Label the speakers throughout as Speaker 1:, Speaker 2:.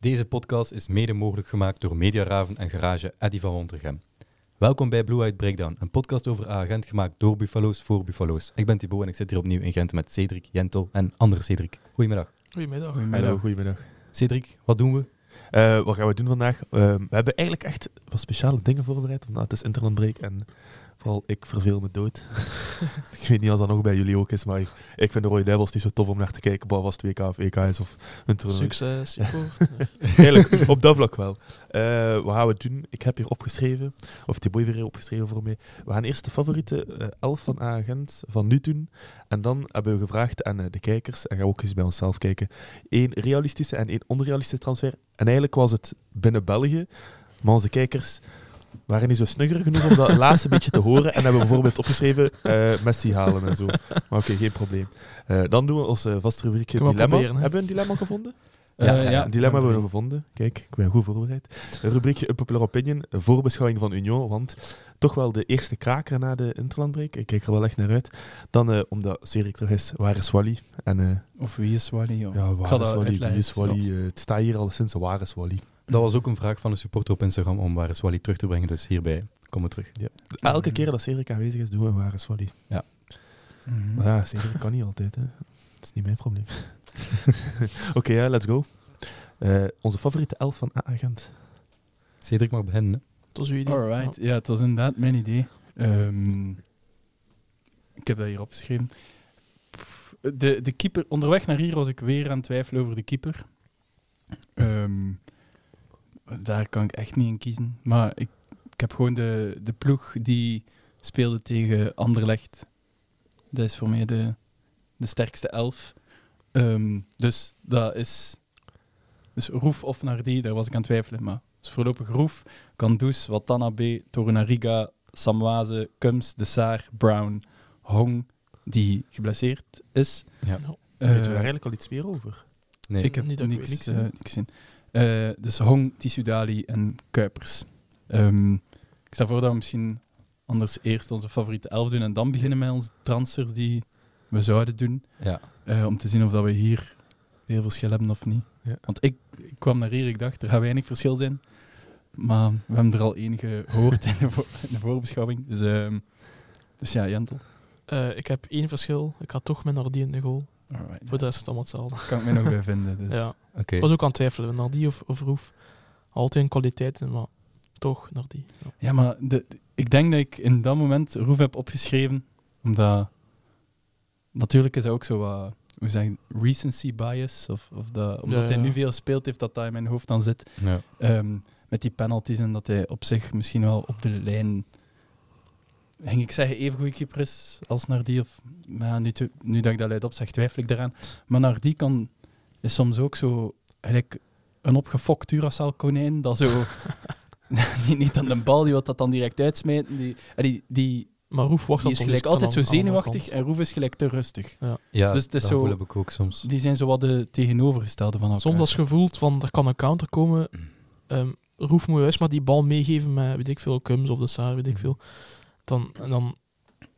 Speaker 1: Deze podcast is mede mogelijk gemaakt door Mediaraven en garage Eddy van Wontergem. Welkom bij Blue Eyed Breakdown, een podcast over agent gemaakt door Buffalo's voor Buffalo's. Ik ben Thibaut en ik zit hier opnieuw in Gent met Cedric, Jentel en andere Cedric. Goedemiddag.
Speaker 2: Goedemiddag.
Speaker 3: Hallo, goedemiddag.
Speaker 1: Cedric, wat doen we?
Speaker 3: Eh, wat gaan we doen vandaag? Eh, we hebben eigenlijk echt wat speciale dingen voorbereid, omdat het is interlandbreek en vooral ik verveel me dood. ik weet niet als dat nog bij jullie ook is, maar ik, ik vind de Rode Duivels niet zo tof om naar te kijken, behalve als het WK of EK is of een toernooi.
Speaker 2: Succes, support.
Speaker 3: Eigenlijk, op dat vlak wel. Eh, wat gaan we doen? Ik heb hier opgeschreven, of Thibaut weer hier opgeschreven voor mij. We gaan eerst de favoriete eh, elf van Agent van nu doen. En dan hebben we gevraagd aan eh, de kijkers, en gaan we ook eens bij onszelf kijken, één realistische en één onrealistische transfer. En eigenlijk was het binnen België, maar onze kijkers waren niet zo snugger genoeg om dat laatste beetje te horen. En hebben bijvoorbeeld opgeschreven eh, Messi halen en zo. Maar oké, geen probleem. Eh, dan doen we onze vaste rubriekje
Speaker 2: Kunnen we
Speaker 3: Dilemma.
Speaker 2: proberen, hè?
Speaker 3: hebben we een dilemma gevonden?
Speaker 1: Ja, ja,
Speaker 3: Een dilemma hebben we nog gevonden. Kijk, ik ben goed voorbereid. Een rubriekje Unpopular Opinion, een voorbeschouwing van Union, want toch wel de eerste kraker na de Interlandbreak. Ik kijk er wel echt naar uit. Dan, eh, omdat Serik terug is, waar is Wally? En eh,
Speaker 4: Of wie is Wally, joh?
Speaker 3: ja, waar
Speaker 2: zal
Speaker 3: is
Speaker 2: dat
Speaker 3: Wally? Wie
Speaker 2: uitleggen,
Speaker 3: is Wally? Eh, het staat hier al sinds, waar is Wally?
Speaker 1: Dat was ook een vraag van een supporter op Instagram om waar is Wally terug te brengen, dus hierbij komen we terug.
Speaker 3: Elke keer dat Serik aanwezig is, doen we waar is Wally. Maar ja, Cedric kan niet altijd, hè. Dat is niet mijn probleem. Oké, ja, let's go. Eh, onze favoriete elf van A-agent.
Speaker 1: Cedric mag beginnen. hè?
Speaker 2: Dat is uw idee.
Speaker 4: Alright, ja, het was inderdaad mijn idee. Ehm, ik heb dat hier opgeschreven. Pff, De, de keeper, onderweg naar hier was ik weer aan het twijfelen over de keeper. Ehm, daar kan ik echt niet in kiezen. Maar ik, ik heb gewoon de, de ploeg die speelde tegen Anderlecht. Dat is voor mij de, de sterkste elf. Ehm, dus dat is... Dus Roef of Nardi, daar was ik aan het twijfelen. Maar dus voorlopig Roef. Kandus, Watanabe, Torunariga, Samwaze, Kums, De Saar, Brown, Hong, die geblesseerd is.
Speaker 1: Ja.
Speaker 2: Nou,
Speaker 4: Eh,
Speaker 3: Weet je daar eigenlijk al iets meer over?
Speaker 1: Nee,
Speaker 4: ik heb
Speaker 2: Niet dat ik
Speaker 4: niks,
Speaker 2: weet, niks,
Speaker 4: eh,
Speaker 2: hè.
Speaker 4: niks in. Eh, dus Hong, Tissudali en Kuipers. Ehm, ik stel voor dat we misschien anders eerst onze favoriete elf doen en dan beginnen met onze transfers die we zouden doen.
Speaker 1: ja.
Speaker 4: eh, om te zien of dat we hier veel verschil hebben of niet.
Speaker 3: Ja.
Speaker 4: Want ik, ik kwam naar hier, ik dacht, er gaat weinig verschil zijn. Maar we hebben er al enige gehoord in de, voor- in de voorbeschouwing. Dus, ehm, dus ja, Jentel.
Speaker 2: Eh, ik heb één verschil. Ik had toch met Nardi in de goal.
Speaker 4: Alright,
Speaker 2: Voor de rest is het allemaal hetzelfde.
Speaker 4: daar kan ik mij nog bij vinden. Dus.
Speaker 2: Ja.
Speaker 1: oké.
Speaker 2: Ik was ook aan het twijfelen. Nardi of, of Roef. Altijd een kwaliteit, maar toch Nardi. Ja.
Speaker 4: Ja, maar de, ik denk dat ik in dat moment Roef heb opgeschreven, omdat natuurlijk is dat ook zo wat, hoe zeg je, recency bias, of, of dat, omdat
Speaker 2: Ja,
Speaker 4: hij
Speaker 2: ja.
Speaker 4: nu veel speelt, heeft dat dat in mijn hoofd dan zit,
Speaker 1: Ja.
Speaker 4: ehm, met die penalties en dat hij op zich misschien wel op de lijn, ging ik zeggen, even goede keeper is als naar die, of maar ja, nu, te- nu dat ik dat luid op zeg, twijfel ik daaraan, maar naar die kan, is soms ook zo, eigenlijk een opgefokt Duracell konijn, dat zo... Die niet aan de bal, die wat dat dan direct uitsmijten. Die, en die, die,
Speaker 2: Maar Roef wacht
Speaker 4: die is gelijk altijd zo zenuwachtig en Roef is gelijk te rustig.
Speaker 1: ja,
Speaker 4: dus het is
Speaker 1: dat
Speaker 4: zo-
Speaker 1: gevoel heb ik ook soms.
Speaker 4: Die zijn zo wat de tegenovergestelde van elkaar.
Speaker 2: Soms als je voelt van er kan een counter komen.
Speaker 4: Mm.
Speaker 2: ehm, Roef moet juist maar die bal meegeven met weet ik veel, Kums of de Saar, weet
Speaker 4: Mm.
Speaker 2: ik veel. Dan, en dan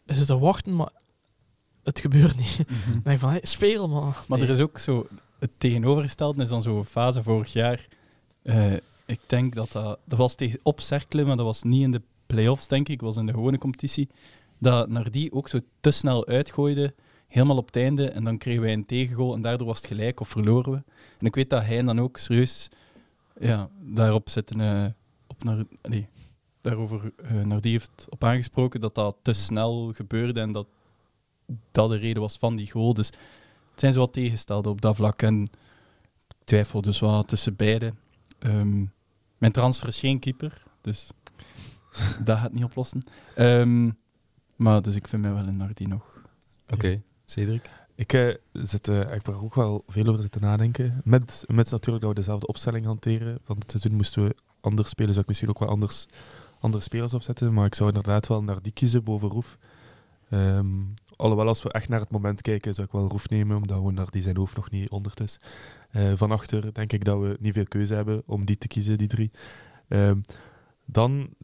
Speaker 2: is het te wachten, maar het gebeurt niet. Dan
Speaker 4: Mhm.
Speaker 2: denk ik van, hey, speel man.
Speaker 4: Maar er is ook zo... Het tegenovergestelde is dan zo'n fase vorig jaar. eh, ik denk dat dat... Dat was tegen, op Cerkelen, maar dat was niet in de play-offs, denk ik. was in de gewone competitie. Dat Nardi ook zo te snel uitgooide. Helemaal op het einde. En dan kregen wij een tegengoal. En daardoor was het gelijk of verloren we. En ik weet dat hij dan ook serieus... Ja, daarop zitten... eh, op naar, allee, daarover eh Nardi heeft op aangesproken dat dat te snel gebeurde. En dat dat de reden was van die goal. Dus het zijn ze wat tegenstelde op dat vlak. En ik twijfel dus wel tussen beide. Ehm, mijn transfer is geen keeper, dus dat gaat niet oplossen. Ehm, maar dus ik vind mij wel een Nardi nog.
Speaker 1: Oké, Cedric.
Speaker 3: Ik, eh, zit, eh, ik heb er ook wel veel over zitten nadenken. Met, met natuurlijk dat we dezelfde opstelling hanteren. Want het seizoen moesten we anders spelen. Zou ik misschien ook wel anders, andere spelers opzetten. Maar ik zou inderdaad wel naar die kiezen boven Roef. Ehm, alhoewel, als we echt naar het moment kijken, zou ik wel Roef nemen. Omdat gewoon naar die zijn hoofd nog niet onderd is. Eh van achter denk ik dat we niet veel keuze hebben om die te kiezen, die drie. Ehm, dan zou ik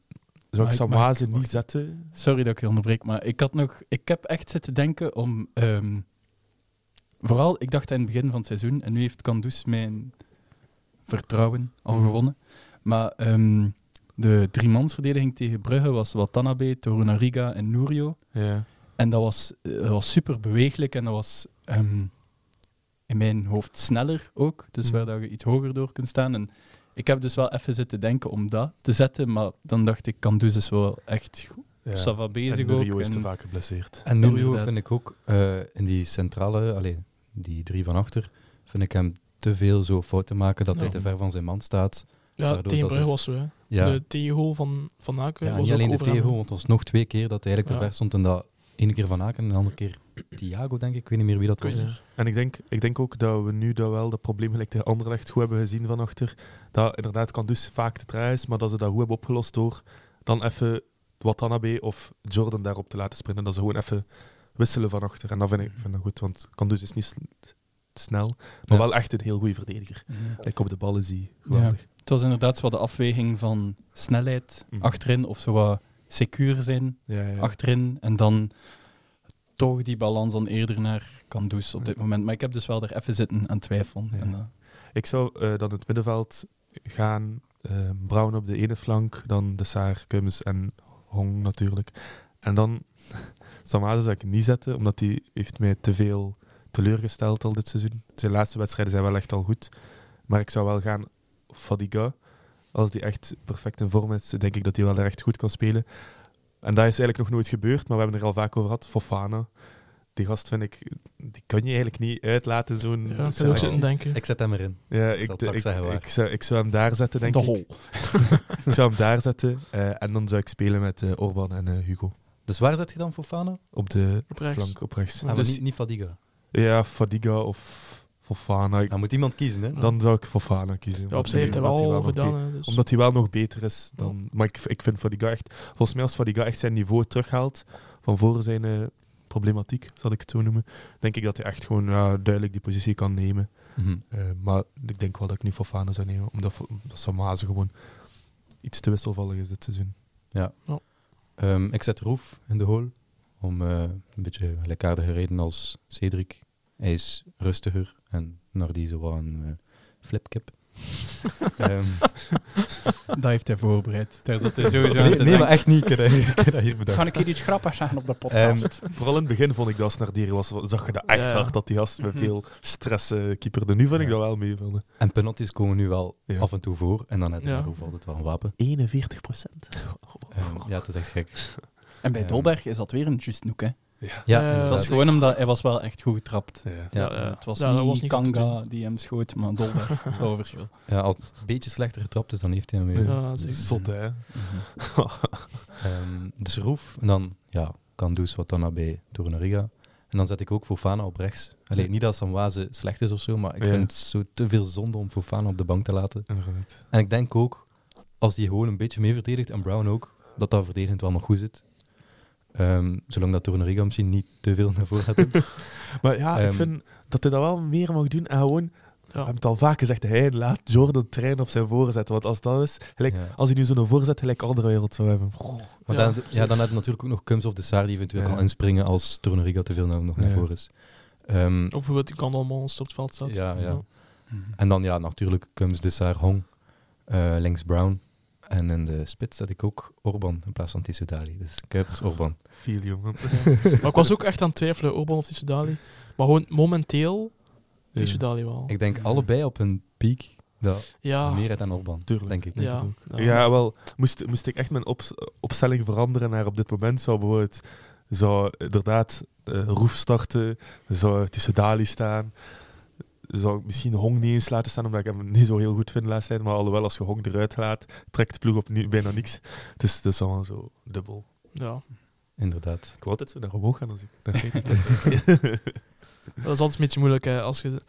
Speaker 4: Maar ik- maar
Speaker 3: Samwaze
Speaker 4: ik-
Speaker 3: niet
Speaker 4: wacht.
Speaker 3: zetten.
Speaker 4: Sorry dat ik je onderbreek, maar ik, had nog, ik heb echt zitten denken om... ehm, vooral, ik dacht aan het begin van het seizoen, en nu heeft Kandus mijn vertrouwen al
Speaker 3: Mhm.
Speaker 4: gewonnen. Maar ehm, de driemansverdediging tegen Brugge was Watanabe, Torunariga en Nourio.
Speaker 3: Ja.
Speaker 4: En dat was, eh, dat was super beweeglijk en dat was ehm, in mijn hoofd sneller ook. Dus
Speaker 3: Mhm.
Speaker 4: waar dat je iets hoger door kunt staan. En ik heb dus wel even zitten denken om dat te zetten. Maar dan dacht ik, Kandus is wel echt goed.
Speaker 3: ja.
Speaker 4: Sava bezig
Speaker 3: en
Speaker 4: ook.
Speaker 3: Rio is
Speaker 4: en-
Speaker 3: te vaak geblesseerd.
Speaker 1: En Nourio
Speaker 4: Inderdaad.
Speaker 1: vind ik ook eh, in die centrale, alleen die drie van achter, vind ik hem te veel zo fouten maken dat hij
Speaker 2: Ja.
Speaker 1: te ver van zijn man staat.
Speaker 2: Ja,
Speaker 1: Waardoor dat
Speaker 2: tegen Brugge
Speaker 1: er-
Speaker 2: was zo. Hè.
Speaker 1: Ja,
Speaker 2: De tegengoal van Van Aken
Speaker 1: ja
Speaker 2: was
Speaker 1: niet
Speaker 2: ook
Speaker 1: alleen de
Speaker 2: over hem.
Speaker 1: tegel, want het was nog twee keer dat hij eigenlijk te
Speaker 2: Ja.
Speaker 1: ver stond. En dat ene keer Van Aken en de andere keer Thiago, denk ik. Ik weet niet meer wie dat
Speaker 2: Ik
Speaker 1: was.
Speaker 2: weet
Speaker 3: Ja. En ik denk, ik denk ook dat we nu dat wel dat probleem gelijk tegen Anderlecht goed hebben gezien van achter. Dat inderdaad kan dus vaak te traag is, maar dat ze dat goed hebben opgelost door dan even Watanabe of Jordan daarop te laten sprinten. Dat ze gewoon even wisselen van achter. En dat vind ik, ik vind dat goed, want kan dus is niet s- snel,
Speaker 1: Ja.
Speaker 3: maar wel echt een heel goede verdediger.
Speaker 4: Ja.
Speaker 3: Ik op de ballen zie. Geweldig.
Speaker 4: Het was inderdaad wat de afweging van snelheid
Speaker 3: Mhm.
Speaker 4: achterin of zo wat secuur zijn
Speaker 3: Ja, ja, ja.
Speaker 4: achterin en dan toch die balans dan eerder naar kan doen op dit moment. Maar ik heb dus wel er even zitten aan twijfelen.
Speaker 3: Ja.
Speaker 4: En, eh,
Speaker 3: Ik zou eh, dan het middenveld gaan. eh Brown op de ene flank, dan de Saar, Kums en Hong natuurlijk. En dan Samaze zou ik niet zetten, omdat die heeft mij te veel teleurgesteld al dit seizoen. Zijn laatste wedstrijden zijn wel echt al goed. Maar ik zou wel gaan Fadiga. Als die echt perfect in vorm is, denk ik dat hij wel echt goed kan spelen. En dat is eigenlijk nog nooit gebeurd, maar we hebben er al vaak over gehad. Fofana. Die gast vind ik, die kan je eigenlijk niet uitlaten,
Speaker 2: Ja,
Speaker 3: zo'n
Speaker 2: ik kan ook
Speaker 3: selectie.
Speaker 2: zitten denken.
Speaker 1: eh, Ik zet hem erin.
Speaker 3: Ja,
Speaker 1: zal
Speaker 3: ik,
Speaker 1: het straks
Speaker 3: ik,
Speaker 1: zeggen, waar.
Speaker 3: ik, zou, ik zou hem daar zetten, denk
Speaker 4: de
Speaker 3: ik.
Speaker 4: hol.
Speaker 3: Ik zou hem daar zetten. eh, en dan zou ik spelen met eh, Orban en eh, Hugo.
Speaker 1: Dus waar zet je dan Fofana?
Speaker 3: Op de
Speaker 2: Op rechts.
Speaker 3: flank, op rechts.
Speaker 1: Ah, maar
Speaker 4: Dus-
Speaker 1: niet, niet Fadiga.
Speaker 3: Ja, Fadiga of Fofana. Ik-
Speaker 1: Dan moet iemand kiezen, hè?
Speaker 3: Dan zou ik Fofana kiezen.
Speaker 2: Ja,
Speaker 3: omdat
Speaker 2: op zich heeft hij
Speaker 3: omdat
Speaker 2: wel
Speaker 3: nog
Speaker 2: gedaan.
Speaker 3: be-
Speaker 2: hè, dus.
Speaker 3: Omdat hij wel nog beter is. Dan, Maar ik, ik vind Fadiga echt... Volgens mij als Fadiga echt zijn niveau terughaalt van voor zijn eh, problematiek, zal ik het zo noemen, denk ik dat hij echt gewoon ja, duidelijk die positie kan nemen.
Speaker 1: Mhm.
Speaker 3: Eh, maar ik denk wel dat ik nu Fofana zou nemen, omdat, Fo- omdat Samaze gewoon iets te wisselvallig is dit seizoen.
Speaker 1: Ehm, ik zet Roef in de hol. Om eh, een beetje gelijkaardige reden als Cedric. Hij is rustiger en Nardi zo wel een eh, flipkip. Ehm,
Speaker 4: Dat heeft hij voorbereid. Daar zat hij sowieso aan
Speaker 1: nee,
Speaker 4: te
Speaker 1: nee, maar
Speaker 4: denken.
Speaker 1: echt niet. Ik heb dat- ik heb dat hier bedacht.
Speaker 4: Ga ik hier iets grappigs zeggen
Speaker 2: Ehm,
Speaker 4: op de podcast?
Speaker 1: podcast?
Speaker 3: Vooral in het begin vond ik dat als Nardier was, zag je dat echt
Speaker 2: Ja. Mhm.
Speaker 3: hard dat die gast met veel stress eh, keeperde. Nu vind ik dat wel meevallen.
Speaker 1: En penalties komen nu wel
Speaker 3: Ja.
Speaker 1: af en toe voor. En dan heb je
Speaker 2: Ja. Oh,
Speaker 1: ja. altijd wel een wapen.
Speaker 3: 41 procent.
Speaker 1: Ehm, ja, het is echt gek.
Speaker 4: en bij
Speaker 1: Ehm.
Speaker 4: Dolberg is dat weer een just noek. Hè.
Speaker 3: Ja.
Speaker 1: Ja,
Speaker 2: Eh,
Speaker 4: Het
Speaker 1: inderdaad.
Speaker 4: was gewoon omdat hij was wel echt goed getrapt. Eh,
Speaker 3: Ja.
Speaker 1: ja.
Speaker 2: Ja,
Speaker 4: Het was
Speaker 2: Ja, dat
Speaker 4: niet,
Speaker 2: was niet goed te
Speaker 4: Kanga die hem schoot, maar Dolberg. dat is wel een verschil.
Speaker 1: Ja, als het een beetje slechter getrapt is, dan heeft hij hem weer.
Speaker 2: Ja, zeker.
Speaker 1: Dus,
Speaker 3: Zot, hè?
Speaker 2: Mhm.
Speaker 1: Ehm, dus Roef, en dan ja, Kandus, Watanabe, Torunariga. En dan zet ik ook Fofana op rechts. Alleen niet dat Samwaze slecht is of zo, maar ik
Speaker 3: Ja.
Speaker 1: vind het zo te veel zonde om Fofana op de bank te laten.
Speaker 3: Inderdaad.
Speaker 1: En ik denk ook, als die gewoon een beetje mee verdedigt, en Brown ook, dat dat verdedigend wel nog goed zit. Ehm, zolang dat Torunariga misschien niet te veel naar voren gaat.
Speaker 3: Maar ja, ik
Speaker 1: Ehm.
Speaker 3: vind dat hij dat wel meer mag doen en gewoon... We
Speaker 2: Ja.
Speaker 3: hebben het al vaak gezegd, hij laat Jordan trainen op zijn voorzet. Want als dat is, gelijk,
Speaker 1: Ja.
Speaker 3: als hij nu zo'n voorzet gelijk andere wereld zou hebben.
Speaker 1: Maar
Speaker 2: Ja,
Speaker 1: dan, ja, dan heb je natuurlijk ook nog Kums of de Saar die eventueel
Speaker 3: Ja.
Speaker 1: kan inspringen als Torunariga te veel naar, nog naar
Speaker 3: Ja.
Speaker 1: voren is. Ehm,
Speaker 2: Of bijvoorbeeld die kan allemaal ons op het veld staat.
Speaker 1: Ja, ja.
Speaker 4: Mhm.
Speaker 1: En dan ja, natuurlijk Kums, Dessar, Hong, eh, links Brown. En in de spits zet ik ook Orban in plaats van Tissoudali. Dus Kuipers, Orban.
Speaker 3: Viel, jongen.
Speaker 2: Maar ik was ook echt aan het twijfelen, Orban of Tissoudali. Maar gewoon momenteel Tissoudali wel.
Speaker 1: Ik denk allebei op hun piek. Dat
Speaker 2: ja,
Speaker 1: meer uit aan Orban,
Speaker 3: Tuurlijk.
Speaker 1: denk ik.
Speaker 2: Ah. ja,
Speaker 3: het
Speaker 2: ja.
Speaker 3: Ja, wel, moest, moest ik echt mijn op, opstelling veranderen naar op dit moment zou bijvoorbeeld, zou inderdaad eh, Roef starten, zou tussen Dali staan, zou ik misschien Hong niet eens laten staan, omdat ik hem niet zo heel goed vind de laatste tijd, maar alhoewel als je Hong eruit laat, trekt de ploeg opnieuw bijna niks. Dus dat is allemaal zo dubbel.
Speaker 2: Ja.
Speaker 1: Inderdaad.
Speaker 3: Ik wil altijd zo naar omhoog gaan als ik naar kijk.
Speaker 2: Dat is altijd een beetje moeilijk hè. als je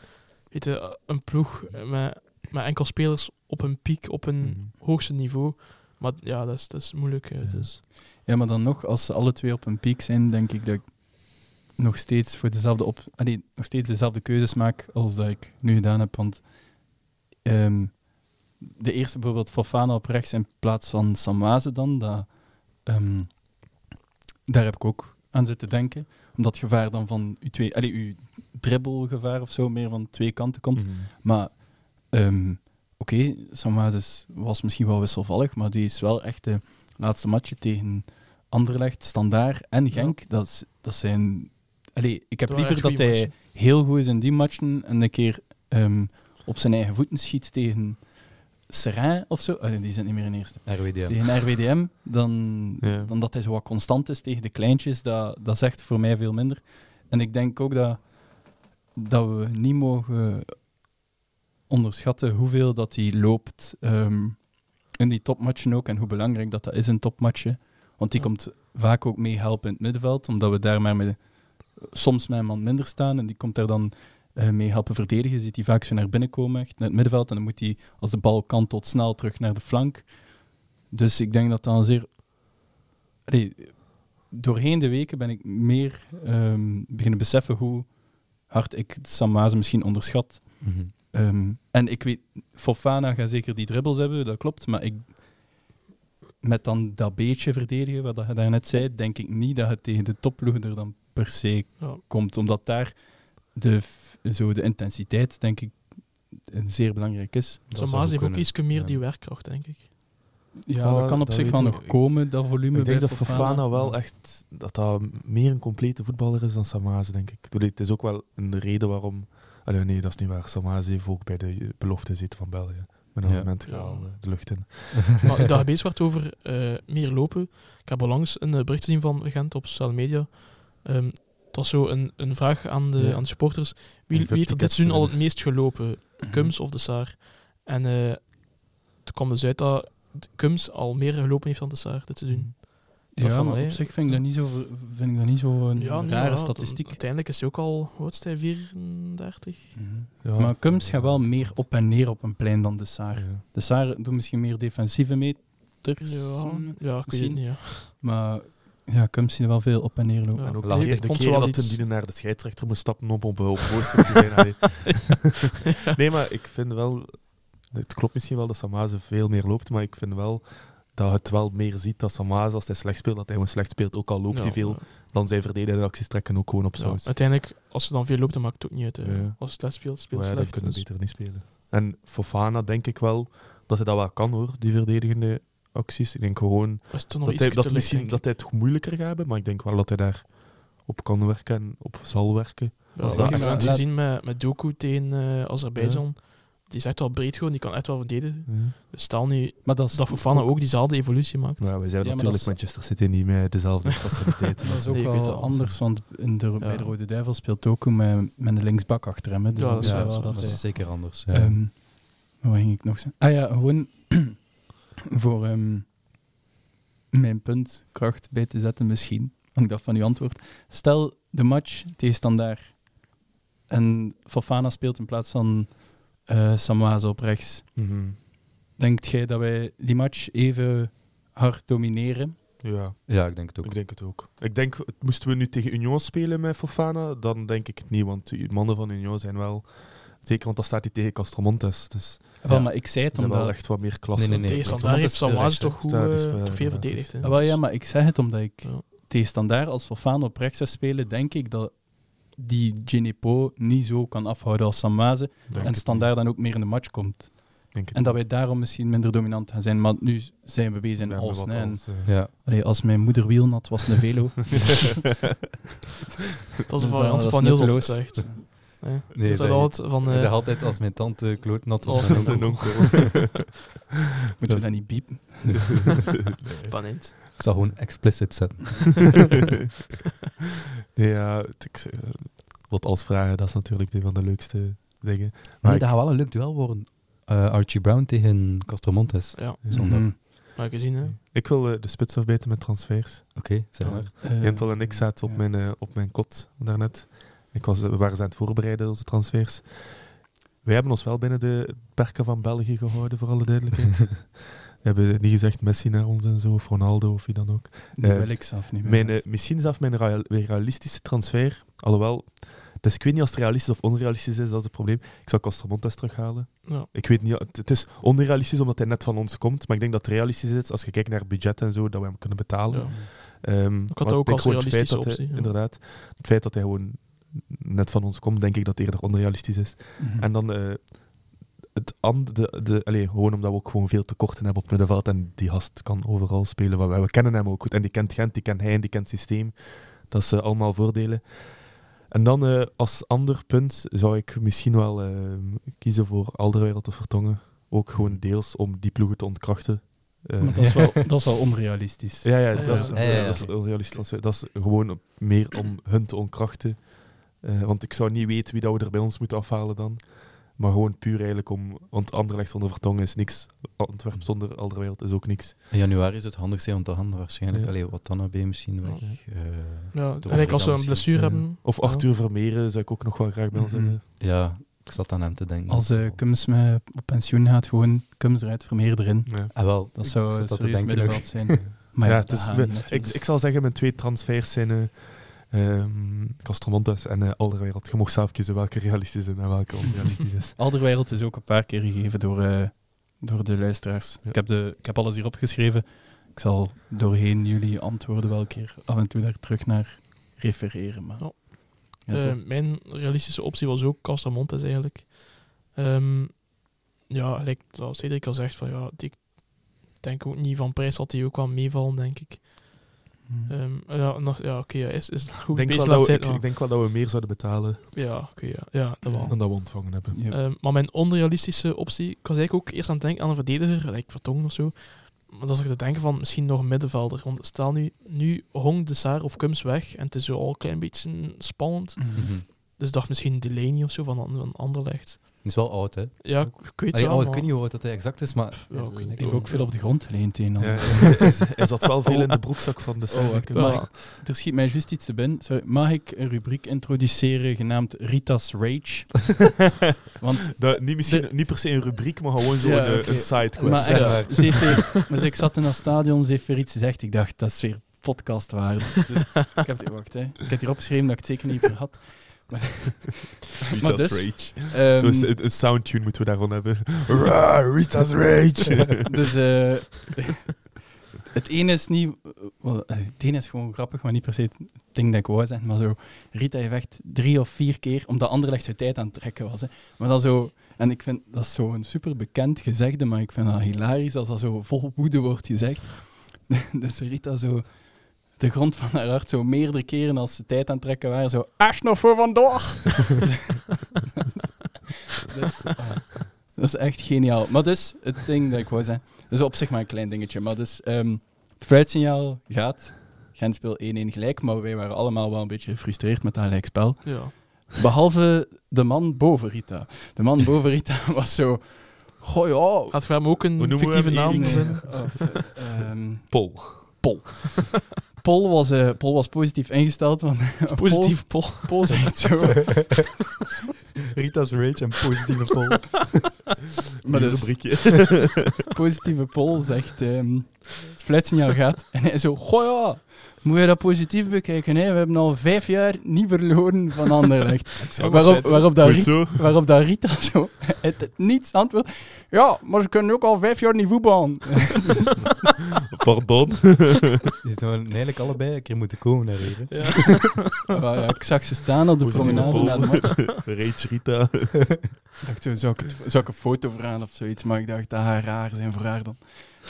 Speaker 2: weet je, een ploeg met, met enkel spelers op een piek, op een
Speaker 3: Mhm.
Speaker 2: hoogste niveau. Maar ja, dat is, dat is moeilijk. hè.
Speaker 3: Ja.
Speaker 2: Dus.
Speaker 4: Ja, maar dan nog, als ze alle twee op een piek zijn, denk ik dat ik nog steeds, voor dezelfde op, allee, nog steeds dezelfde keuzes maak als dat ik nu gedaan heb. Want ehm, de eerste bijvoorbeeld Fofana op rechts in plaats van Samaze dan, dat, ehm, daar heb ik ook aan zitten denken. Omdat het gevaar dan van uw, twee, allee, uw dribbelgevaar of zo meer van twee kanten komt. Maar ehm, oké, Samazes was misschien wel wisselvallig, maar die is wel echt de laatste matchje tegen Anderlecht, Standaard en Genk. Dat, is- dat zijn... Allee, ik heb
Speaker 2: Dat waren
Speaker 4: liever
Speaker 2: echt
Speaker 4: dat
Speaker 2: goeie
Speaker 4: hij
Speaker 2: matchen.
Speaker 4: heel goed is in die matchen en een keer ehm, op zijn eigen voeten schiet tegen Serrain of zo. Allee, die zijn niet meer in eerste.
Speaker 1: RWDM.
Speaker 4: Tegen RWDM, dan,
Speaker 3: Ja.
Speaker 4: dan dat hij zo wat constant is tegen de kleintjes. Dat, dat zegt voor mij veel minder. En ik denk ook dat, dat we niet mogen onderschatten hoeveel dat hij loopt ehm, in die topmatchen ook. En hoe belangrijk dat dat is in topmatchen. Want die
Speaker 2: Ja.
Speaker 4: komt vaak ook mee helpen in het middenveld. Omdat we daar maar met, soms met een man minder staan. En die komt daar dan eh, mee helpen verdedigen. Je ziet die vaak zo naar binnen komen, echt naar het middenveld. En dan moet hij, als de bal kan, tot snel terug naar de flank. Dus ik denk dat dan zeer... Allee, doorheen de weken ben ik meer ehm, beginnen beseffen hoe hard ik Samaze misschien onderschat.
Speaker 1: Mhm.
Speaker 4: Ehm, en ik weet, Fofana gaat zeker die dribbles hebben, dat klopt. Maar ik, met dan dat beetje verdedigen, wat dat je daarnet zei, denk ik niet dat het tegen de topploegen er dan per se
Speaker 2: Ja.
Speaker 4: komt. Omdat daar de, f- zo de intensiteit, denk ik, eh, zeer belangrijk is.
Speaker 1: Dat zou
Speaker 2: Samaas
Speaker 1: goed
Speaker 2: heeft ook
Speaker 1: kunnen.
Speaker 2: iets meer
Speaker 1: ja.
Speaker 2: die werkkracht, denk ik.
Speaker 4: Ja,
Speaker 3: Ja,
Speaker 4: dat kan op
Speaker 3: dat
Speaker 4: zich
Speaker 3: weet
Speaker 4: wel
Speaker 3: ik.
Speaker 4: nog komen, dat volume.
Speaker 3: Ik denk
Speaker 4: bij
Speaker 3: dat Fofana wel echt dat dat meer een complete voetballer is dan Samaze, denk ik. Ik bedoel, Het is ook wel een reden waarom. Allee, nee, dat is niet waar. Samaze heeft ook bij de belofte zitten van België. Met een
Speaker 1: Ja.
Speaker 3: moment
Speaker 2: Ja.
Speaker 3: gehaald, eh, de lucht in.
Speaker 2: Maar daar bezig werd over eh, meer lopen. Ik heb onlangs een eh, bericht gezien van Gent op sociale media. Ehm, het was zo een, een vraag aan de,
Speaker 3: Ja.
Speaker 2: aan de supporters. Wie,
Speaker 3: Om
Speaker 2: wie heeft er dit
Speaker 3: VIP-tickets te
Speaker 2: seizoen al het
Speaker 3: winnen.
Speaker 2: meest gelopen? Kums of de Saar? En eh, toen kwam dus uit dat Kums al meer gelopen heeft dan de Saar dit
Speaker 3: Mm.
Speaker 2: seizoen.
Speaker 4: Ja,
Speaker 2: van,
Speaker 4: maar
Speaker 2: allee,
Speaker 4: op zich vind ik dat niet zo, vind ik dat niet zo eh, een
Speaker 2: nee,
Speaker 4: rare
Speaker 2: ja,
Speaker 4: statistiek.
Speaker 2: Uiteindelijk is hij ook al, hoe oud is hij, 34?
Speaker 4: Mhm.
Speaker 3: Ja.
Speaker 4: Maar Kums gaat wel meer op en neer op een plein dan de Saar.
Speaker 3: Ja.
Speaker 4: De Saar doet misschien meer defensieve meters.
Speaker 2: Ja, ja ik weet het
Speaker 4: misschien.
Speaker 2: niet. Ja.
Speaker 4: Maar ja, Kums ziet er wel veel op en neer lopen.
Speaker 2: Ja.
Speaker 3: En ook
Speaker 2: Laat-
Speaker 3: de
Speaker 2: ik
Speaker 3: keer- de
Speaker 2: vond
Speaker 3: keer
Speaker 2: ze wel
Speaker 3: dat
Speaker 2: iets-
Speaker 3: hem die naar de scheidsrechter moest stappen om op op voorstel te zijn. allee. nee, maar ik vind wel... Het klopt misschien wel dat Samaze veel meer loopt, maar ik vind wel dat het wel meer ziet dat Samaze, als hij slecht speelt, dat hij gewoon slecht speelt. Ook al loopt
Speaker 2: Ja,
Speaker 3: hij veel,
Speaker 2: ja.
Speaker 3: dan zijn verdedigende acties trekken ook gewoon op
Speaker 2: Ja,
Speaker 3: saus. Ja,
Speaker 2: uiteindelijk, als ze dan veel loopt, dan maakt het ook niet uit. hè.
Speaker 3: Ja.
Speaker 2: Als het slecht speelt, speelt het
Speaker 3: dan
Speaker 2: slecht.
Speaker 3: kunnen we
Speaker 2: dus-
Speaker 3: beter niet spelen. En Fofana denk ik wel dat hij dat wel kan, hoor, die verdedigende acties. Ik denk gewoon
Speaker 2: Maar is toch nog
Speaker 3: dat hij,
Speaker 2: ietsje
Speaker 3: dat,
Speaker 2: te licht,
Speaker 3: misschien,
Speaker 2: denk ik.
Speaker 3: dat hij het moeilijker gaat hebben, maar ik denk wel dat hij daar op kan werken en op zal werken.
Speaker 2: Ja,
Speaker 3: Als
Speaker 2: ik
Speaker 3: dat-
Speaker 2: heb
Speaker 3: ja,
Speaker 2: het
Speaker 4: laat-
Speaker 2: gezien met, met Doku tegen eh Azerbeidzjan. Die is echt wel breed gewoon, die kan echt wel verdedigen. Dus stel nu
Speaker 4: Maar dat is,
Speaker 2: dat Fofana ook diezelfde evolutie maakt.
Speaker 3: Maar ja, wij zijn
Speaker 4: Ja, maar
Speaker 3: natuurlijk
Speaker 4: dat
Speaker 3: Manchester City niet met dezelfde faciliteiten.
Speaker 4: dat is ook
Speaker 2: Nee, ik weet
Speaker 4: wel
Speaker 2: het wel.
Speaker 4: anders, want in de, bij de Rode Duivel speelt ook met, met een linksbak achter hem. hè. Dus
Speaker 2: Ja,
Speaker 4: dan
Speaker 2: dat
Speaker 4: weet
Speaker 2: is
Speaker 4: je
Speaker 2: waar,
Speaker 4: wel
Speaker 2: dat
Speaker 1: Dat
Speaker 4: hij-
Speaker 1: is zeker anders. Ja.
Speaker 4: Ehm, maar wat ging ik nog zeggen? Ah ja, gewoon voor ehm, mijn punt kracht bij te zetten misschien. Want ik dacht van uw antwoord. Stel de match tegen Standaard en Fofana speelt in plaats van eh Samaze op rechts.
Speaker 3: Mhm.
Speaker 4: Denkt jij dat wij die match even hard domineren?
Speaker 3: Ja,
Speaker 1: ja, ik denk het ook.
Speaker 3: ik denk het ook. Ik denk, het- moesten we nu tegen Union spelen met Fofana, dan denk ik het niet, want die mannen van Union zijn wel... Zeker, want dan staat hij tegen Castromontes, dus
Speaker 4: Wel, maar ik zei
Speaker 3: ze
Speaker 4: het
Speaker 3: hebben wel
Speaker 4: omdat...
Speaker 3: echt wat meer klasse.
Speaker 1: Nee, nee, nee.
Speaker 2: Tegen
Speaker 1: Standaard
Speaker 2: Standaard heeft
Speaker 1: speelt rechts,
Speaker 2: Samaz toch
Speaker 3: hè.
Speaker 2: goed
Speaker 3: Standaard
Speaker 2: eh,
Speaker 3: speelt
Speaker 2: toch veel
Speaker 3: inderdaad.
Speaker 2: verdedigd. hè.
Speaker 4: Ah, wel, ja, maar ik zeg het omdat ik
Speaker 2: Ja.
Speaker 4: tegen Standaard als Fofana op rechts zou spelen, denk ik dat die Genepo niet zo kan afhouden als Samaze.
Speaker 3: Denk
Speaker 4: en
Speaker 3: het
Speaker 4: standaard dan ook meer in de match komt.
Speaker 3: niet. Denk het
Speaker 4: En dat
Speaker 3: niet.
Speaker 4: wij daarom misschien minder dominant gaan zijn. Maar nu zijn we bezig
Speaker 3: We
Speaker 4: in
Speaker 3: hebben
Speaker 4: alles.
Speaker 3: wat
Speaker 4: hè. En-
Speaker 3: als, eh,
Speaker 1: Ja.
Speaker 4: Allee, als mijn moeder wielnat, was het een velo.
Speaker 2: Dat is een
Speaker 4: Dus
Speaker 2: variant
Speaker 4: dat
Speaker 2: van
Speaker 4: is
Speaker 2: heel wat
Speaker 4: nutteloos.
Speaker 2: gezegd. Nee,
Speaker 1: Nee,
Speaker 2: dat is
Speaker 1: zij-
Speaker 2: altijd van...
Speaker 1: Ik
Speaker 2: eh, Oh,
Speaker 1: zeg altijd als mijn tante klootnat was,
Speaker 2: Als
Speaker 1: mijn
Speaker 3: mijn
Speaker 1: onkel.
Speaker 4: Moeten we dat niet piepen?
Speaker 2: Panent.
Speaker 1: Ik zal gewoon explicit zetten.
Speaker 3: nee, ja, het- ik, zeg, eh, wat als vragen, dat is natuurlijk een van de leukste dingen. Maar
Speaker 1: Maar
Speaker 3: ik-
Speaker 1: dat gaat wel een leuk duel worden. Eh, Archie Brown tegen Castromontes.
Speaker 2: Ja,
Speaker 1: Zondag.
Speaker 4: Mhm.
Speaker 2: maar gezien hè.
Speaker 3: Mm. Ik wil eh, de spits afbeten met transfers.
Speaker 1: Oké, zeg maar.
Speaker 4: Eh,
Speaker 3: Jentel en ik zaten op,
Speaker 4: ja.
Speaker 3: mijn, eh, op mijn kot daarnet. Ik was, eh, we waren ze aan het voorbereiden, onze transfers. Wij hebben ons wel binnen de perken van België gehouden, voor alle duidelijkheid. we hebben niet gezegd Messi naar ons en zo, of Ronaldo of wie dan ook.
Speaker 4: Die
Speaker 3: eh,
Speaker 4: wil ik zelf niet meer.
Speaker 3: Mijn, eh, misschien zelfs mijn real- realistische transfer, alhoewel... Dus ik weet niet als het realistisch of onrealistisch is, dat is het probleem. Ik zou Castromontes terughalen.
Speaker 2: Ja.
Speaker 3: Ik weet niet, het het is onrealistisch omdat hij net van ons komt, maar ik denk dat het realistisch is als je kijkt naar het budget en zo, dat we hem kunnen betalen.
Speaker 2: ja.
Speaker 3: Ehm,
Speaker 2: had
Speaker 3: maar
Speaker 2: dat ook
Speaker 3: denk
Speaker 2: als
Speaker 3: gewoon het feit
Speaker 2: realistische
Speaker 3: dat hij-
Speaker 2: optie, ja.
Speaker 3: Inderdaad, het feit dat hij gewoon net van ons komt, denk ik dat het eerder onrealistisch is.
Speaker 4: Mhm.
Speaker 3: En dan eh, het and, de, de, allee, gewoon omdat we ook gewoon veel tekorten hebben op middenveld. En die gast kan overal spelen. Maar we, we kennen hem ook goed. En die kent Gent, die kent hij en die kent het systeem. Dat is eh, allemaal voordelen. En dan eh, als ander punt zou ik misschien wel eh, kiezen voor Alderwereld of Vertongen. Ook gewoon deels om die ploegen te ontkrachten. Eh,
Speaker 4: Maar Mhm. dat is wel, dat is wel onrealistisch.
Speaker 3: ja, ja,
Speaker 2: Ja,
Speaker 3: dat is,
Speaker 1: ja, ja, ja.
Speaker 3: dat is onrealistisch. Dat is gewoon op- meer om hun te ontkrachten. Eh, want ik zou niet weten wie dat we er bij ons moeten afhalen dan. Maar gewoon puur eigenlijk om... Want Anderlecht zonder Vertongen is niks. Antwerpen zonder Alderwereld is ook niks.
Speaker 1: In januari is het handig zijn om te handelen waarschijnlijk.
Speaker 3: Ja.
Speaker 1: Allee, wat dan heb je misschien weg. Eh,
Speaker 2: Ja,
Speaker 1: Door
Speaker 2: en ik als ze een
Speaker 1: vakantie.
Speaker 2: blessure
Speaker 3: Ja.
Speaker 2: hebben.
Speaker 3: Eh, Of Arthur Vermeeren zou ik ook nog wel graag bij ons
Speaker 4: Mhm.
Speaker 3: hebben.
Speaker 1: ja, ik zat aan hem te denken.
Speaker 4: Als eh Kums me op pensioen gaat, gewoon Kums eruit, Vermeer erin.
Speaker 3: Ja.
Speaker 1: Ah, wel,
Speaker 4: Dat
Speaker 1: ik
Speaker 4: zou
Speaker 1: zat dat
Speaker 4: een
Speaker 1: te
Speaker 4: serieus
Speaker 1: denken nog.
Speaker 4: middenveld zijn. Maar ja,
Speaker 3: Ja, het is-
Speaker 4: dat gaat niet
Speaker 3: Ik,
Speaker 4: natuurlijk.
Speaker 3: ik zal zeggen, mijn twee transfers zijn eh ehm, Castromontes en eh, Alderwereld. Je mocht zelf kiezen welke realistisch is en welke onrealistisch is.
Speaker 4: Alderwereld is ook een paar keer gegeven door, eh, door de luisteraars.
Speaker 3: Ja.
Speaker 4: Ik, heb de, ik heb alles hier opgeschreven. Ik zal doorheen jullie antwoorden wel een keer af en toe daar terug naar refereren. Maar...
Speaker 2: Ja.
Speaker 4: Ja, toch?
Speaker 2: Eh, mijn realistische optie was ook Castamontes eigenlijk. Ehm, ja, like, zoals Cedric al zegt, van, ja, ik denk ook niet van prijs dat hij ook wel meevallen, denk ik.
Speaker 4: Hmm.
Speaker 2: Ehm, ja, nog- ja oké, ja, is, is een goed
Speaker 3: Denk
Speaker 2: bezig
Speaker 3: wel dat we,
Speaker 2: zijn,
Speaker 3: ik,
Speaker 2: maar-
Speaker 3: ik denk wel dat we meer zouden betalen
Speaker 2: Ja, oké, ja, ja, dat wel.
Speaker 3: dan dat we ontvangen hebben.
Speaker 4: Ja.
Speaker 2: Ehm, maar mijn onrealistische optie, ik was eigenlijk ook eerst aan het denken aan een verdediger, like Vertongen of zo. Maar dan zat ik te denken van misschien nog een middenvelder. Want stel nu, nu Hong, De Saar of Kums weg en het is zo al een klein beetje spannend.
Speaker 4: Mhm.
Speaker 1: Mhm.
Speaker 2: Dus ik dacht misschien Delaney of zo van, An- van Anderlecht.
Speaker 1: Het is wel oud, hè?
Speaker 2: Ja, ik, ik weet het
Speaker 1: Allee,
Speaker 2: wel.
Speaker 1: oud, ik
Speaker 2: maar-
Speaker 1: weet niet hoe oud dat hij exact is, maar...
Speaker 2: ja, ik weet niet.
Speaker 4: Die heeft ook veel op de grond geleend. een en ander.
Speaker 3: Ja, hij, hij zat wel veel in de broekzak van de
Speaker 4: Oh, wacht,
Speaker 3: Serbië.
Speaker 4: maar ik- er schiet mij juist iets te binnen. Sorry, mag ik een rubriek introduceren genaamd Rita's Rage? Want
Speaker 3: Dat- niet, misschien, niet per se een rubriek, maar gewoon zo'n
Speaker 4: Ja,
Speaker 3: eh,
Speaker 4: oké.
Speaker 3: een sidequest.
Speaker 4: maar,
Speaker 1: zeg
Speaker 4: echt, ze heeft weer- maar ze- ik zat in dat stadion, ze heeft weer iets gezegd. Ik dacht, dat is weer podcastwaarde. Dus ik heb het, wacht, hè. ik heb het hier opgeschreven dat ik het zeker niet meer had.
Speaker 3: Rita's
Speaker 4: maar dus-
Speaker 3: Rage.
Speaker 4: Ehm,
Speaker 3: Zo is het- een soundtune moeten we daarvan hebben. Ra, Rita's Rage.
Speaker 4: dus eh, het ene is niet, wel, eh, het ene is gewoon grappig, maar niet per se het ding dat ik wou zeggen. Maar zo, Rita heeft echt drie of vier keer, omdat Anderlecht zijn tijd aan het trekken was. Hè. Maar dan zo, en ik vind dat is zo'n super bekend gezegde, maar ik vind dat hilarisch als dat zo vol woede wordt gezegd. dus Rita zo. De grond van haar hart zo meerdere keren als ze tijd aan het trekken waren, zo. Echt nog voor vandaag! dus, ah, dat is echt geniaal. Maar dus, het ding dat ik wou zeggen. Dus op zich maar een klein dingetje. Maar dus, ehm, het fluitsignaal gaat. Gent speelt 1-1 gelijk. Maar wij waren allemaal wel een beetje gefrustreerd met dat gelijkspel.
Speaker 2: Ja.
Speaker 4: Behalve de man boven Rita. De man boven Rita was zo. Goh ja.
Speaker 2: Gaat voor hem ook
Speaker 3: Hoe
Speaker 2: een
Speaker 3: noemen we
Speaker 2: fictieve
Speaker 3: hem,
Speaker 2: naam
Speaker 3: Erik?
Speaker 4: nee,
Speaker 2: zijn?
Speaker 4: of, eh, ehm,
Speaker 3: Pol.
Speaker 4: Paul was, eh, Paul was positief ingesteld. Want,
Speaker 2: Positief pol.
Speaker 4: Paul, Paul zegt zo.
Speaker 1: Rita's Rage en positieve pol.
Speaker 4: Maar
Speaker 3: Een
Speaker 4: dus,
Speaker 3: rubriekje.
Speaker 4: positieve Paul zegt ehm, het fluitsignaal gaat. En hij zo, goh ja, moet je dat positief bekijken. Hè? We hebben al vijf jaar niet verloren van Anderlecht. waarop, waarop, dat
Speaker 3: Goed
Speaker 4: Rita,
Speaker 3: zo.
Speaker 4: waarop dat Rita zo uit het niets antwoordt. Ja, maar ze kunnen ook al vijf jaar niet voetballen.
Speaker 3: Pardon.
Speaker 1: Die zouden eigenlijk allebei een keer moeten komen naar hier.
Speaker 2: Ja.
Speaker 4: Wel, ja, ik zag ze staan op de
Speaker 3: Positieve
Speaker 4: promenade
Speaker 3: Paul.
Speaker 4: na de match.
Speaker 3: Rage Rita.
Speaker 4: Ik dacht, zo, zou, ik het, zou ik een foto vragen of zoiets? Maar ik dacht, dat gaat raar zijn voor haar dan.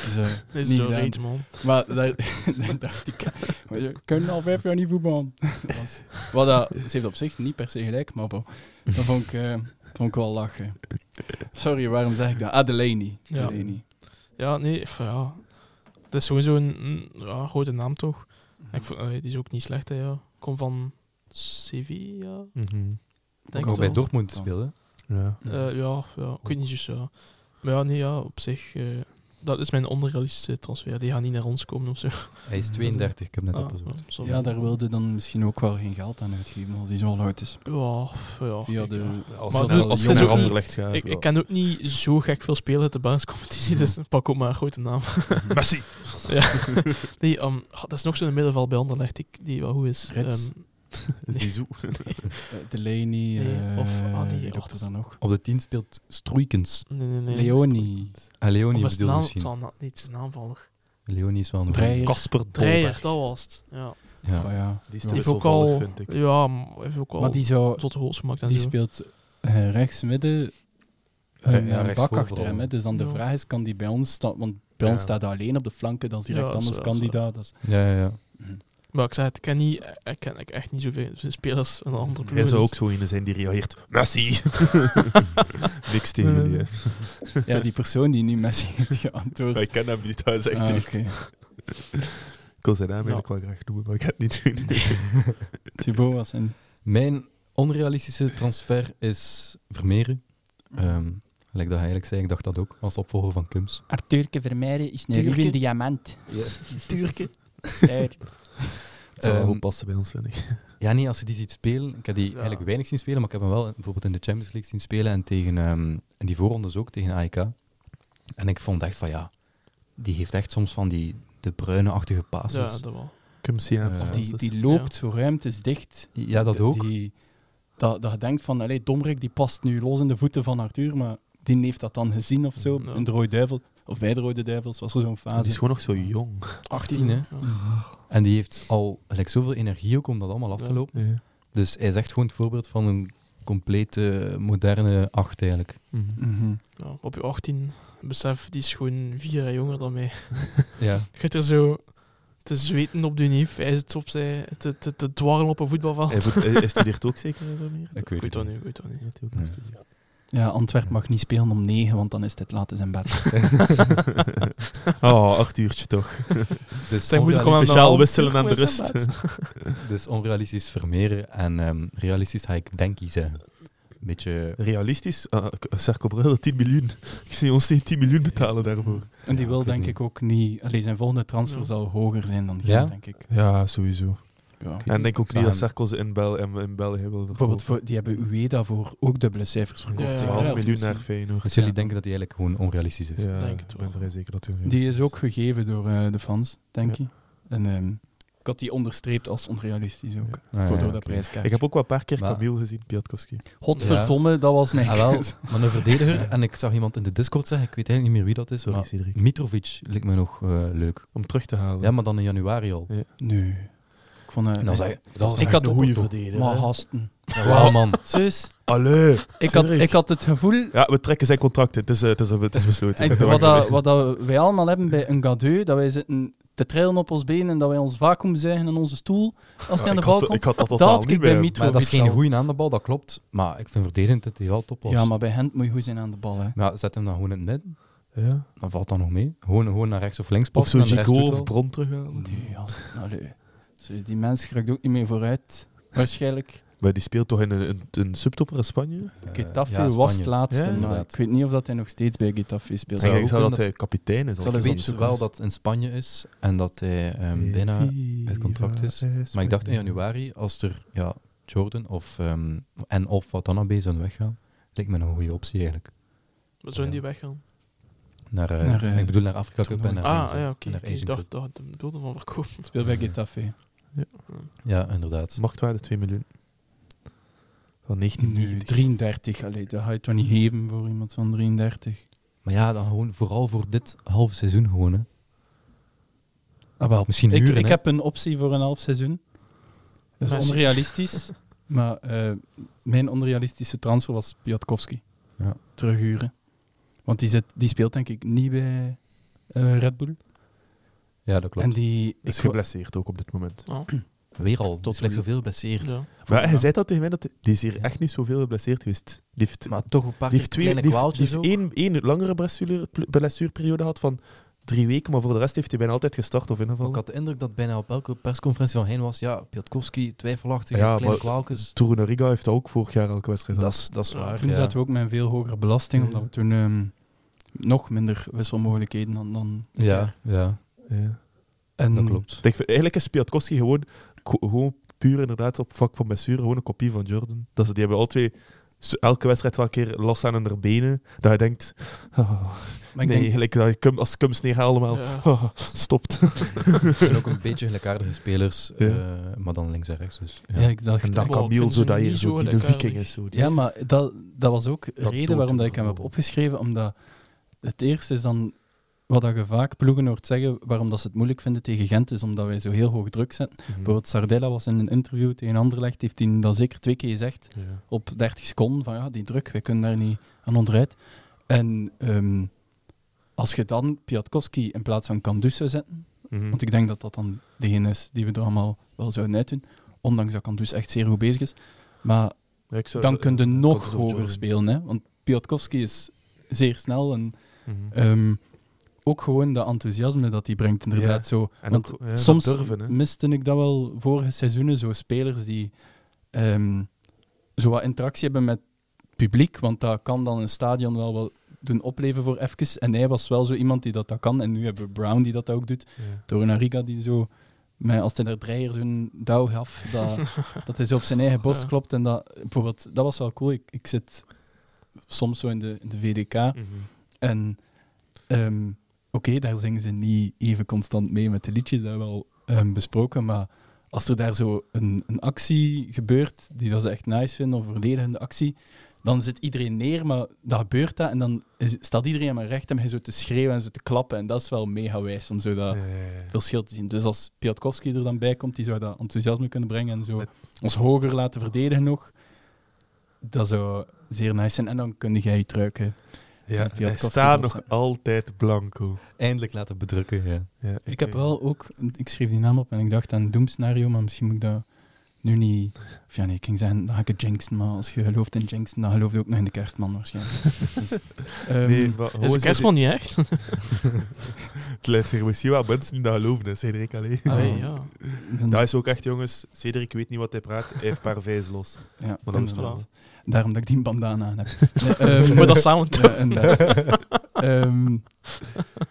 Speaker 4: Dus, eh,
Speaker 2: Dat is
Speaker 4: niet
Speaker 2: zo
Speaker 4: gedaan.
Speaker 2: reeds, man.
Speaker 4: Maar daar, daar dacht ik, maar je kunt al vijf jaar niet voetballen. Dat was- Wat dat, ze heeft op zich niet per se gelijk, maar bon, dat vond ik, eh, dat vond ik wel lachen. Sorry, waarom zeg ik dat? Ah, Delaney.
Speaker 2: Ja.
Speaker 4: Delaney.
Speaker 2: Ja, nee, enfin, ja. Het is sowieso een, een, ja, grote naam toch.
Speaker 1: Mhm.
Speaker 2: Ik vond- allee, die is ook niet slecht, hè, ja. Kom van Sevilla, denk
Speaker 1: Ook
Speaker 2: ik.
Speaker 1: bij
Speaker 2: wel.
Speaker 1: Dortmund spelen.
Speaker 3: Mhm, Ja.
Speaker 2: Eh, ja, ja, ik weet niet juist, ja. Maar ja, nee, ja, op zich, eh, dat is mijn onrealistische transfer. Die gaan niet naar ons komen of zo.
Speaker 1: Hij is 32, ik heb net
Speaker 2: Ah,
Speaker 1: opgezocht.
Speaker 2: sorry.
Speaker 4: Ja, daar wilde dan misschien ook wel geen geld aan uitgeven als die zo oud is.
Speaker 2: Ja, ja.
Speaker 4: Via
Speaker 2: ik-
Speaker 4: de...
Speaker 3: Als
Speaker 2: Maar
Speaker 3: je
Speaker 2: het
Speaker 3: naar-
Speaker 2: is
Speaker 3: als je
Speaker 2: ook
Speaker 3: naar
Speaker 2: niet-
Speaker 3: Anderlecht gaat.
Speaker 2: Ik, ik ken ook niet zo gek veel spelen uit de basiscompetitie, dus pak ook maar een grote naam.
Speaker 3: Messi.
Speaker 2: ja. Nee, ehm, ah, dat is nog zo'n middenveld bij Anderlecht die, die wel goed is.
Speaker 4: Rits.
Speaker 2: Ehm,
Speaker 3: Is die zo?
Speaker 4: eh, Delaney,
Speaker 2: Nee,
Speaker 4: eh,
Speaker 2: of ah, die-
Speaker 4: wie loopt er
Speaker 2: wat?
Speaker 4: dan nog?
Speaker 1: Op de 10 speelt Stroeikens.
Speaker 2: nee, nee, nee.
Speaker 4: Leonie.
Speaker 1: Ah,
Speaker 2: Of
Speaker 1: Leonie
Speaker 2: is het
Speaker 1: bedoelde
Speaker 2: naam, het
Speaker 1: misschien.
Speaker 2: zal na- niet zijn naamvaller.
Speaker 1: Leonie is wel een
Speaker 4: Dreyer.
Speaker 3: Kasper
Speaker 2: Dreyer,
Speaker 3: Dolberg.
Speaker 2: dat was het. Ja.
Speaker 1: goeie.
Speaker 4: Van
Speaker 1: Ja.
Speaker 4: Oh, ja.
Speaker 3: Die is toch
Speaker 4: Ja.
Speaker 2: Die heeft
Speaker 3: wel
Speaker 2: ook al,
Speaker 3: volg, vind ik.
Speaker 2: ja, maar heeft ook al
Speaker 4: Maar die zou
Speaker 2: zotte goals gemaakt en
Speaker 4: Die
Speaker 2: zo.
Speaker 4: speelt eh, rechts midden. Eh,
Speaker 1: Ja,
Speaker 4: een,
Speaker 1: ja,
Speaker 4: een
Speaker 1: rechtsvoor
Speaker 4: bak achter
Speaker 1: vooral.
Speaker 4: hem. Hè. Dus dan de
Speaker 2: Ja.
Speaker 4: vraag is, kan die bij ons staan? Want bij
Speaker 3: Ja.
Speaker 4: ons staat hij alleen op de flanken, dat is direct
Speaker 3: Ja, dat is
Speaker 4: anders
Speaker 3: waar, dat is
Speaker 4: kandidaat. Dat is-
Speaker 1: Ja, ja, ja.
Speaker 2: Maar ik zei het, ik ken, niet, ik ken ik echt niet zoveel spelers van een andere ploeg.
Speaker 3: Hij zou
Speaker 2: dus-
Speaker 3: ook zo in zijn die reageert. Messi! Niks tegen
Speaker 2: Eh.
Speaker 3: jullie. hè.
Speaker 4: Ja, die persoon die nu Messi heeft geantwoord.
Speaker 3: Maar Ik ken hem niet, hij is echt
Speaker 4: Ah,
Speaker 3: niet.
Speaker 4: oké.
Speaker 3: Ik wil zijn naam
Speaker 2: Ja.
Speaker 3: eigenlijk wel graag noemen, maar ik ga het niet doen.
Speaker 4: Thibaut was een...
Speaker 1: Mijn onrealistische transfer is Vermeeren.
Speaker 2: Mhm.
Speaker 1: Ehm gelijk dat hij eigenlijk zei, ik dacht dat ook, als opvolger van Kums.
Speaker 4: Arthurke Vermeijden is een
Speaker 1: Turke? ruwe
Speaker 4: diamant.
Speaker 1: Turken.
Speaker 3: Het zou wel
Speaker 1: Ehm,
Speaker 3: goed passen bij ons, vind ik.
Speaker 1: Ja, nee, als je die ziet spelen. Ik heb die eigenlijk weinig zien spelen, maar ik heb hem wel bijvoorbeeld in de Champions League zien spelen en tegen ehm en die voorrondes ook, tegen AEK. En ik vond echt van ja, die heeft echt soms van die de bruine-achtige
Speaker 2: Ja,
Speaker 1: passes.
Speaker 2: dat wel.
Speaker 3: Cum Seaat.
Speaker 1: eh,
Speaker 4: Of
Speaker 1: Ja,
Speaker 4: die, die loopt zo ruimtes dicht.
Speaker 1: Ja, dat ook.
Speaker 4: Die, dat, dat je denkt van, allee, Domrek die past nu los in de voeten van Arthur, maar die heeft dat dan gezien of zo.
Speaker 2: Ja.
Speaker 4: In de Rode Duivel, of bij de Rode Duivels, was er zo'n fase.
Speaker 3: Die is gewoon nog zo jong.
Speaker 1: 18, hè? En die heeft al gelijk zoveel energie ook om dat allemaal af te
Speaker 2: Ja.
Speaker 1: lopen. Dus hij is echt gewoon het voorbeeld van een complete moderne acht eigenlijk.
Speaker 3: Mhm.
Speaker 4: Mhm.
Speaker 2: Ja, op je 18, besef, die is gewoon vier jaar jonger dan mij.
Speaker 1: Ja.
Speaker 2: Je zit er zo te zweten op de neef, hij zit opzij, te, te, te dwarrelen op een voetbalveld.
Speaker 3: Hij, voet- hij- hij studeert ook zeker eh, Vermeer?
Speaker 1: Ik weet
Speaker 2: Ik weet
Speaker 1: het
Speaker 2: dat
Speaker 1: niet.
Speaker 2: niet, ik weet dat niet.
Speaker 3: Dat hij ook
Speaker 1: Nee.
Speaker 3: nog studeert.
Speaker 4: Ja, Antwerp mag niet spelen om negen, want dan is het laat in zijn bed.
Speaker 3: oh, acht uurtje toch.
Speaker 1: Dus,
Speaker 2: Zijn moeder
Speaker 1: onrealistisch,
Speaker 2: kwam aan de
Speaker 3: Speciaal
Speaker 2: hand,
Speaker 3: wisselen aan de eh.
Speaker 2: terug met
Speaker 3: rust.
Speaker 2: zijn bed.
Speaker 1: dus onrealistisch vermeren en ehm, realistisch ga ik denk kiezen. Een beetje...
Speaker 3: Realistisch, Ah, K- Cerco Brugge 10 miljoen. Ik zie ons niet 10 miljoen betalen daarvoor.
Speaker 4: En die
Speaker 1: Ja,
Speaker 4: wil
Speaker 1: ik weet
Speaker 4: denk
Speaker 1: niet.
Speaker 4: ik ook niet... Allee, zijn volgende transfer
Speaker 2: Ja.
Speaker 4: zal hoger zijn dan die,
Speaker 1: Ja?
Speaker 4: denk ik.
Speaker 3: Ja, sowieso.
Speaker 4: Ja.
Speaker 3: En denk ook
Speaker 1: Ik
Speaker 3: niet
Speaker 1: zou
Speaker 3: dat Cerco ze in, Bel en in België wil
Speaker 4: Bijvoorbeeld, voor, die hebben Ueda voor ook dubbele cijfers verkocht.
Speaker 2: Ja, ja,
Speaker 3: verkopen.
Speaker 2: ja.
Speaker 3: 12
Speaker 4: of
Speaker 3: miljoen
Speaker 4: zo.
Speaker 3: naar Feyenoord.
Speaker 1: Dus jullie
Speaker 4: Ja.
Speaker 1: denken dat hij eigenlijk gewoon onrealistisch is?
Speaker 3: Ja,
Speaker 2: denk het
Speaker 3: ik
Speaker 2: wel.
Speaker 3: ben vrij zeker dat hij een
Speaker 4: Die is
Speaker 3: realist
Speaker 4: ook gegeven door eh, de fans, denk ik. En ehm, ik had die onderstreept als onrealistisch ook.
Speaker 1: Ah,
Speaker 4: voor
Speaker 1: ja,
Speaker 4: door dat
Speaker 1: oké.
Speaker 4: prijskaartje.
Speaker 3: Ik heb ook wel een paar keer
Speaker 1: Maar-
Speaker 3: Camille gezien, Piatkowski.
Speaker 4: Godverdomme, dat was mijn
Speaker 1: Ah, wel,
Speaker 4: kans.
Speaker 1: maar een verdediger, en ik zag iemand in de Discord zeggen, ik weet eigenlijk niet meer wie dat is,
Speaker 3: Sorry,
Speaker 1: maar
Speaker 3: Cedric.
Speaker 1: Mitrovic leek me nog eh, leuk.
Speaker 3: Om terug te halen.
Speaker 1: Ja, maar dan in januari al.
Speaker 4: Nee. Ik vond... eh,
Speaker 1: En dan
Speaker 4: eh,
Speaker 1: zei dat was
Speaker 4: ik
Speaker 1: echt
Speaker 4: had
Speaker 1: een
Speaker 4: goeie
Speaker 1: topper.
Speaker 3: verdediger.
Speaker 4: Maar gasten.
Speaker 1: Wauw, man.
Speaker 4: Zus,
Speaker 3: Allee!
Speaker 4: ik had,
Speaker 3: Cedric.
Speaker 4: ik had het gevoel...
Speaker 3: Ja, we trekken zijn contract in. Het is, eh, het is, het is besloten. Dat
Speaker 4: Ik, wat,
Speaker 3: mag
Speaker 4: dat,
Speaker 3: niet.
Speaker 4: wat dat wij allemaal hebben bij een gadeu, dat wij zitten te trillen op ons benen en dat wij ons vacuüm zuigen in onze stoel als
Speaker 3: Ja,
Speaker 4: die aan de
Speaker 3: ik
Speaker 4: bal
Speaker 3: had-
Speaker 4: komt.
Speaker 3: Ik had dat
Speaker 4: Dat
Speaker 3: totaal
Speaker 4: had ik
Speaker 3: niet
Speaker 4: bij
Speaker 3: bij hem.
Speaker 4: Miet-
Speaker 1: Maar dat is geen
Speaker 4: Mitrovic al.
Speaker 1: goede aan de bal, dat klopt. Maar ik vind verdedigend dat hij wel top was.
Speaker 4: Ja, maar bij hen moet je goed zijn aan de bal. Hè.
Speaker 1: Maar zet hem dan gewoon in het midden.
Speaker 3: Ja.
Speaker 1: Dan valt dat nog mee. Gewoon, gewoon naar rechts of links
Speaker 3: Of
Speaker 1: passen.
Speaker 3: zo
Speaker 1: en de rest
Speaker 3: Gigo
Speaker 1: doet
Speaker 3: of
Speaker 1: wel.
Speaker 3: Bron terughalen.
Speaker 4: nou, Nee, gasten, allee. Zus, die mens raakt ook niet meer vooruit. Waarschijnlijk.
Speaker 3: Maar die speelt toch in een, een, een subtopper in Spanje?
Speaker 1: Eh,
Speaker 4: Getafe
Speaker 1: ja,
Speaker 4: was het
Speaker 1: Spanje.
Speaker 4: laatste,
Speaker 3: Ja,
Speaker 4: maar
Speaker 1: inderdaad.
Speaker 4: ik weet niet of dat hij nog steeds bij Getafe speelt.
Speaker 1: Zou
Speaker 3: ik
Speaker 1: ook
Speaker 3: zou dat
Speaker 1: kunnen
Speaker 3: hij kapitein is.
Speaker 1: Zal ik weet ook wel dat het in Spanje is en dat hij ehm, bijna... het contract is. Maar ik dacht in januari, als er ja, Jordan of, ehm, en of Watanabe zouden weggaan, lijkt me een goede optie eigenlijk.
Speaker 2: Maar zo'n die weggaan.
Speaker 1: Naar, eh,
Speaker 4: Naar, eh,
Speaker 1: ik bedoel naar Afrika Cup en naar
Speaker 4: toernooi.
Speaker 2: Ah,
Speaker 1: Asian-
Speaker 2: ja,
Speaker 1: en
Speaker 2: oké.
Speaker 1: naar
Speaker 2: oké, Ik
Speaker 1: Asian
Speaker 2: dacht
Speaker 1: Cup.
Speaker 2: dat de beelden van verkopen.
Speaker 4: Speelt bij Getafe.
Speaker 1: Ja, inderdaad.
Speaker 3: Machtwaarde 2 miljoen. Van
Speaker 4: Nu
Speaker 3: 1990.
Speaker 4: 33, allee, dat ga je toch niet geven voor iemand van 33.
Speaker 1: Maar ja, dan gewoon vooral voor dit half seizoen gewoon. Hè.
Speaker 4: Ah, wel.
Speaker 1: Misschien
Speaker 4: ik,
Speaker 1: huren,
Speaker 4: ik
Speaker 1: hè.
Speaker 4: heb een optie voor een half seizoen. Dat is
Speaker 2: Messi.
Speaker 4: onrealistisch, maar eh, mijn onrealistische transfer was Piatkowski.
Speaker 1: Ja.
Speaker 4: Terughuren. Want die, zit, die speelt denk ik niet bij eh, Red Bull.
Speaker 1: Ja, dat
Speaker 4: En
Speaker 1: klopt.
Speaker 4: die...
Speaker 3: Is
Speaker 4: ik-
Speaker 3: geblesseerd ook op dit moment.
Speaker 1: Weer al,
Speaker 4: Tot
Speaker 1: tot slechts
Speaker 4: nu.
Speaker 1: zoveel blesseerd.
Speaker 2: Ja.
Speaker 3: Maar hij
Speaker 4: Ja.
Speaker 3: zei dat tegen mij, dat hij- die is hier
Speaker 1: Ja.
Speaker 3: echt niet zoveel geblesseerd geweest. Die heeft,
Speaker 1: Maar toch een paar
Speaker 3: die
Speaker 1: keer
Speaker 3: heeft, twee,
Speaker 1: kleine
Speaker 3: die heeft,
Speaker 1: kwaaltjes
Speaker 3: die
Speaker 1: ook.
Speaker 3: heeft één, één langere blessure- blessuurperiode gehad van drie weken, maar voor de rest heeft hij bijna altijd gestart of
Speaker 1: Maar Ik
Speaker 3: ingevallen.
Speaker 1: had de indruk dat bijna op elke persconferentie van heen was, ja, Piotkowski, twijfelachtig,
Speaker 3: Ja,
Speaker 1: kleine
Speaker 3: maar-
Speaker 1: kwaaltjes.
Speaker 3: Torino Riga heeft dat ook vorig jaar elke wedstrijd
Speaker 1: Dat
Speaker 3: gehad.
Speaker 1: is- dat is
Speaker 2: Ja,
Speaker 1: waar,
Speaker 4: Toen
Speaker 1: ja.
Speaker 4: zaten we ook met een veel hogere belasting,
Speaker 3: Ja.
Speaker 4: omdat we toen ehm, nog minder wisselmogelijkheden hadden dan dit
Speaker 1: Ja,
Speaker 4: jaar.
Speaker 1: ja,
Speaker 3: Ja.
Speaker 4: En
Speaker 1: dat klopt.
Speaker 3: Ik vind- eigenlijk is Piatkowski gewoon, ko- gewoon puur inderdaad op vak van blessure, gewoon een kopie van Jordan. Dat ze, die hebben al twee, s- elke wedstrijd wel een keer last aan hun benen. Dat je denkt, oh,
Speaker 4: Maar ik
Speaker 3: nee,
Speaker 4: denk,
Speaker 3: gelijk dat je cum- als Kums neer allemaal
Speaker 2: Ja.
Speaker 3: oh, stopt.
Speaker 1: Het zijn ook een beetje gelijkaardige spelers,
Speaker 3: Ja.
Speaker 1: eh, maar dan links en rechts. Dus,
Speaker 4: ja. ik
Speaker 3: En dan
Speaker 4: dacht...
Speaker 2: dat
Speaker 4: echt-
Speaker 2: kan-
Speaker 3: Camille,
Speaker 2: vinden
Speaker 3: zo
Speaker 2: ze
Speaker 3: dat hier
Speaker 2: niet
Speaker 3: zo
Speaker 2: zo
Speaker 3: die een
Speaker 2: lekker.
Speaker 3: viking is. Zo, die-
Speaker 4: Ja, maar dat, dat was ook de
Speaker 3: Dat
Speaker 4: reden
Speaker 3: doet
Speaker 4: waarom dat
Speaker 3: hem
Speaker 4: ik hem heb
Speaker 3: gewoon.
Speaker 4: opgeschreven, omdat het eerste is dan wat dat je vaak ploegen hoort zeggen, waarom dat ze het moeilijk vinden tegen Gent, is omdat wij zo heel hoog druk zetten.
Speaker 3: Hmm. Mhm.
Speaker 4: Bijvoorbeeld Sardella was in een interview tegen Anderlecht, heeft hij dat zeker twee keer gezegd,
Speaker 3: Ja.
Speaker 4: op 30 seconden, van ja, die druk, wij kunnen daar niet aan onderuit. En ehm, als je dan Piatkowski in plaats van Kandus zou zetten,
Speaker 3: Mhm.
Speaker 4: want ik denk dat dat dan degene is die we er allemaal wel zouden uitdoen, ondanks dat Kandus echt zeer goed bezig is. Maar
Speaker 3: Ja, ik zou-
Speaker 4: dan kun je
Speaker 3: eh,
Speaker 4: nog
Speaker 3: Kandus of
Speaker 4: hoger
Speaker 3: Jordan.
Speaker 4: spelen, hè? want Piatkowski is zeer snel en
Speaker 3: Mhm.
Speaker 4: ehm, ook gewoon dat enthousiasme dat hij brengt, inderdaad.
Speaker 3: Ja.
Speaker 4: Zo,
Speaker 3: En
Speaker 4: want
Speaker 3: ook, ja, dat
Speaker 4: soms Mm.
Speaker 3: durven, hè.
Speaker 4: miste ik dat wel vorige seizoenen, zo spelers die ehm, zo wat interactie hebben met het publiek, want dat kan dan een stadion wel wel doen opleven voor even. En hij was wel zo iemand die dat, dat kan. En nu hebben we Brown die dat ook doet.
Speaker 3: Ja.
Speaker 4: Torunariga die zo, met, als hij daar dreier zo'n douw gaf, dat, dat hij zo op zijn eigen borst
Speaker 2: Ja.
Speaker 4: klopt. En dat, bijvoorbeeld, dat was wel cool. Ik, ik zit soms zo in de, in de VDK.
Speaker 3: Mhm.
Speaker 4: En ehm, oké, daar zingen ze niet even constant mee met de liedjes, dat hebben we al ehm, besproken. Maar als er daar zo een, een actie gebeurt die dat ze echt nice vinden, of een verdedigende actie, dan zit iedereen neer, maar dan gebeurt dat. En dan is, staat iedereen maar recht om zo te schreeuwen en zo te klappen. En dat is wel mega wijs om zo dat
Speaker 3: Ja, ja, ja.
Speaker 4: verschil te zien. Dus als Piatkowski er dan bij komt, die zou dat enthousiasme kunnen brengen en zo
Speaker 3: Het-
Speaker 4: ons hoger laten verdedigen nog. Dat zou zeer nice zijn. En dan kun jij uitruiken.
Speaker 3: Ja,
Speaker 4: Piatkowski
Speaker 3: hij staat
Speaker 4: was-
Speaker 3: nog altijd blanco.
Speaker 1: Eindelijk laten bedrukken, ja.
Speaker 3: Ja, ik,
Speaker 4: Ik heb wel ook, ik schreef die naam op en ik dacht aan Doomscenario, maar misschien moet ik dat nu niet. Of ja, nee, ik ging zeggen, dan ga ik het jinxen, maar als je gelooft in jinxen, dan geloof je ook nog in de kerstman waarschijnlijk. Dus, ehm,
Speaker 3: Nee, maar
Speaker 2: Is de
Speaker 3: gewoon zo die- Ah,
Speaker 2: kerstman niet echt?
Speaker 3: Het lijkt zich misschien wel mensen die dat geloven, hè, Cedric alleen.
Speaker 4: ah,
Speaker 2: Allee, ja.
Speaker 4: dan-
Speaker 3: Dat is ook echt, jongens. Cedric weet niet wat hij praat. Hij heeft paar vijs los.
Speaker 4: ja,
Speaker 3: Maar dat is
Speaker 4: inderdaad.
Speaker 3: normaal.
Speaker 4: Daarom dat ik die bandana aan heb. ehm,
Speaker 2: Ik moet dat samen doen.
Speaker 4: Ja, inderdaad. Ehm,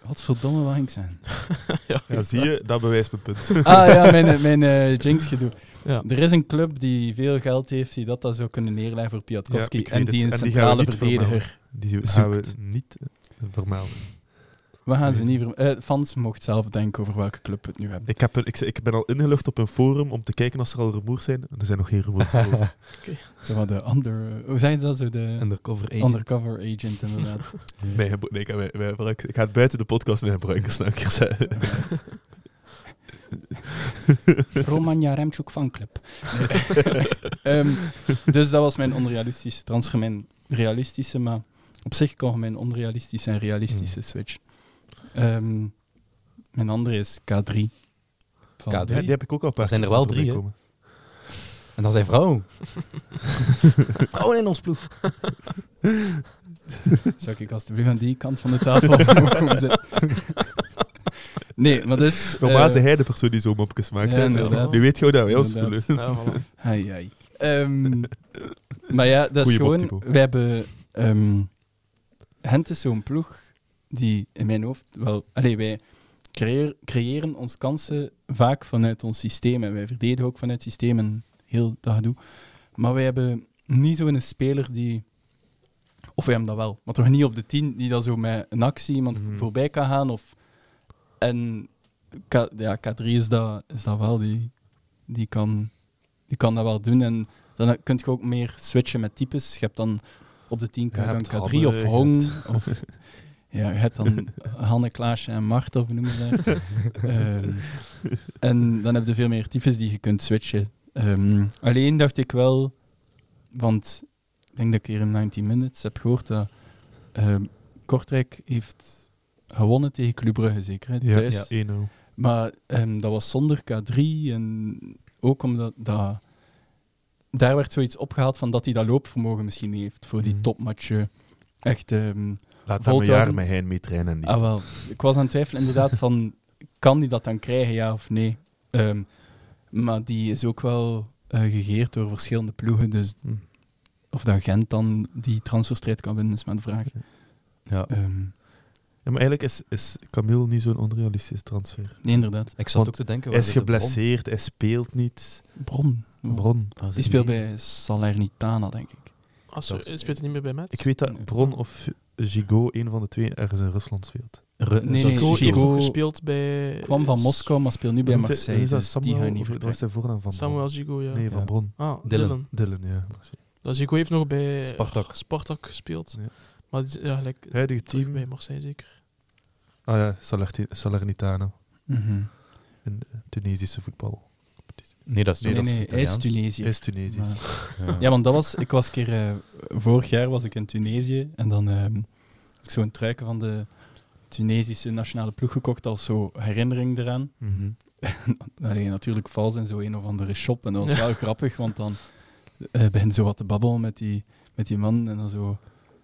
Speaker 4: wat verdomme waar ik zijn.
Speaker 3: Ja, zie je, dat bewijst mijn punt.
Speaker 4: Ah ja, mijn, eh, mijn jinx gedoe.
Speaker 2: Ja.
Speaker 4: Er is een club die veel geld heeft, die dat dan zou kunnen neerleggen voor Piatkowski.
Speaker 3: Ja, ik weet
Speaker 4: en die
Speaker 3: het.
Speaker 4: een
Speaker 3: En die gaan we
Speaker 4: centrale
Speaker 3: niet
Speaker 4: verdediger.
Speaker 3: Die gaan
Speaker 4: gaan
Speaker 3: we
Speaker 4: we
Speaker 3: niet vermelden.
Speaker 4: We gaan ze
Speaker 3: Nee.
Speaker 4: niet ver... eh, fans mocht zelf denken over welke club we het nu hebben.
Speaker 3: Ik, heb, er- ik, ik ben al ingelogd op een forum om te kijken als er al rumoers zijn. En er zijn nog geen rumoers. over.
Speaker 4: Zo wat de under... Hoe zijn ze dat? Zo de
Speaker 1: Undercover agent.
Speaker 4: undercover agent, inderdaad.
Speaker 3: Mijn gebru- nee, ik, heb- mijn- mijn gebruik- ik ga het buiten de podcast mijn gebruikers nou een keer zeggen.
Speaker 4: Inderdaad. Romanja Remchuk fanclub. Nee. Ehm, dus dat was mijn onrealistische transfer. Mijn realistische, maar op zich kon mijn onrealistische en realistische switch. Ehm, mijn andere is K3. Van-
Speaker 1: K3?
Speaker 3: Ja, die heb ik ook al een paar
Speaker 1: Er zijn er
Speaker 3: keer
Speaker 1: wel
Speaker 3: voorbij
Speaker 1: drie, hè?
Speaker 3: komen.
Speaker 1: En dan zijn vrouwen. vrouwen in ons ploeg.
Speaker 4: Zou ik alsjeblieft aan die kant van de tafel ook komen zitten? Nee, maar dus...
Speaker 3: Normaal
Speaker 4: eh,
Speaker 3: is hij de persoon die zo'n mopjes maakt.
Speaker 4: Ja,
Speaker 3: hè.
Speaker 4: inderdaad.
Speaker 3: nu weet je hoe dat wij ons voelen.
Speaker 4: Inderdaad.
Speaker 2: Ja, voilà.
Speaker 4: Ai, ai. Ehm, maar ja, dat is
Speaker 3: Goeie mop,
Speaker 4: gewoon...
Speaker 3: Thibaut.
Speaker 4: We hebben... ehm Gent is zo'n ploeg die in mijn hoofd wel... Allee, wij creëer- creëren ons kansen vaak vanuit ons systeem. En wij verdedigen ook vanuit het systeem en heel dat gedoe. Maar wij hebben niet zo'n speler die... Of wij hebben dat wel, maar toch niet op de tien die dat zo met een actie iemand
Speaker 3: Mhm.
Speaker 4: voorbij kan gaan. Of, en K, ja, K3 is dat, is dat wel, die, die, kan, die kan dat wel doen. En dan kun je ook meer switchen met types. Je hebt dan op de 10
Speaker 3: Je
Speaker 4: kan je
Speaker 3: hebt
Speaker 4: dan K3
Speaker 3: Hanne,
Speaker 4: of
Speaker 3: je
Speaker 4: Hong. Of, ja, je hebt dan Hanne, Klaasje en Marten, of hoe noemen ze dat? Ehm, en dan heb je veel meer types die je kunt switchen. Ehm, alleen dacht ik wel, want ik denk dat ik hier in 19 Minutes heb gehoord dat ehm, Kortrijk heeft gewonnen tegen Club Brugge, zeker? Hè,
Speaker 3: Ja, nou.
Speaker 4: thuis?
Speaker 3: ja. 1-0.
Speaker 4: Maar ehm, dat was zonder K3 en ook omdat dat, daar werd zoiets opgehaald van dat hij dat loopvermogen misschien niet heeft voor die
Speaker 3: Mhm.
Speaker 4: topmatchen. Echt, ehm,
Speaker 3: Laat hem een
Speaker 4: Volthouden.
Speaker 3: jaar met hen mee trainen. en niet.
Speaker 4: ah, wel. ik was aan het twijfelen inderdaad van, kan die dat dan krijgen, ja of nee? Ehm, maar die is ook wel eh, gegeerd door verschillende ploegen, dus
Speaker 3: Hm.
Speaker 4: of dat Gent dan die transferstrijd kan winnen is maar de vraag.
Speaker 1: Ja.
Speaker 4: Ehm,
Speaker 3: Ja, maar eigenlijk is, is Camille niet zo'n onrealistische transfer.
Speaker 4: nee, inderdaad.
Speaker 1: Ik zat
Speaker 3: Want
Speaker 1: ook te denken...
Speaker 3: Hij
Speaker 1: waar
Speaker 3: is
Speaker 1: zit de bron?
Speaker 3: geblesseerd, hij speelt niet.
Speaker 4: Bron.
Speaker 3: Bron.
Speaker 1: Waar
Speaker 4: Die
Speaker 1: zit
Speaker 4: speelt
Speaker 1: die?
Speaker 4: bij Salernitana, denk ik.
Speaker 2: Als er, speelt het niet meer bij Met?
Speaker 3: Ik weet
Speaker 4: Hm.
Speaker 3: dat Bron of Gigot, een van de twee, ergens in Rusland speelt.
Speaker 1: Ru-
Speaker 4: Nee,
Speaker 1: dat-
Speaker 4: nee,
Speaker 2: Go heeft
Speaker 4: Gigo
Speaker 2: ook gespeeld bij...
Speaker 4: kwam van Moskou, maar speelt nu bij
Speaker 3: Moet hij-
Speaker 4: Marseille.
Speaker 3: Eh, Is dat
Speaker 4: dus die
Speaker 3: Samuel?
Speaker 4: gaan we
Speaker 3: of-
Speaker 4: niet
Speaker 3: dat was
Speaker 4: vertrekken.
Speaker 3: zijn voornaam van Bron.
Speaker 2: Samuel Zigo, ja.
Speaker 3: Nee, van
Speaker 4: Ja.
Speaker 3: Bron.
Speaker 2: Ah,
Speaker 1: Dylan.
Speaker 2: Dylan.
Speaker 3: Dylan, ja. Marseille.
Speaker 2: Dat Zigo heeft nog bij
Speaker 1: Spartak.
Speaker 2: Spartak gespeeld.
Speaker 3: Ja.
Speaker 2: Maar die- ja, gelijk
Speaker 3: Huidige
Speaker 2: terug bij
Speaker 3: team.
Speaker 2: Marseille zeker.
Speaker 3: Ah ja, Salerti- Salernitana.
Speaker 4: Mhm.
Speaker 3: In eh, Tunesische voetbal.
Speaker 1: Nee, dat is
Speaker 4: Nee, nee,
Speaker 1: dat
Speaker 4: hij is
Speaker 1: Italiaans.
Speaker 4: Tunesië.
Speaker 3: Hij is Tunesisch.
Speaker 4: Maar-
Speaker 1: Ja.
Speaker 4: Ja, want dat was, ik was een keer, eh, vorig jaar was ik in Tunesië en dan ehm, ik zo'n truiken van de Tunesische nationale ploeg gekocht als zo herinnering eraan.
Speaker 3: Mhm.
Speaker 4: Alleen natuurlijk vals in zo'n een of andere shop. En dat was wel grappig, want dan eh begint zo wat te babbelen met die, met die man. En dan zo...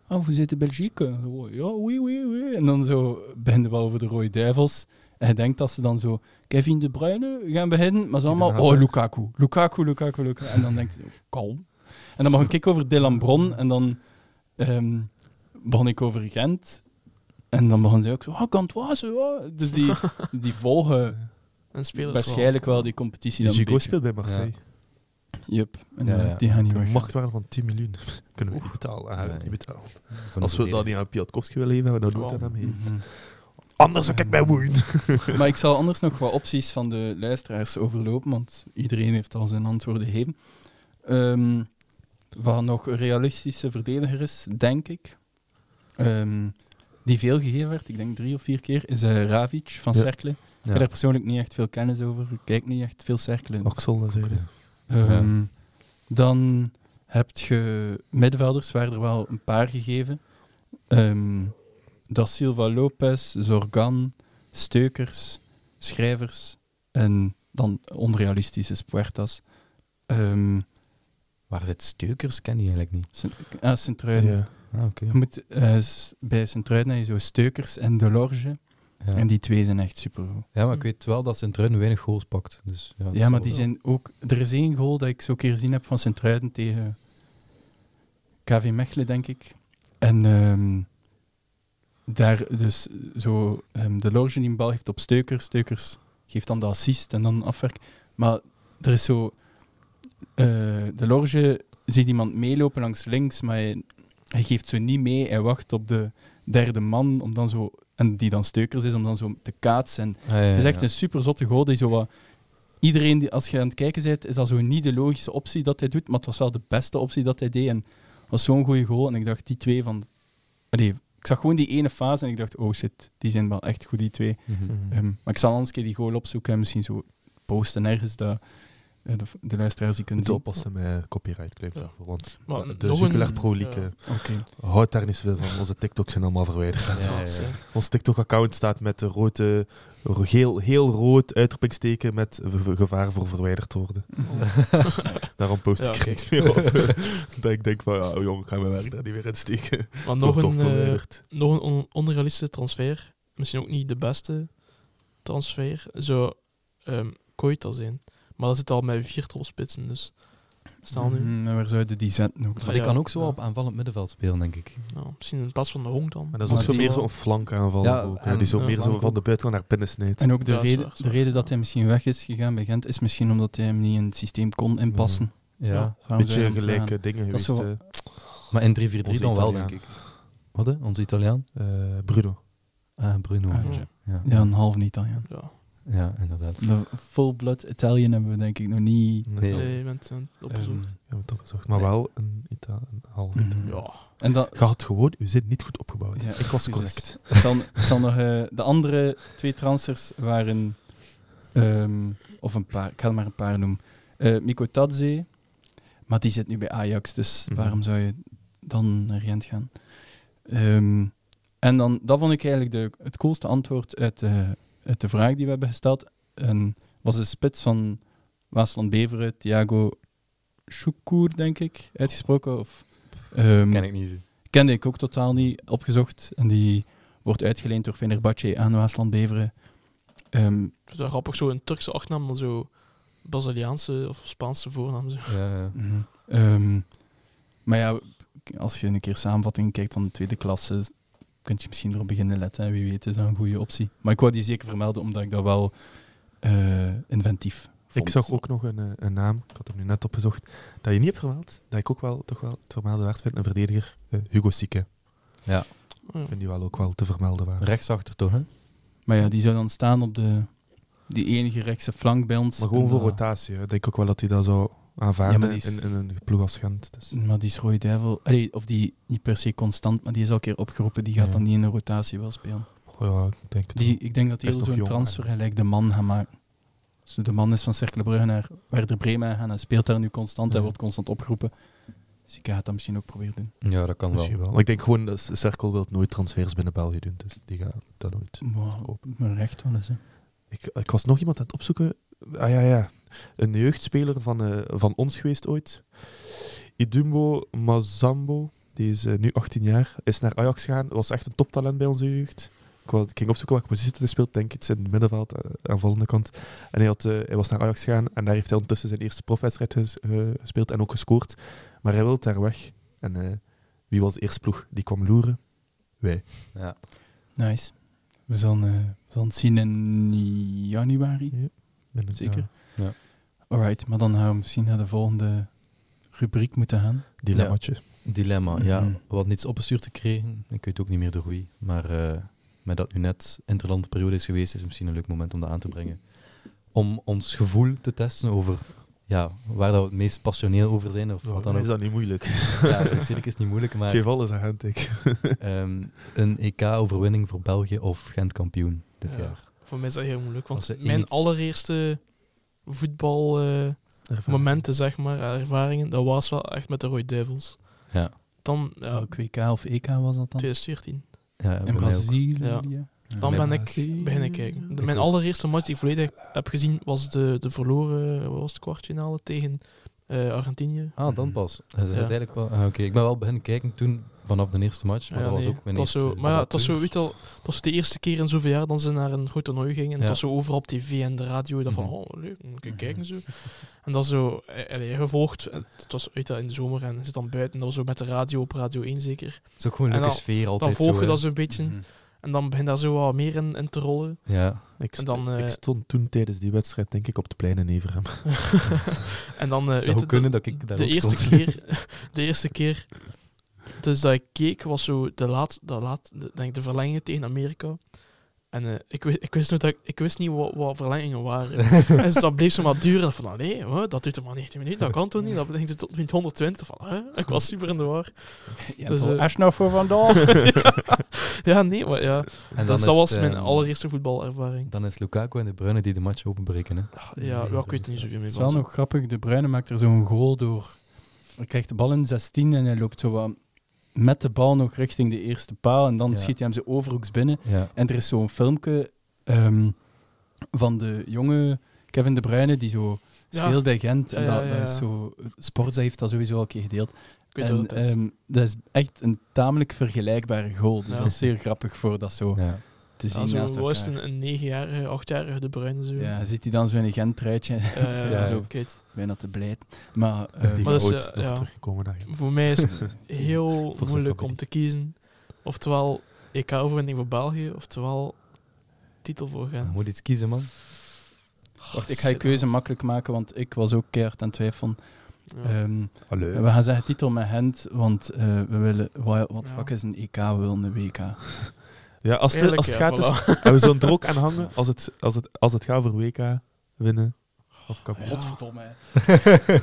Speaker 4: Ah, we zitten Belgique. En zo, Ja, oui, oui, oui. En dan zo begint het wel over de rode duivels. En je denkt dat ze dan zo Kevin De Bruyne gaan beginnen. Maar ze allemaal...
Speaker 3: Eden Hazard.
Speaker 4: Oh, Lukaku. Lukaku, Lukaku, Lukaku. En dan denkt je, kalm. En dan mag ik over Dylan Bron. En dan ehm begon ik over Gent. En dan begon ze ook zo... Ah, Gantoise. ah." Dus die, die volgen
Speaker 2: En spelers
Speaker 4: waarschijnlijk wel die competitie dan.
Speaker 3: Gigo
Speaker 4: een beetje.
Speaker 3: speelt bij Marseille.
Speaker 4: Yup. En
Speaker 1: Ja,
Speaker 4: eh,
Speaker 1: ja.
Speaker 4: die gaan niet
Speaker 3: De
Speaker 4: weg.
Speaker 3: marktwaarde van 10 miljoen kunnen we niet betalen. Ah,
Speaker 1: Ja,
Speaker 3: niet
Speaker 1: nee.
Speaker 3: betalen.
Speaker 1: Van de
Speaker 3: Als we dat
Speaker 1: verdediging.
Speaker 3: niet aan Piatkowski willen leveren, dan doen we dat
Speaker 2: Wow.
Speaker 3: aan hem.
Speaker 4: Mhm.
Speaker 3: Anders zou ik mij moeien.
Speaker 4: Maar ik zal anders nog wat opties van de luisteraars overlopen, want iedereen heeft al zijn antwoorden gegeven. Ehm, wat nog een realistische verdediger is, denk ik, ehm, die veel gegeven werd, ik denk drie of vier keer, is eh, Ravic van
Speaker 3: Ja.
Speaker 4: Cercle. Ik heb
Speaker 1: Ja.
Speaker 4: daar persoonlijk niet echt veel kennis over, ik kijk niet echt veel Cercle.
Speaker 3: Axel, dat zei hij.
Speaker 4: Ehm, Dan heb je middenvelders, waar er wel een paar gegeven. Ehm da Silva Lopez, Zorgan, Steukers, Schrijvers en dan onrealistisch is Puertas. Ehm
Speaker 1: Waar zit Steukers? Ken die eigenlijk niet.
Speaker 4: Sint- ah, Sint-Truiden.
Speaker 3: Ja.
Speaker 1: Ah, oké.
Speaker 4: Je moet, eh, s- bij Sint-Truiden heb je zo Steukers en Delorge.
Speaker 1: Ja.
Speaker 4: En die twee zijn echt supergoed.
Speaker 1: Ja, maar ik weet wel dat Sint-Truiden weinig goals pakt. Dus, ja, dat
Speaker 4: Ja,
Speaker 1: zal
Speaker 4: maar die
Speaker 1: wel.
Speaker 4: zijn ook... Er is één goal dat ik zo een keer gezien heb van Sint-Truiden tegen KV Mechelen, denk ik. En ehm, daar dus zo... ehm, de Lorge die een bal heeft op Steukers. Steukers geeft dan de assist en dan afwerk. Maar er is zo... eh, de Lorge ziet iemand meelopen langs links, maar hij, hij geeft zo niet mee. Hij wacht op de derde man om dan zo... En die dan Steukers is, om dan zo te kaatsen. En
Speaker 1: Ah, ja, ja,
Speaker 4: het is echt
Speaker 1: ja.
Speaker 4: een super zotte goal die zo wat... Iedereen, die, als je aan het kijken bent, is dat zo niet de logische optie dat hij doet, maar het was wel de beste optie dat hij deed. En het was zo'n goede goal. En ik dacht, die twee van... Allee, ik zag gewoon die ene fase en ik dacht, oh shit, die zijn wel echt goed, die twee.
Speaker 1: Mhm.
Speaker 4: Ehm, maar ik zal anders een keer die goal opzoeken en misschien zo posten ergens dat eh, de, de luisteraars die kunnen
Speaker 3: Moet
Speaker 4: zien.
Speaker 3: oppassen met copyright claims daarvoor, want
Speaker 2: Maar
Speaker 3: de
Speaker 2: nog
Speaker 3: Jupiler
Speaker 2: een-
Speaker 3: Pro League
Speaker 2: ja.
Speaker 3: eh, houdt daar niet zoveel van. Onze TikToks zijn allemaal verwijderd.
Speaker 1: Ja, ja, ja.
Speaker 3: Ons TikTok-account staat met de rode, ro- heel, heel rood uitroepingsteken met v- v- gevaar voor verwijderd te worden.
Speaker 2: Oh.
Speaker 3: Daarom post ik
Speaker 2: Ja.
Speaker 3: er niks meer op. dat ik denk van, ja, jong, gaan we werk daar niet meer in steken.
Speaker 2: Maar nog
Speaker 3: Wordt toch
Speaker 2: een, eh,
Speaker 3: verwijderd.
Speaker 2: nog een on- onrealistische transfer. Misschien ook niet de beste transfer. Zou ehm Koita zijn. Maar dat zit al met vier topspitsen. Dus staan nu.
Speaker 4: Mm, en waar zouden die zetten ook?
Speaker 1: Maar die
Speaker 2: Ja.
Speaker 1: kan ook zo
Speaker 2: Ja.
Speaker 1: op aanvallend middenveld spelen, denk ik.
Speaker 2: Nou, misschien in plaats van de Honk dan.
Speaker 3: Maar dat is
Speaker 1: Maar
Speaker 3: ook zo
Speaker 1: die
Speaker 3: meer
Speaker 1: wel-
Speaker 3: zo'n flankaanval.
Speaker 1: Ja,
Speaker 3: ook, hè,
Speaker 1: en-
Speaker 3: die zo
Speaker 2: ja,
Speaker 3: meer zo
Speaker 1: flank
Speaker 3: van
Speaker 1: ook.
Speaker 3: de buitenkant naar binnen snijdt.
Speaker 4: En ook de,
Speaker 2: Ja, is
Speaker 4: reden,
Speaker 2: waar, is
Speaker 4: de
Speaker 2: waar.
Speaker 4: reden dat hij misschien weg is gegaan bij Gent is misschien omdat hij hem niet in het systeem kon inpassen.
Speaker 1: Ja.
Speaker 2: Ja.
Speaker 4: Waarom zou
Speaker 3: Beetje
Speaker 4: je hem
Speaker 3: gelijke dingen
Speaker 4: Dat is
Speaker 3: geweest.
Speaker 4: zo-
Speaker 3: hè.
Speaker 1: Maar in 3-4-3
Speaker 3: Onze
Speaker 1: dan wel,
Speaker 3: Italiaan.
Speaker 1: denk ik. Wat, hè? Onze Italiaan?
Speaker 3: Eh, Bruno.
Speaker 1: Ah, Bruno.
Speaker 4: Ah,
Speaker 1: ja.
Speaker 4: ja.
Speaker 1: Ja.
Speaker 4: Ja, een half Italiaan.
Speaker 2: Ja.
Speaker 1: Ja, inderdaad.
Speaker 4: De full-blood Italian hebben we denk ik nog niet.
Speaker 1: Nee.
Speaker 2: Nee, je bent eh, opgezocht.
Speaker 4: ehm,
Speaker 3: Ja, we toch gezocht. Maar wel een, Ita een half
Speaker 4: Mhm.
Speaker 3: Italiaan.
Speaker 2: ja.
Speaker 4: en dat,
Speaker 3: Je had gewoon, u zit niet goed opgebouwd.
Speaker 4: Ja,
Speaker 3: ik was
Speaker 4: excuses.
Speaker 3: correct.
Speaker 4: Ik zal, ik zal nog, eh, de andere twee transfers waren, ehm, of een paar, ik ga er maar een paar noemen. Eh Miko Tadze, maar die zit nu bij Ajax, dus
Speaker 3: Mhm.
Speaker 4: waarom zou je dan naar Gent gaan? Ehm, en dan, dat vond ik eigenlijk de, het coolste antwoord uit, eh, uit de vraag die we hebben gesteld. En was de spits van Waasland-Beveren, Thiago Choukour, denk ik, uitgesproken. Of, ehm,
Speaker 1: Ken ik niet. zo.
Speaker 4: kende ik ook totaal niet opgezocht. En die wordt uitgeleend door Fenerbahce aan Waasland Beveren. Ehm,
Speaker 2: Ik vind dat grappig, zo een Turkse achternaam dan zo Braziliaanse of Spaanse voornaam. Zo.
Speaker 1: Ja, ja.
Speaker 4: mhm. Ehm, maar ja, als je een keer samenvatting kijkt van de tweede klasse, kun je misschien erop beginnen letten. En wie weet is dat een goede optie. Maar ik wou die zeker vermelden, omdat ik dat wel eh, inventief vond.
Speaker 3: Ik zag ook nog een, eh, een naam, ik had hem nu net opgezocht, dat je niet hebt vermeld, dat ik ook wel, toch wel het vermelden waard vind, een verdediger, eh, Hugo Sieke.
Speaker 2: Oh, ja.
Speaker 3: Ik vind die wel ook wel te vermelden waard.
Speaker 1: Rechtsachter toch, hè?
Speaker 4: Maar ja, die zou dan staan op de, die enige rechtse flank bij ons.
Speaker 3: Maar gewoon
Speaker 4: En
Speaker 3: voor
Speaker 4: dat-
Speaker 3: rotatie, hè. Ik denk ook wel dat hij dat zou
Speaker 4: Ja,
Speaker 3: aanvaarden
Speaker 4: maar die is-
Speaker 3: in, in een ploeg als Gent. Dus.
Speaker 4: Maar die is rode duivel. Allee, of die niet per se constant, maar die is al een keer opgeroepen. Die gaat
Speaker 3: Ja.
Speaker 4: dan niet in de rotatie wel spelen.
Speaker 3: Goh, ja, ik denk het
Speaker 4: Die,
Speaker 3: wel.
Speaker 4: ik denk dat
Speaker 3: Hij
Speaker 4: hij
Speaker 3: is nog
Speaker 4: zo'n
Speaker 3: jong,
Speaker 4: transfer gelijk de man gaat maken. Dus de man is van Cercle Brugge naar Werder Bremen gaan en speelt daar nu constant. Hij
Speaker 3: Ja.
Speaker 4: wordt constant opgeroepen. Dus ik ga het dan misschien ook proberen doen.
Speaker 1: Ja, dat kan wel.
Speaker 3: Misschien wel. Maar ik denk gewoon, dat Cerkel wil nooit transfers binnen België doen. Dus die gaan dat nooit.
Speaker 4: Maar op mijn recht wel eens. Hè.
Speaker 3: Ik, ik was nog iemand aan het opzoeken. Ah ja, ja. Een jeugdspeler van, eh, van ons geweest ooit. Idumbo Mazambo. Die is eh, nu 18 jaar. Is naar Ajax gegaan. Was echt een toptalent bij onze jeugd. Ik, wou- ik ging opzoeken welke positie hij speelt. Denk iets in het middenveld, eh, aanvallende kant. En hij, had, eh, hij was naar Ajax gegaan. En daar heeft hij ondertussen zijn eerste profwedstrijd ges- ge- gespeeld. En ook gescoord. Maar hij wilde daar weg. En eh, wie was de eerste ploeg? Die kwam loeren.
Speaker 1: Ja.
Speaker 4: Nice. We zullen, eh, we zullen het zien in januari. Zeker.
Speaker 1: Ja.
Speaker 3: eh,
Speaker 1: Ja.
Speaker 4: Alright, maar dan gaan we misschien naar de volgende rubriek moeten gaan.
Speaker 3: Die dilemmaatje.
Speaker 1: Dilemma, ja.
Speaker 3: Mm-hmm.
Speaker 4: Mhm.
Speaker 1: Wat niets opgestuurd te krijgen. Ik weet ook niet meer door wie. Maar eh, met dat nu net interlandperiode is geweest, is het misschien een leuk moment om dat aan te brengen. Om ons gevoel te testen over ja, waar dat we het meest passioneel over zijn. Of wat dan ook.
Speaker 3: is dat niet moeilijk.
Speaker 1: Ja, dat is- is niet moeilijk, maar
Speaker 3: Geef alles aan Hentik.
Speaker 1: ehm, een EK-overwinning voor België of Gent kampioen dit
Speaker 2: Ja.
Speaker 1: jaar.
Speaker 2: Voor mij is dat heel moeilijk.
Speaker 1: Als er
Speaker 2: Want mijn
Speaker 1: iets-
Speaker 2: allereerste voetbalmomenten, momenten zeg maar, eh, ervaringen, dat was wel echt met de Roy Devils.
Speaker 1: Ja.
Speaker 2: Dan, ja,
Speaker 4: Welk WK of EK was dat dan?
Speaker 2: 2014.
Speaker 1: Ja, bij
Speaker 4: In
Speaker 1: mij ook.
Speaker 4: Brazilië.
Speaker 2: Ja. Dan
Speaker 1: Nee,
Speaker 2: ben
Speaker 3: maar
Speaker 2: ik
Speaker 3: zie-
Speaker 2: beginnen kijken. De-
Speaker 1: Ik
Speaker 2: mijn
Speaker 1: ook.
Speaker 2: allereerste match die ik volledig heb gezien was de, de verloren eh, wat was het, kwartfinale tegen eh, Argentinië.
Speaker 1: Ah, dan pas. Dat is
Speaker 2: Ja.
Speaker 1: uiteindelijk wel... ah, Oké, ik ben wel beginnen kijken toen, vanaf de eerste match, maar
Speaker 2: Ja,
Speaker 1: dat was
Speaker 2: nee,
Speaker 1: ook mijn
Speaker 2: het was
Speaker 1: eerste...
Speaker 2: zo, Maar ja, het was zo,
Speaker 1: toen-
Speaker 2: weet je wel, het was de eerste keer in zoveel jaar dat ze naar een groot toernooi gingen. En
Speaker 1: Ja.
Speaker 2: het was zo overal op tv en de radio. Dat van,
Speaker 1: Mhm.
Speaker 2: oh, leuk, moet ik kijken zo. En dat zo, eh, allee, gevolgd. En Het was weet je, wel, in de zomer en je zit dan buiten. Dat was zo met de radio op Radio 1 zeker.
Speaker 1: Het is ook gewoon een
Speaker 2: En
Speaker 1: leuke
Speaker 2: dan-
Speaker 1: sfeer
Speaker 2: Dan
Speaker 1: altijd
Speaker 2: volg
Speaker 1: zo,
Speaker 2: je
Speaker 1: hè. Mhm.
Speaker 2: dat zo'n beetje. En dan begint daar zo wat meer in, in te rollen.
Speaker 1: Ja.
Speaker 3: Ik,
Speaker 2: En dan,
Speaker 3: st-
Speaker 2: eh,
Speaker 3: ik stond toen tijdens die wedstrijd, denk ik, op de plein in Everham.
Speaker 2: en dan,
Speaker 1: Het
Speaker 2: eh, weet
Speaker 1: zou
Speaker 2: je, de-
Speaker 1: kunnen dat ik daar
Speaker 2: de
Speaker 1: ook
Speaker 2: eerste
Speaker 1: stond.
Speaker 2: keer, de eerste keer, dus dat ik keek, was zo de laat, de laat, de, denk ik, de verlengingen tegen Amerika. En eh, ik, wist, ik, wist nog dat ik, ik wist niet wat, wat verlengingen waren. en dus dat bleef zo maar duren. Van, allee, hè, dat duurt er maar 19 minuten, dat kan toch niet? Dat bedenkt het tot minuut 120. Van, hè? Ik was super in de war.
Speaker 4: Ja,
Speaker 2: Dus,
Speaker 4: toch,
Speaker 2: eh,
Speaker 4: Ashnaf voor Van Dal.
Speaker 2: Ja, nee, maar ja.
Speaker 1: En
Speaker 2: Dus
Speaker 1: is
Speaker 2: dat was
Speaker 1: het,
Speaker 2: mijn
Speaker 1: ehm,
Speaker 2: allereerste voetbalervaring.
Speaker 1: Dan is Lukaku en de Bruyne die de match openbreken. Hè.
Speaker 2: Ah, Ja, ja, ik weet er
Speaker 1: eh,
Speaker 2: niet zoveel meer
Speaker 4: Het is wel
Speaker 2: van.
Speaker 4: nog grappig. De Bruyne maakt er zo'n goal door. Hij krijgt de bal in 16 en hij loopt zo wat met de bal nog richting de eerste paal. En dan
Speaker 1: Ja.
Speaker 4: schiet hij hem zo overhoeks binnen.
Speaker 1: Ja.
Speaker 4: En er is zo'n filmpje ehm, van de jonge Kevin De Bruyne die zo
Speaker 2: Ja.
Speaker 4: speelt bij Gent. En
Speaker 2: Ja,
Speaker 4: dat,
Speaker 2: ja,
Speaker 4: dat
Speaker 2: ja.
Speaker 4: is zo... Sportza heeft dat sowieso al een keer gedeeld.
Speaker 2: Ik weet
Speaker 4: en,
Speaker 2: dat het is.
Speaker 4: ehm, dat is echt een tamelijk vergelijkbare goal. Dus
Speaker 2: Ja.
Speaker 4: dat is zeer grappig voor dat zo
Speaker 1: Ja.
Speaker 4: te zien
Speaker 2: Ja, zo
Speaker 4: naast
Speaker 2: was het
Speaker 4: elkaar.
Speaker 2: een, een 9-jarige, 8-jarige De Bruyne. Zo.
Speaker 4: Ja, zit hij dan zo in een Gent-truitje.
Speaker 2: Eh,
Speaker 1: Ja.
Speaker 4: zo
Speaker 2: ik weet-
Speaker 4: bijna te blij. Maar...
Speaker 3: Die
Speaker 4: ehm,
Speaker 3: gaan
Speaker 2: maar dat is,
Speaker 3: ooit
Speaker 2: eh,
Speaker 3: nog
Speaker 2: ja.
Speaker 3: terugkomen naar hem.
Speaker 2: Voor mij is het heel
Speaker 3: zijn
Speaker 2: moeilijk om
Speaker 3: familie.
Speaker 2: te kiezen. Oftewel EK-overwinning voor België, oftewel titel voor
Speaker 1: Je
Speaker 2: Gent.
Speaker 1: moet iets kiezen, man.
Speaker 4: Wacht, ik ga je keuze makkelijk maken, want ik was ook keihard aan het twijfelen.
Speaker 2: Ja.
Speaker 4: Ehm,
Speaker 3: Hallo.
Speaker 4: we gaan zeggen titel met Gent, want eh, we willen... Wat, wat
Speaker 2: Ja.
Speaker 4: fuck is een EK? We willen een WK.
Speaker 3: Ja, als het,
Speaker 2: Eerlijk,
Speaker 3: als het
Speaker 2: ja,
Speaker 3: gaat dus... En we zullen er ook aan hangen als het, als het, als het gaat voor WK winnen. Of kampioen.
Speaker 2: Ja.
Speaker 4: Godverdomme.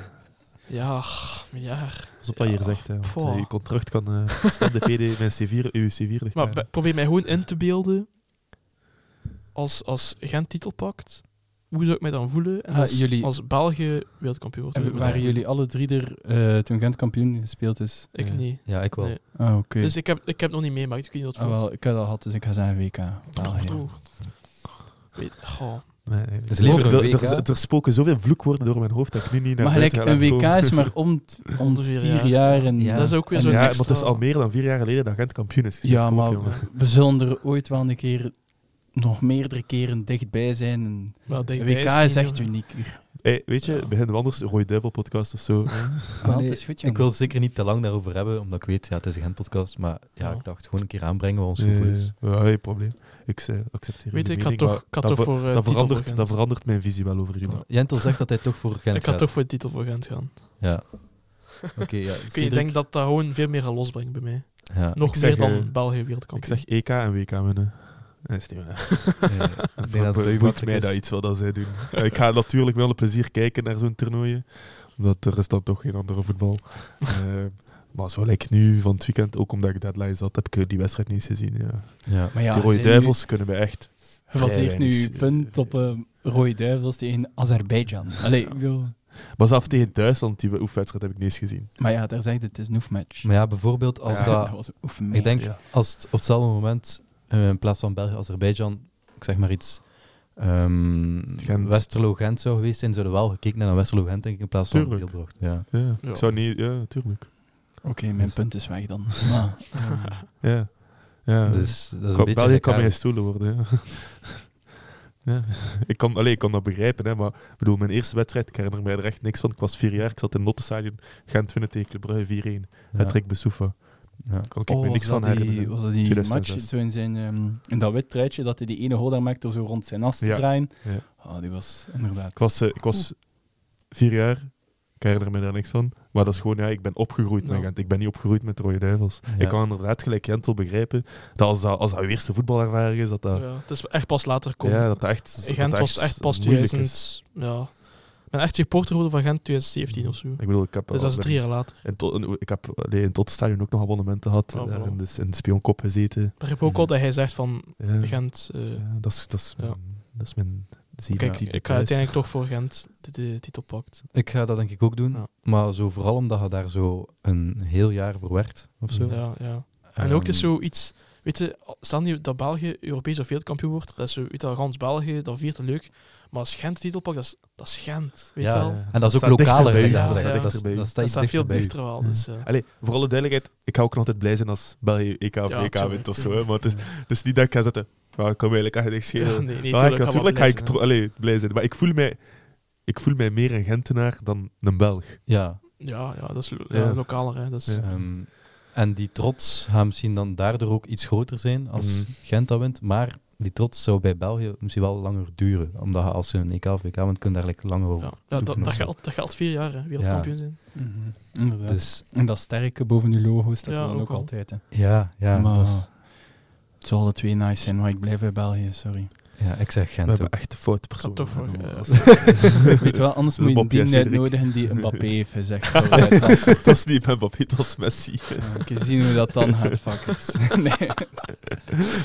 Speaker 2: ja, ach, miljard.
Speaker 3: Pas op wat je hier zegt, hè, want
Speaker 2: Pfoh.
Speaker 3: eh, je contract kan... eh staat de PD met C4, uw C4 ligt
Speaker 2: Maar
Speaker 3: klaar.
Speaker 2: be- probeer mij gewoon in te beelden. Als, als Gent titel pakt, hoe zou ik mij dan voelen? En
Speaker 4: Ah,
Speaker 2: als,
Speaker 4: jullie-
Speaker 2: als België wereldkampioen wordt.
Speaker 4: En
Speaker 2: hoe zou
Speaker 4: waren
Speaker 2: ik me
Speaker 4: jullie alle drie er eh, toen Gent kampioen gespeeld is?
Speaker 2: dan- Ik
Speaker 3: Ja.
Speaker 2: niet.
Speaker 1: Ja, ik wel.
Speaker 2: Nee.
Speaker 4: Ah, oké.
Speaker 2: Dus ik heb, ik heb nog niet meemaakt, ik weet niet wat
Speaker 4: Ah,
Speaker 2: het
Speaker 4: wel, Ah,
Speaker 2: voelt.
Speaker 4: ik had dat gehad, dus ik ga zeggen WK. België.
Speaker 2: Oeh. Weet, goh.
Speaker 3: Nee, nee.
Speaker 1: Dus liever een
Speaker 3: Er-
Speaker 1: WK?
Speaker 3: Er, er spoken zoveel vloekwoorden door mijn hoofd dat ik nu niet naar
Speaker 4: Maar gelijk,
Speaker 3: buiten
Speaker 4: een
Speaker 3: ga
Speaker 4: WK
Speaker 3: laten
Speaker 4: is maar om, t- om
Speaker 2: de
Speaker 4: de
Speaker 2: vier
Speaker 4: vier,
Speaker 2: jaar.
Speaker 4: jaar. en,
Speaker 1: Ja.
Speaker 2: Dat is ook weer
Speaker 4: en-
Speaker 2: zo'n
Speaker 3: komen. Ja,
Speaker 2: extra...
Speaker 3: want het is al meer dan vier jaar geleden dat Gent kampioen is. gespeeld.
Speaker 4: Ja,
Speaker 3: Kom op,
Speaker 4: maar
Speaker 3: jongen.
Speaker 4: we zullen er ooit wel een keer nog meerdere keren dichtbij zijn. En
Speaker 2: Maar
Speaker 4: de
Speaker 2: dichtbij
Speaker 4: WK
Speaker 2: niet,
Speaker 4: is echt
Speaker 2: jongen.
Speaker 4: uniek. hier.
Speaker 3: Hey, weet je, beginnen we anders een Roy Devil podcast of zo.
Speaker 1: Maar
Speaker 4: Ah,
Speaker 1: nee,
Speaker 4: het is goed,
Speaker 1: ik wil het zeker niet te lang daarover hebben, omdat ik weet, ja, het is een Gent-podcast, maar ja,
Speaker 2: Ja.
Speaker 1: ik dacht gewoon een keer aanbrengen wat ons
Speaker 3: Eh,
Speaker 1: gevoel is.
Speaker 3: ja, geen probleem. Ik eh, accepteer
Speaker 2: Weet je,
Speaker 3: jullie
Speaker 2: ik had
Speaker 3: mening,
Speaker 2: toch, ik had
Speaker 3: maar
Speaker 2: toch
Speaker 3: dat, ver-
Speaker 2: voor eh, titel
Speaker 3: dat,
Speaker 2: voor
Speaker 3: verandert,
Speaker 2: Gent.
Speaker 3: dat verandert mijn visie wel over jullie.
Speaker 1: Ja. Jentel zegt dat hij toch voor Gent
Speaker 2: Ik had
Speaker 1: gaat.
Speaker 2: toch voor de titel voor Gent gaan.
Speaker 1: Ja. Oké, ja.
Speaker 2: Ik weet,
Speaker 1: Cedric-
Speaker 2: ik denk dat dat gewoon veel meer gaat losbrengen bij mij.
Speaker 1: Ja.
Speaker 2: Nog
Speaker 3: Ik
Speaker 2: meer
Speaker 3: zeg,
Speaker 2: dan
Speaker 3: eh,
Speaker 2: België
Speaker 3: Ik
Speaker 2: wereldkampioen.
Speaker 3: zeg EK en WK winnen. Dat is niet waar.
Speaker 1: Ja, ik denk dat het
Speaker 3: Eh, Boeit
Speaker 1: leuk
Speaker 3: mij
Speaker 1: is.
Speaker 3: dat iets wel dat zij doen. Ja, ik ga natuurlijk wel een plezier kijken naar zo'n toernooien. Omdat er is dan toch geen andere voetbal. Eh maar zo lijkt nu van het weekend, ook omdat ik deadline zat, heb ik eh, die wedstrijd niet eens gezien. Ja.
Speaker 1: Ja.
Speaker 4: Maar ja,
Speaker 3: de Rode
Speaker 4: zijn nu-
Speaker 3: Duivels kunnen we echt.
Speaker 4: Je baseert
Speaker 3: vrij
Speaker 4: nu
Speaker 3: weinig-
Speaker 4: je punt op eh Rode Duivels tegen Azerbeidzjan. Allee, ik bedoel,
Speaker 3: Maar zelfs tegen Duitsland, die oefenwedstrijd, heb ik niet eens gezien.
Speaker 4: Maar ja, daar zegt het, het is een oefmatch.
Speaker 1: Maar ja, bijvoorbeeld als
Speaker 3: Ja.
Speaker 1: dat...
Speaker 4: dat was een oefenmatch.
Speaker 1: Ik denk,
Speaker 3: Ja.
Speaker 1: als het op hetzelfde moment, eh, in plaats van België, Azerbeidzjan, ik zeg maar iets, ehm
Speaker 3: Gent.
Speaker 1: Westerlo-Gent zou geweest zijn, zouden we wel gekeken naar Westerlo-Gent, denk ik, in plaats van
Speaker 3: Tuurlijk.
Speaker 1: Beelbrocht. Ja.
Speaker 3: Ja,
Speaker 2: Ja.
Speaker 3: Ik zou niet... Ja, tuurlijk.
Speaker 4: Oké, mijn punt is weg dan. Maar, ehm,
Speaker 3: Ja. ja.
Speaker 1: Dus dat is
Speaker 3: Kan-
Speaker 1: een beetje...
Speaker 3: België kan
Speaker 1: gek,
Speaker 3: mijn
Speaker 1: hè.
Speaker 3: stoelen worden. ja. ja. ik, kan, allee, ik kan dat begrijpen, hè, maar ik bedoel, mijn eerste wedstrijd, ik herinner mij er echt niks van. Ik was vier jaar, ik zat in Lottestadion, Gent winnen tegen Club Brugge 4-1.
Speaker 1: Ja.
Speaker 3: Het trek Besoufa.
Speaker 1: Ja.
Speaker 3: Kan ik
Speaker 4: oh,
Speaker 3: me
Speaker 4: was
Speaker 3: niks van eh,
Speaker 4: dat die,
Speaker 3: herinneren.
Speaker 4: was dat die
Speaker 3: 2006.
Speaker 4: match zo in, zijn, ehm, in dat wit truitje, dat hij die ene goal daar maakt door zo rond zijn as te
Speaker 3: Ja,
Speaker 4: draaien?
Speaker 3: ja.
Speaker 4: Oh, die was inderdaad...
Speaker 3: Ik was, eh, ik was vier jaar, ik herinner me daar niks van. Maar dat is gewoon, ja, ik ben opgegroeid met
Speaker 2: Ja.
Speaker 3: Gent. Ik ben niet opgegroeid met de Rode Duivels.
Speaker 1: Ja.
Speaker 3: Ik kan inderdaad gelijk Jentel begrijpen dat als dat, als dat uw eerste voetbalervaring is, dat dat,
Speaker 2: Ja, het is echt pas later
Speaker 3: ja,
Speaker 2: komen.
Speaker 3: dat dat echt, dat
Speaker 2: Gent
Speaker 3: dat
Speaker 2: was echt pas
Speaker 3: moeilijk
Speaker 2: 2000.
Speaker 3: is.
Speaker 2: Ja. Ik ben echt supporter geworden van Gent 2017 of zo.
Speaker 3: Ik bedoel, ik heb
Speaker 2: dus dat is
Speaker 3: ben-
Speaker 2: drie jaar later.
Speaker 3: En tot, en ik heb nee, in Tottenstadion ook nog abonnementen gehad.
Speaker 2: Oh,
Speaker 3: daar
Speaker 2: voilà.
Speaker 3: in, de, in de spionkop gezeten.
Speaker 2: Maar ik heb ook al dat hij zegt van
Speaker 3: Ja,
Speaker 2: Gent. eh,
Speaker 3: ja, dat is, dat is,
Speaker 2: Ja.
Speaker 3: mijn- dat is mijn
Speaker 2: kijk,
Speaker 3: 17
Speaker 2: ik ga uiteindelijk toch voor Gent de, de titel pakt.
Speaker 1: Ik ga dat denk ik ook doen,
Speaker 2: Ja.
Speaker 1: maar zo vooral omdat je daar zo een heel jaar voor werkt, of zo.
Speaker 2: Ja, ja. En ook dus het is
Speaker 1: Ehm,
Speaker 2: zoiets. Weet je, stel nu dat België Europees of wereldkampioen wordt, dat is zo, weet je, gans België, dat viert het leuk. Maar als Gent de titel pakt, dat is, dat is Gent. Weet je
Speaker 1: Ja,
Speaker 2: wel?
Speaker 1: ja.
Speaker 2: Dat
Speaker 1: En dat is ook
Speaker 3: staat dichter
Speaker 1: lokaler.
Speaker 3: bij
Speaker 1: hè,
Speaker 2: u,
Speaker 1: daar
Speaker 2: ja,
Speaker 1: zeggen.
Speaker 2: dat
Speaker 1: Dat
Speaker 3: staat
Speaker 1: is- dat
Speaker 2: staat
Speaker 1: staat dichter
Speaker 2: veel
Speaker 1: bij u.
Speaker 2: dichter wel. Dus, ja.
Speaker 3: Allee, voor alle duidelijkheid, ik ga ook altijd blij zijn als België EK of
Speaker 2: Ja,
Speaker 3: EK wint of zo.
Speaker 2: tuurlijk.
Speaker 3: Hè, maar het is, het is niet dat ik ga zetten. Maar ik kan me eigenlijk echt niks schelen.
Speaker 2: Ja, nee, nee,
Speaker 3: Ah, ik-
Speaker 2: tuurlijk
Speaker 3: natuurlijk ga
Speaker 2: gaan we
Speaker 3: ik
Speaker 2: blij zijn,
Speaker 3: tro- allee, blij zijn. Maar ik voel, mij, ik voel mij meer een Gentenaar dan een Belg.
Speaker 1: Ja.
Speaker 2: Ja, ja, dat is lo-
Speaker 3: Ja.
Speaker 2: ja, lokaler. Hè. Dat is,
Speaker 3: Ja.
Speaker 1: ehm, en die trots gaat misschien dan daardoor ook iets groter zijn als
Speaker 3: Mhm.
Speaker 1: Gent dat wint. Maar die trots zou bij België misschien wel langer duren. Omdat je als je een E EK of WK wint, kun je daar like langer over.
Speaker 2: Ja, ja, dat,
Speaker 1: Oefenen.
Speaker 2: dat, geldt, dat geldt vier jaar, hè, wereldkampioen zijn.
Speaker 4: Mhm, inderdaad.
Speaker 1: Dus
Speaker 4: En dat sterke boven uw logo staat
Speaker 2: Ja,
Speaker 4: er dan ook,
Speaker 2: ook wel.
Speaker 4: altijd. Hè.
Speaker 1: ja, ja,
Speaker 4: maar
Speaker 1: dat-
Speaker 4: het zal alle twee nice zijn, maar ik blijf bij België, sorry.
Speaker 1: ja ik zeg
Speaker 3: We
Speaker 1: Gent.
Speaker 3: hebben
Speaker 1: ook.
Speaker 3: echt de foute
Speaker 2: Gaat
Speaker 3: persoon.
Speaker 2: toch voor,
Speaker 3: genomen.
Speaker 2: eh,
Speaker 3: Als-
Speaker 4: Weet je wel, anders
Speaker 3: Dus
Speaker 4: moet je
Speaker 3: Bob, jij,
Speaker 4: die
Speaker 3: Cedric.
Speaker 4: uitnodigen die Mbappé heeft gezegd.
Speaker 2: eh,
Speaker 3: Het was niet Mbappé, het was Messi.
Speaker 4: Oké, zien hoe dat dan gaat, fuck it. Nee.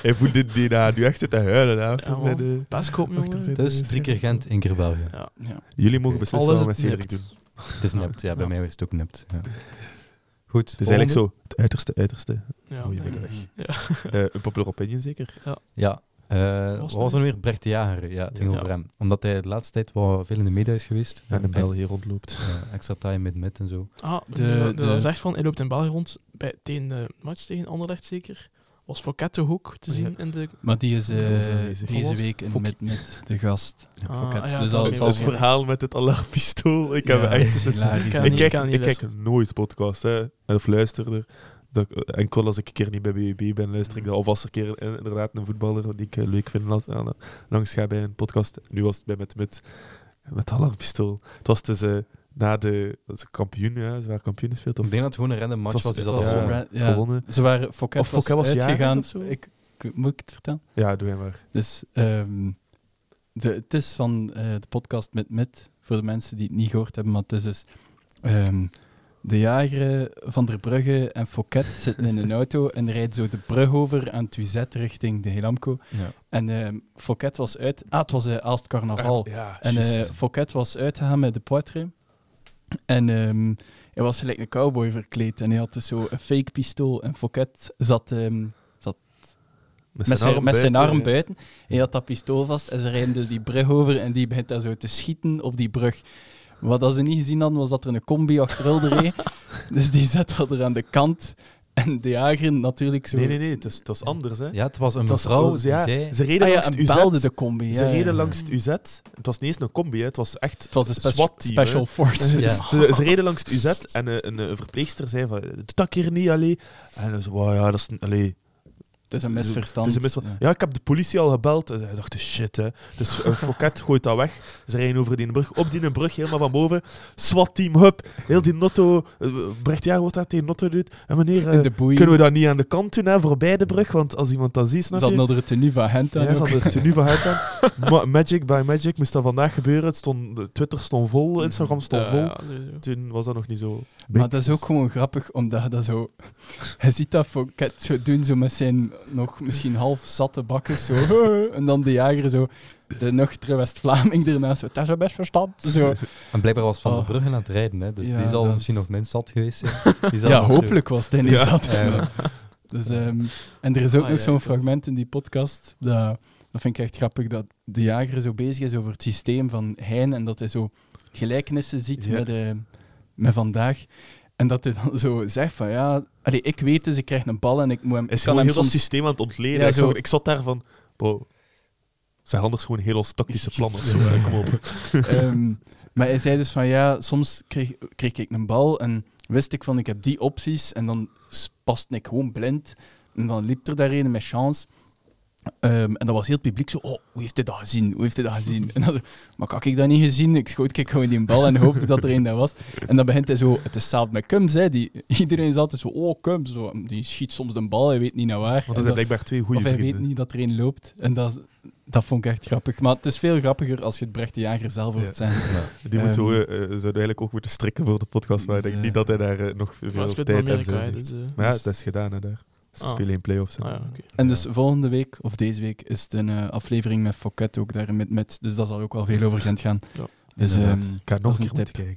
Speaker 3: Hij voelde die na nu echt het huilen. Hè,
Speaker 2: Ja, man. Paaskoop, jongen.
Speaker 3: Achter zijn-
Speaker 1: Dus drie keer Gent, één keer België.
Speaker 2: Ja.
Speaker 4: Ja.
Speaker 3: eh, Jullie mogen
Speaker 1: Oké.
Speaker 3: beslissen
Speaker 2: Alles
Speaker 3: wat we
Speaker 2: is
Speaker 3: met
Speaker 2: het
Speaker 3: Cedric
Speaker 2: nipt.
Speaker 3: doen.
Speaker 1: Het is nipt. Ja, bij
Speaker 2: Ja.
Speaker 1: mij is het ook nipt. Ja. Goed.
Speaker 3: Het is eigenlijk zo, het uiterste, uiterste.
Speaker 2: Ja,
Speaker 3: Oh, je
Speaker 2: nee.
Speaker 3: bent weg.
Speaker 2: Ja.
Speaker 3: Eh, een popular opinion zeker?
Speaker 1: Ja. eh, wat
Speaker 2: was
Speaker 1: was dan
Speaker 2: dat?
Speaker 1: weer Brecht de Jager? Ja, het ging
Speaker 2: Ja.
Speaker 1: over hem. Omdat hij de laatste tijd wel veel in de media is geweest.
Speaker 3: En een
Speaker 1: Hij-
Speaker 3: bel hier rondloopt.
Speaker 1: ja, extra time met met en zo.
Speaker 2: Ah,
Speaker 4: De-
Speaker 2: de, de,
Speaker 4: de-
Speaker 2: dat is echt van, hij loopt in België rond, bij, tegen de match tegen Anderlecht zeker. Was Fouquet toch ook te
Speaker 3: Ja.
Speaker 2: zien in de...
Speaker 4: Maar die is eh,
Speaker 3: Dat was aanwezig.
Speaker 4: deze
Speaker 2: Wat?
Speaker 4: week in
Speaker 3: Fokkie.
Speaker 4: met, met de gast.
Speaker 2: Ah,
Speaker 4: Fouquet.
Speaker 2: ja,
Speaker 4: Dus
Speaker 2: dat
Speaker 4: al-
Speaker 2: weet
Speaker 4: zal-
Speaker 3: Het
Speaker 2: ik wel.
Speaker 3: verhaal met het alarmpistool. Ik heb
Speaker 4: Ja,
Speaker 3: echt...
Speaker 4: dat is hilarisch.
Speaker 2: Ik
Speaker 4: Ja,
Speaker 2: kan
Speaker 3: ik
Speaker 2: niet-
Speaker 3: kijk,
Speaker 2: kan niet
Speaker 3: ik kijk
Speaker 2: luisteren.
Speaker 3: nooit podcasts, hè, of luister er. Dat, ik- enkel als ik een keer niet bij BBB ben, luister
Speaker 2: Mm.
Speaker 3: ik dat. Of als er een keer eh, inderdaad een voetballer die ik eh, leuk vind las- aan- langs ga bij een podcast. Nu was het bij Met Met, met alarmpistool. Het was dus eh, na de dat is kampioen, ja, ze waren kampioen gespeeld. Of
Speaker 1: Ik denk dat het gewoon een random match
Speaker 3: Het
Speaker 1: was.
Speaker 3: was-
Speaker 1: dus
Speaker 3: het
Speaker 1: dat
Speaker 3: was
Speaker 1: was
Speaker 3: zo
Speaker 1: gewoon-
Speaker 4: ra- ja.
Speaker 3: gewonnen.
Speaker 4: Ze waren, Fouquet
Speaker 3: Of Fouquet
Speaker 4: was
Speaker 3: was jarig
Speaker 4: uitgegaan.
Speaker 3: of zo?
Speaker 4: Ik, ik- moet ik het vertellen?
Speaker 3: Ja, doe jij maar.
Speaker 4: Dus ehm, de, het is van eh, de podcast met Mit, voor de mensen die het niet gehoord hebben, maar het is dus ehm, de jager eh, Van der Brugge en Fouquet zitten in een auto en rijden zo de brug over aan Tuzet richting de Helamco.
Speaker 1: Ja.
Speaker 4: En ehm, Fouquet was uit... Ah, het was eh Aalst Carnaval.
Speaker 3: Ah, Ja,
Speaker 4: en eh,
Speaker 3: juist.
Speaker 4: Fouquet was uitgegaan met de poitre. En ehm, hij was gelijk een cowboy verkleed en hij had dus zo een fake pistool. En Fouquet zat... ehm, met zijn, met zijn arm
Speaker 3: ja.
Speaker 4: buiten. Hij had dat pistool vast en ze rijden dus die brug over en die begint daar zo te schieten op die brug. Wat dat ze niet gezien hadden, was dat er een combi achterover reed. dus die zet dat er aan de kant. En de jager natuurlijk zo...
Speaker 3: Nee, nee, nee, het was, het was anders. Hè.
Speaker 1: ja, het was een
Speaker 3: Het was
Speaker 1: mevrouw
Speaker 3: oh,
Speaker 1: die
Speaker 3: ze- ja,
Speaker 1: zei...
Speaker 3: Ze reden
Speaker 4: Ah ja,
Speaker 3: langs
Speaker 4: en
Speaker 3: het UZ.
Speaker 4: belde de combi.
Speaker 3: Ze
Speaker 4: ja, ja,
Speaker 3: reden
Speaker 4: ja.
Speaker 3: langs het UZ. Het was niet eens een combi, hè. het was echt
Speaker 4: Het was een spec-
Speaker 3: SWAT-team, hè. Dus
Speaker 4: special force.
Speaker 1: Ja.
Speaker 3: Ze, ze reden langs het UZ en eh, een, eh, verpleegster zei van, doe dat hier niet, allee. En dan zo, "Wauw, ja, dat is, een- allee,
Speaker 4: Het is een
Speaker 3: dat
Speaker 4: misverstand.
Speaker 3: is een misver- ja. ik heb de politie al gebeld. En hij dacht, shit, hè. Dus een Fouquet gooit dat weg. Ze rijden over die brug, op die brug, helemaal van boven. SWAT-team, hup. Heel die notto, eh, Brecht Jaar wordt dat tegen notto doet. En meneer, eh,
Speaker 4: In de boei.
Speaker 3: kunnen we dat niet aan de kant doen, hè, voorbij de brug? Want als iemand dat ziet, snap
Speaker 4: Ze
Speaker 3: je?
Speaker 4: hadden er een tenue van Hent aan
Speaker 3: Ja, ze
Speaker 4: ook.
Speaker 3: hadden het tenue van Huid aan. Ma- Magic by Magic moest dat vandaag gebeuren. Het stond, de Twitter stond vol, Instagram stond
Speaker 2: Ja,
Speaker 3: vol.
Speaker 2: ja, sowieso.
Speaker 3: Toen was dat nog niet zo.
Speaker 4: Maar dat is ook gewoon grappig, omdat je dat zo... Hij ziet dat Fouquet zo doen, zo met zijn nog misschien half zatte bakken, zo. En dan de jager zo... de nuchtere West-Vlaming ernaast. Zo, dat is een best verstand. Zo.
Speaker 1: En blijkbaar was Van der
Speaker 4: Oh.
Speaker 1: Bruggen aan het rijden, hè, dus
Speaker 4: Ja,
Speaker 1: die zal
Speaker 4: dat
Speaker 1: misschien
Speaker 4: is-
Speaker 1: nog mens zat geweest zijn. Die zal
Speaker 4: Ja,
Speaker 1: nog zo-
Speaker 4: hopelijk was het in
Speaker 3: Ja.
Speaker 4: zat.
Speaker 1: Ja.
Speaker 4: Dus, ehm, en er is ook
Speaker 2: Ah,
Speaker 4: nog
Speaker 2: ja,
Speaker 4: zo'n
Speaker 2: ja.
Speaker 4: fragment in die podcast, dat, dat vind ik echt grappig, dat de jager zo bezig is over het systeem van Hein en dat hij zo gelijkenissen ziet
Speaker 3: Ja.
Speaker 4: met, eh, met vandaag. En dat hij dan zo zegt van, ja, allee, ik weet dus, ik krijg een bal en ik moet hem...
Speaker 3: Hij is
Speaker 4: ik kan
Speaker 3: gewoon
Speaker 4: hem
Speaker 3: heel dat
Speaker 4: soms-
Speaker 3: systeem aan het ontleden.
Speaker 4: Ja,
Speaker 3: ik,
Speaker 4: zo-
Speaker 3: zag- ik zat daar van... Bro, zeg anders gewoon heel ons tactische plan of zo.
Speaker 4: Ja.
Speaker 3: hè, Kom op.
Speaker 4: Ehm, maar hij zei dus van ja, soms kreeg, kreeg ik een bal en wist ik van ik heb die opties en dan s- paste ik gewoon blind. En dan liep er daar een met chance. Ehm, en dan was heel het publiek zo, oh, hoe heeft hij dat gezien? Hoe heeft hij dat gezien? En dan zo, maar had ik dat niet gezien? Ik schoot kijk gewoon die bal en hoopte dat er een daar was. En dan begint hij zo, het is hetzelfde met Cums, hè. Die, iedereen is altijd zo, oh, Cums. Zo, die schiet soms een bal, hij weet niet naar waar. En
Speaker 3: Want er
Speaker 4: dan-
Speaker 3: zijn blijkbaar twee goede
Speaker 4: of hij weet
Speaker 3: vrienden.
Speaker 4: niet dat er een loopt. En dat, dat vond ik echt grappig. Maar het is veel grappiger als je het Brecht de Jager zelf hoort zijn.
Speaker 3: Die moeten we,
Speaker 4: Ehm.
Speaker 3: eh, zouden we eigenlijk ook moeten strikken voor de podcast. Maar ik denk
Speaker 4: Ja.
Speaker 3: niet dat hij daar eh, nog
Speaker 2: Maar
Speaker 3: veel
Speaker 2: het speelt in
Speaker 3: tijd aan
Speaker 2: Amerika,
Speaker 3: zijn
Speaker 2: hè, dus...
Speaker 3: heeft.
Speaker 2: eh,
Speaker 3: Maar ja, dat is gedaan hè, daar. Ze
Speaker 2: Ah.
Speaker 3: spelen in play-offs. hè.
Speaker 2: ah, ja, oké.
Speaker 4: En dus volgende week, of deze week, is het een eh, aflevering met Fouquet ook daar met, met. Dus dat zal ook wel veel over Gent gaan.
Speaker 2: Ja.
Speaker 4: Dus ehm,
Speaker 3: Inderdaad. Ik ga
Speaker 4: dat
Speaker 3: nog
Speaker 4: is
Speaker 3: een
Speaker 4: een
Speaker 3: keer moeten
Speaker 4: tip.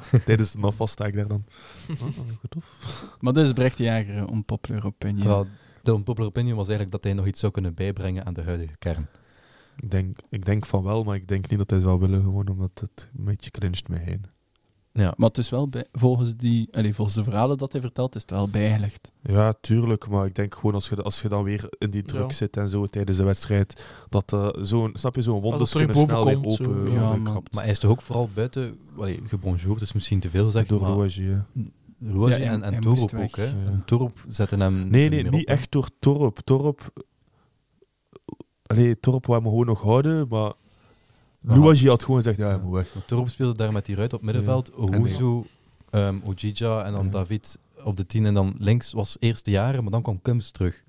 Speaker 3: kijken. Tijdens de afval sta ik daar dan. Oh, oh, goed of?
Speaker 4: Maar dus Brecht de Jager, eh, unpopular opinion.
Speaker 1: Ja, de unpopular opinion was eigenlijk dat hij nog iets zou kunnen bijbrengen aan de huidige kern.
Speaker 3: Ik denk, ik denk van wel, maar ik denk niet dat hij zou willen. Gewoon omdat het een beetje cringet mij heen.
Speaker 1: Ja.
Speaker 4: Maar het is wel bij, volgens, die, allee, volgens de verhalen dat hij vertelt, is het wel bijgelegd.
Speaker 3: Ja, tuurlijk. Maar ik denk gewoon als je, als je dan weer in die druk
Speaker 2: Ja.
Speaker 3: zit en zo tijdens de wedstrijd. Dat eh, zo'n, snap je, zo'n wonders
Speaker 2: terug
Speaker 3: kunnen
Speaker 2: boven
Speaker 3: snel weer
Speaker 2: komt, zo.
Speaker 3: open eh,
Speaker 2: Ja,
Speaker 3: worden
Speaker 4: maar-
Speaker 3: gekrapt.
Speaker 1: Maar hij is toch ook vooral buiten, allee, gebonjourd is misschien te veel gezegd,
Speaker 3: Door
Speaker 1: maar
Speaker 3: Louagie, hè.
Speaker 1: Roosje
Speaker 4: Ja, hij-
Speaker 1: en, en
Speaker 4: hij
Speaker 1: Torop
Speaker 4: moest
Speaker 1: ook. Hè.
Speaker 4: weg.
Speaker 3: Ja.
Speaker 1: En Torop zetten hem
Speaker 3: Nee,
Speaker 1: er
Speaker 3: nee,
Speaker 1: meer
Speaker 3: niet
Speaker 1: op, hè.
Speaker 3: echt door Torp. Torp... Allee, Torp wou hem gewoon nog houden, maar... Louagie had gewoon gezegd, ja, hij moet weg.
Speaker 1: Want Torop speelde daar met die ruit op middenveld. Owuzu, ehm Ojija en dan
Speaker 3: Ja.
Speaker 1: David op de tien. En dan links was eerste jaren, maar dan kwam Kums terug.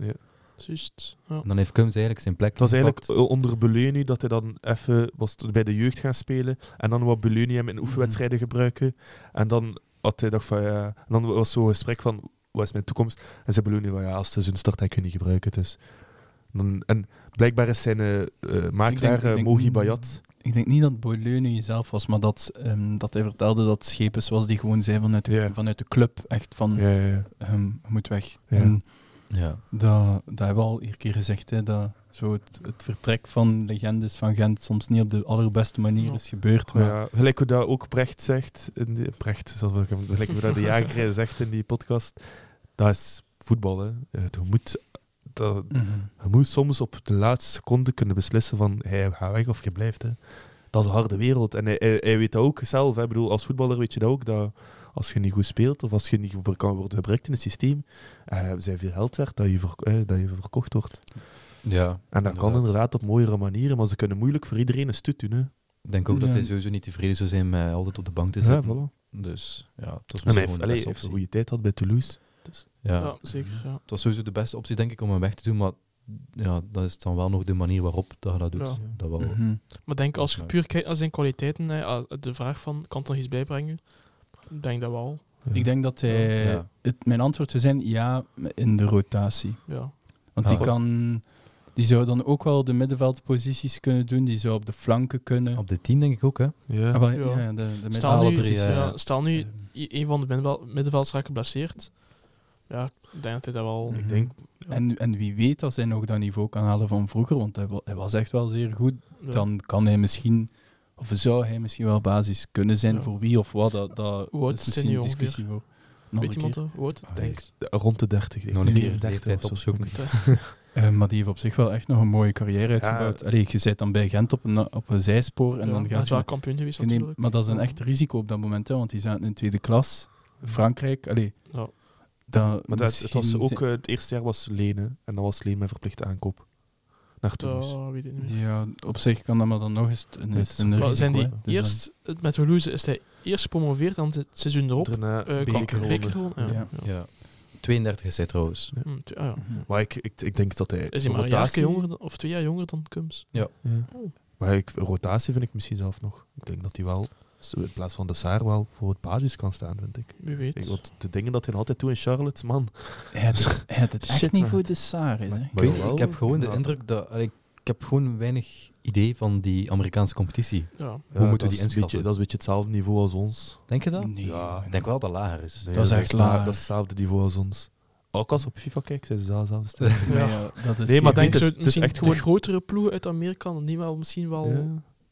Speaker 2: Juist. Ja.
Speaker 1: En dan heeft Kums eigenlijk zijn plek
Speaker 3: Het was eigenlijk
Speaker 1: gepakt.
Speaker 3: eh, onder Beleunie dat hij dan even was t- bij de jeugd gaan spelen. En dan wat Beleunie hem in
Speaker 4: Mhm.
Speaker 3: oefenwedstrijden gebruiken. En dan had hij dacht van ja. En dan was zo'n gesprek van wat is mijn toekomst? En zei Beleunie van ja, als het seizoen start, hij kun je niet gebruiken. Dus. Dan, en blijkbaar is zijn eh, eh,
Speaker 4: Ik denk-
Speaker 3: makelaar
Speaker 4: ik
Speaker 3: eh,
Speaker 4: denk- mm.
Speaker 3: Mogi Bayat.
Speaker 4: Ik denk niet dat Boileu jezelf was, maar dat, ehm, dat hij vertelde dat schepen zoals die gewoon zijn vanuit de,
Speaker 3: Ja.
Speaker 4: vanuit de club. Echt van,
Speaker 3: Ja, ja, ja.
Speaker 4: ehm, je moet weg.
Speaker 3: Ja.
Speaker 4: En
Speaker 1: Ja.
Speaker 4: Dat, dat hebben we al een keer gezegd, hè, dat zo het, het vertrek van legendes van Gent soms niet op de allerbeste manier
Speaker 2: Ja.
Speaker 4: is gebeurd.
Speaker 3: Maar
Speaker 4: Maar
Speaker 3: ja, gelijk hoe dat ook Brecht zegt, in die, Brecht, zal ik hem- gelijk hoe dat de jager zegt in die podcast, dat is voetbal. Hè. Eh, Je moet, dat,
Speaker 4: Mhm.
Speaker 3: je moet soms op de laatste seconde kunnen beslissen van hij gaat weg of je blijft. Hè. Dat is een harde wereld. En hij, hij, hij weet dat ook zelf. Hè. Ik bedoel, als voetballer weet je dat ook, dat als je niet goed speelt of als je niet gebru- kan worden gebruikt in het systeem, eh, zijn veel geld werd dat je, ver- eh, dat je verkocht wordt.
Speaker 1: ja.
Speaker 3: En dat kan inderdaad op mooiere manieren, maar ze kunnen moeilijk voor iedereen een stoet doen. Hè.
Speaker 1: Ik denk ook dat
Speaker 4: Ja.
Speaker 1: hij sowieso niet tevreden zou zijn met altijd op de bank te
Speaker 3: ja,
Speaker 1: zitten.
Speaker 3: voilà.
Speaker 1: Dus ja, het was
Speaker 3: En hij
Speaker 1: misschien
Speaker 3: heeft,
Speaker 1: gewoon de beste
Speaker 3: allee, hij heeft een
Speaker 1: optie.
Speaker 3: goede tijd gehad bij Toulouse.
Speaker 1: Ja.
Speaker 2: Ja, zeker.
Speaker 3: Mhm.
Speaker 2: Ja.
Speaker 1: Het was sowieso de beste optie, denk ik, om hem weg te doen. Maar ja, dat is dan wel nog de manier waarop dat je dat doet.
Speaker 2: Ja.
Speaker 1: Dat wel.
Speaker 4: Mhm.
Speaker 2: Maar denk, als je
Speaker 1: Ja.
Speaker 2: puur kijkt naar zijn kwaliteiten, hè, als- de vraag van, kan het nog iets bijbrengen? Ik denk dat wel.
Speaker 4: Ik denk dat hij...
Speaker 1: Ja.
Speaker 4: Het, mijn antwoord zou zijn ja in de rotatie.
Speaker 2: Ja.
Speaker 4: Want
Speaker 1: Ja.
Speaker 4: die kan... Die zou dan ook wel de middenveldposities kunnen doen, die zou op de flanken kunnen.
Speaker 1: Op de 10 denk ik ook, hè?
Speaker 3: Ja.
Speaker 4: Ah, wel,
Speaker 2: Ja.
Speaker 4: ja, de, de
Speaker 2: Stel nu,
Speaker 1: drie,
Speaker 4: middenveldposities.
Speaker 1: eh,
Speaker 2: ja, stel nu
Speaker 4: Ehm,
Speaker 2: i- een van de middenvel- middenvelders raakt geblesseerd. Ja, ik denk dat hij dat wel...
Speaker 4: Mhm.
Speaker 3: Ik denk,
Speaker 4: En, en wie weet als hij nog dat niveau kan halen van vroeger, want hij, wa- hij was echt wel zeer goed.
Speaker 2: ja.
Speaker 4: dan kan hij misschien, of zou hij misschien wel basis kunnen zijn
Speaker 2: Ja.
Speaker 4: voor wie of wat. Dat, dat,
Speaker 2: Hoe oud
Speaker 4: dat is
Speaker 2: is
Speaker 4: misschien
Speaker 2: hij
Speaker 4: een
Speaker 2: nu
Speaker 4: discussie voor. een
Speaker 2: Weet
Speaker 4: andere
Speaker 2: iemand
Speaker 4: keer.
Speaker 2: dat? Hoe oud?
Speaker 1: Ah,
Speaker 3: denk
Speaker 1: ik-
Speaker 3: rond de 30. denk
Speaker 1: Nog een
Speaker 3: ik.
Speaker 1: keer
Speaker 3: 30
Speaker 1: leeftijd
Speaker 3: of zo.
Speaker 1: opzoeken.
Speaker 4: Eh, maar die heeft op zich wel echt nog een mooie carrière
Speaker 3: Ja.
Speaker 4: uitgebouwd. Allee, je zit dan bij Gent op een, op een zijspoor en
Speaker 2: Ja,
Speaker 4: dan
Speaker 2: hij
Speaker 4: gaat
Speaker 2: is wel
Speaker 4: je...
Speaker 2: kampioen geweest
Speaker 4: je neemt-
Speaker 2: natuurlijk.
Speaker 4: maar dat is een
Speaker 2: Ja.
Speaker 4: echt risico op dat moment, hè, want die zaten in tweede klas. Frankrijk, allee.
Speaker 2: Ja.
Speaker 4: Dat
Speaker 3: Maar dat, het, was
Speaker 4: misschien
Speaker 3: ook, eh, het eerste jaar was lenen. En dan was lenen met verplichte aankoop. Naar Toulouse.
Speaker 2: Ja, weet ik niet meer.
Speaker 4: zijn- Ja, op zich kan dat maar dan nog eens een,
Speaker 3: Nee, het is
Speaker 4: een
Speaker 2: Maar
Speaker 3: ook-
Speaker 4: risico,
Speaker 2: zijn die
Speaker 4: hè. Dus dan-
Speaker 2: eerst, het met Toulouse is hij eerst gepromoveerd en het seizoen erop
Speaker 3: Daarna
Speaker 2: eh, kwam
Speaker 3: bekerronde.
Speaker 2: Beker gewonnen. Ja.
Speaker 4: Ja.
Speaker 2: Ja.
Speaker 1: Ja. 32 is hij trouwens.
Speaker 2: Hm, tw- ah, ja.
Speaker 4: Mhm.
Speaker 3: Maar ik, ik, ik denk dat hij...
Speaker 2: Is hij maar een jaar
Speaker 3: rotatie-
Speaker 2: jonger dan, of twee jaar jonger dan Kums?
Speaker 3: Ja.
Speaker 2: Oh.
Speaker 3: Maar ik, rotatie vind ik misschien zelf nog. Ik denk dat hij wel, zo in plaats van de Saar, wel voor het basis kan staan, vind ik.
Speaker 2: Wie
Speaker 3: ik
Speaker 2: weet.
Speaker 3: want de dingen dat hij altijd doet in Charlotte, man.
Speaker 4: Hij had het, hij had het echt
Speaker 3: Shit,
Speaker 4: niet
Speaker 3: man.
Speaker 4: voor de Saar, hè.
Speaker 1: Ik, weet niet,
Speaker 3: jawel.
Speaker 1: ik heb gewoon de
Speaker 3: Ja.
Speaker 1: indruk dat... allee, Ik heb gewoon weinig idee van die Amerikaanse competitie.
Speaker 2: Ja.
Speaker 1: Hoe moeten we die
Speaker 3: dat is een
Speaker 1: inschatten?
Speaker 3: beetje- Dat is een beetje hetzelfde niveau als ons.
Speaker 1: Denk je dat?
Speaker 4: Nee.
Speaker 3: Ja.
Speaker 1: Ik denk wel dat lager is.
Speaker 3: Mm. Nee,
Speaker 4: Dat is echt
Speaker 3: la-
Speaker 4: laag.
Speaker 3: Dat is hetzelfde niveau als ons. Ook als op FIFA kijk, zijn ze daar zelfs.
Speaker 4: Nee,
Speaker 2: Ja.
Speaker 4: ja, dat is
Speaker 3: Nee, maar
Speaker 4: hier-
Speaker 3: denk
Speaker 2: Ik
Speaker 3: het is-
Speaker 2: zou
Speaker 3: het is
Speaker 2: misschien
Speaker 3: echt
Speaker 2: de
Speaker 3: gewoon-
Speaker 2: grotere ploegen uit Amerika dan die wel misschien wel...
Speaker 3: Ja.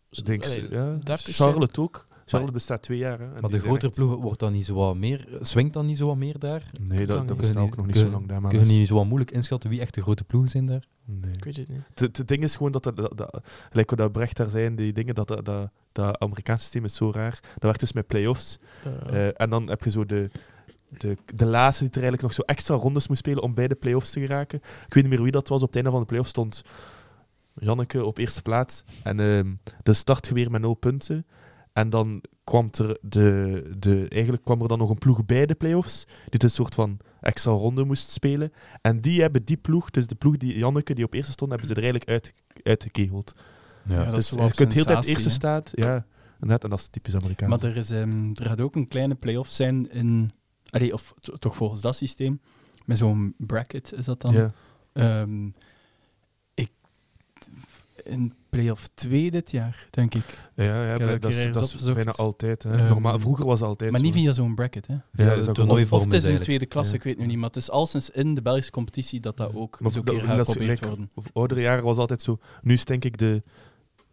Speaker 2: z-
Speaker 3: Denk
Speaker 2: allee,
Speaker 3: ze, ja.
Speaker 2: deftig
Speaker 3: Charlotte ook. Charlotte bestaat twee jaar. Hè, en
Speaker 1: Maar
Speaker 3: die
Speaker 1: de
Speaker 3: zijn
Speaker 1: grotere
Speaker 3: echt-
Speaker 1: ploegen wordt dan niet zo wat meer, swingt dan niet zo wat meer daar?
Speaker 3: Nee,
Speaker 2: Dan
Speaker 3: dat, dat
Speaker 2: niet.
Speaker 3: bestaat ook
Speaker 1: Kun-
Speaker 3: nog niet zo
Speaker 1: kun-
Speaker 3: lang. Daar, maar
Speaker 1: Kun je
Speaker 3: dat is-
Speaker 1: niet zo wat moeilijk inschatten wie echt de grote ploegen zijn daar?
Speaker 3: Nee.
Speaker 2: zijn. Ik weet het niet.
Speaker 3: Het- Het het ding is gewoon dat, dat, dat, dat gelijk wat dat Brecht daar zei, die dingen, dat, dat, dat, dat Amerikaanse systeem is zo raar. Dat werkt dus met play-offs.
Speaker 2: Eh,
Speaker 3: Eh, en dan heb je zo de, de, de laatste die er eigenlijk nog zo extra rondes moest spelen om bij de play-offs te geraken. Ik weet niet meer wie dat was. Op het einde van de play-offs stond Janneke op eerste plaats. En ehm de start weer met nul punten. En dan kwam er, de, de, eigenlijk kwam er dan nog een ploeg bij de play-offs, die een soort van extra ronde moest spelen. En die hebben die ploeg, dus de ploeg die Janneke die op eerste stond, hebben ze er eigenlijk uit, uitgekegeld.
Speaker 4: Ja, dat
Speaker 3: Dus
Speaker 4: is
Speaker 3: je
Speaker 4: wel
Speaker 3: kunt heel de tijd
Speaker 4: sensatie,
Speaker 3: eerste
Speaker 4: hè.
Speaker 3: staat. Ja, net, en dat is typisch Amerikaans.
Speaker 4: Maar er, is, ehm, er gaat ook een kleine play-off zijn in... Allee, of to- toch volgens dat systeem. Met zo'n bracket is dat dan.
Speaker 3: Ja.
Speaker 4: Ehm, ik... In play-off 2 dit jaar, denk ik.
Speaker 3: Ja, ja,
Speaker 4: heb
Speaker 3: bij-
Speaker 4: dat
Speaker 3: dat,
Speaker 4: hier
Speaker 3: is,
Speaker 4: ergens
Speaker 3: dat is
Speaker 4: opgezocht.
Speaker 3: bijna altijd. Hè.
Speaker 4: Ehm,
Speaker 3: Normaal, vroeger was het altijd
Speaker 4: Maar niet
Speaker 3: zo.
Speaker 4: via zo'n bracket, hè.
Speaker 3: Ja,
Speaker 1: Ja,
Speaker 3: dat is
Speaker 1: het
Speaker 3: ook
Speaker 1: toernooi-
Speaker 3: wel-
Speaker 4: Of, of het is in
Speaker 1: eigenlijk.
Speaker 4: de tweede klasse,
Speaker 3: Ja.
Speaker 4: ik weet nu niet. Maar het is al sinds in de Belgische competitie dat dat ook
Speaker 3: Maar
Speaker 4: zo
Speaker 3: dat-
Speaker 4: keer
Speaker 3: dat
Speaker 4: gaat
Speaker 3: is
Speaker 4: geprobeerd
Speaker 3: gelijk.
Speaker 4: worden.
Speaker 3: of oudere jaren was altijd zo. Nu is denk ik de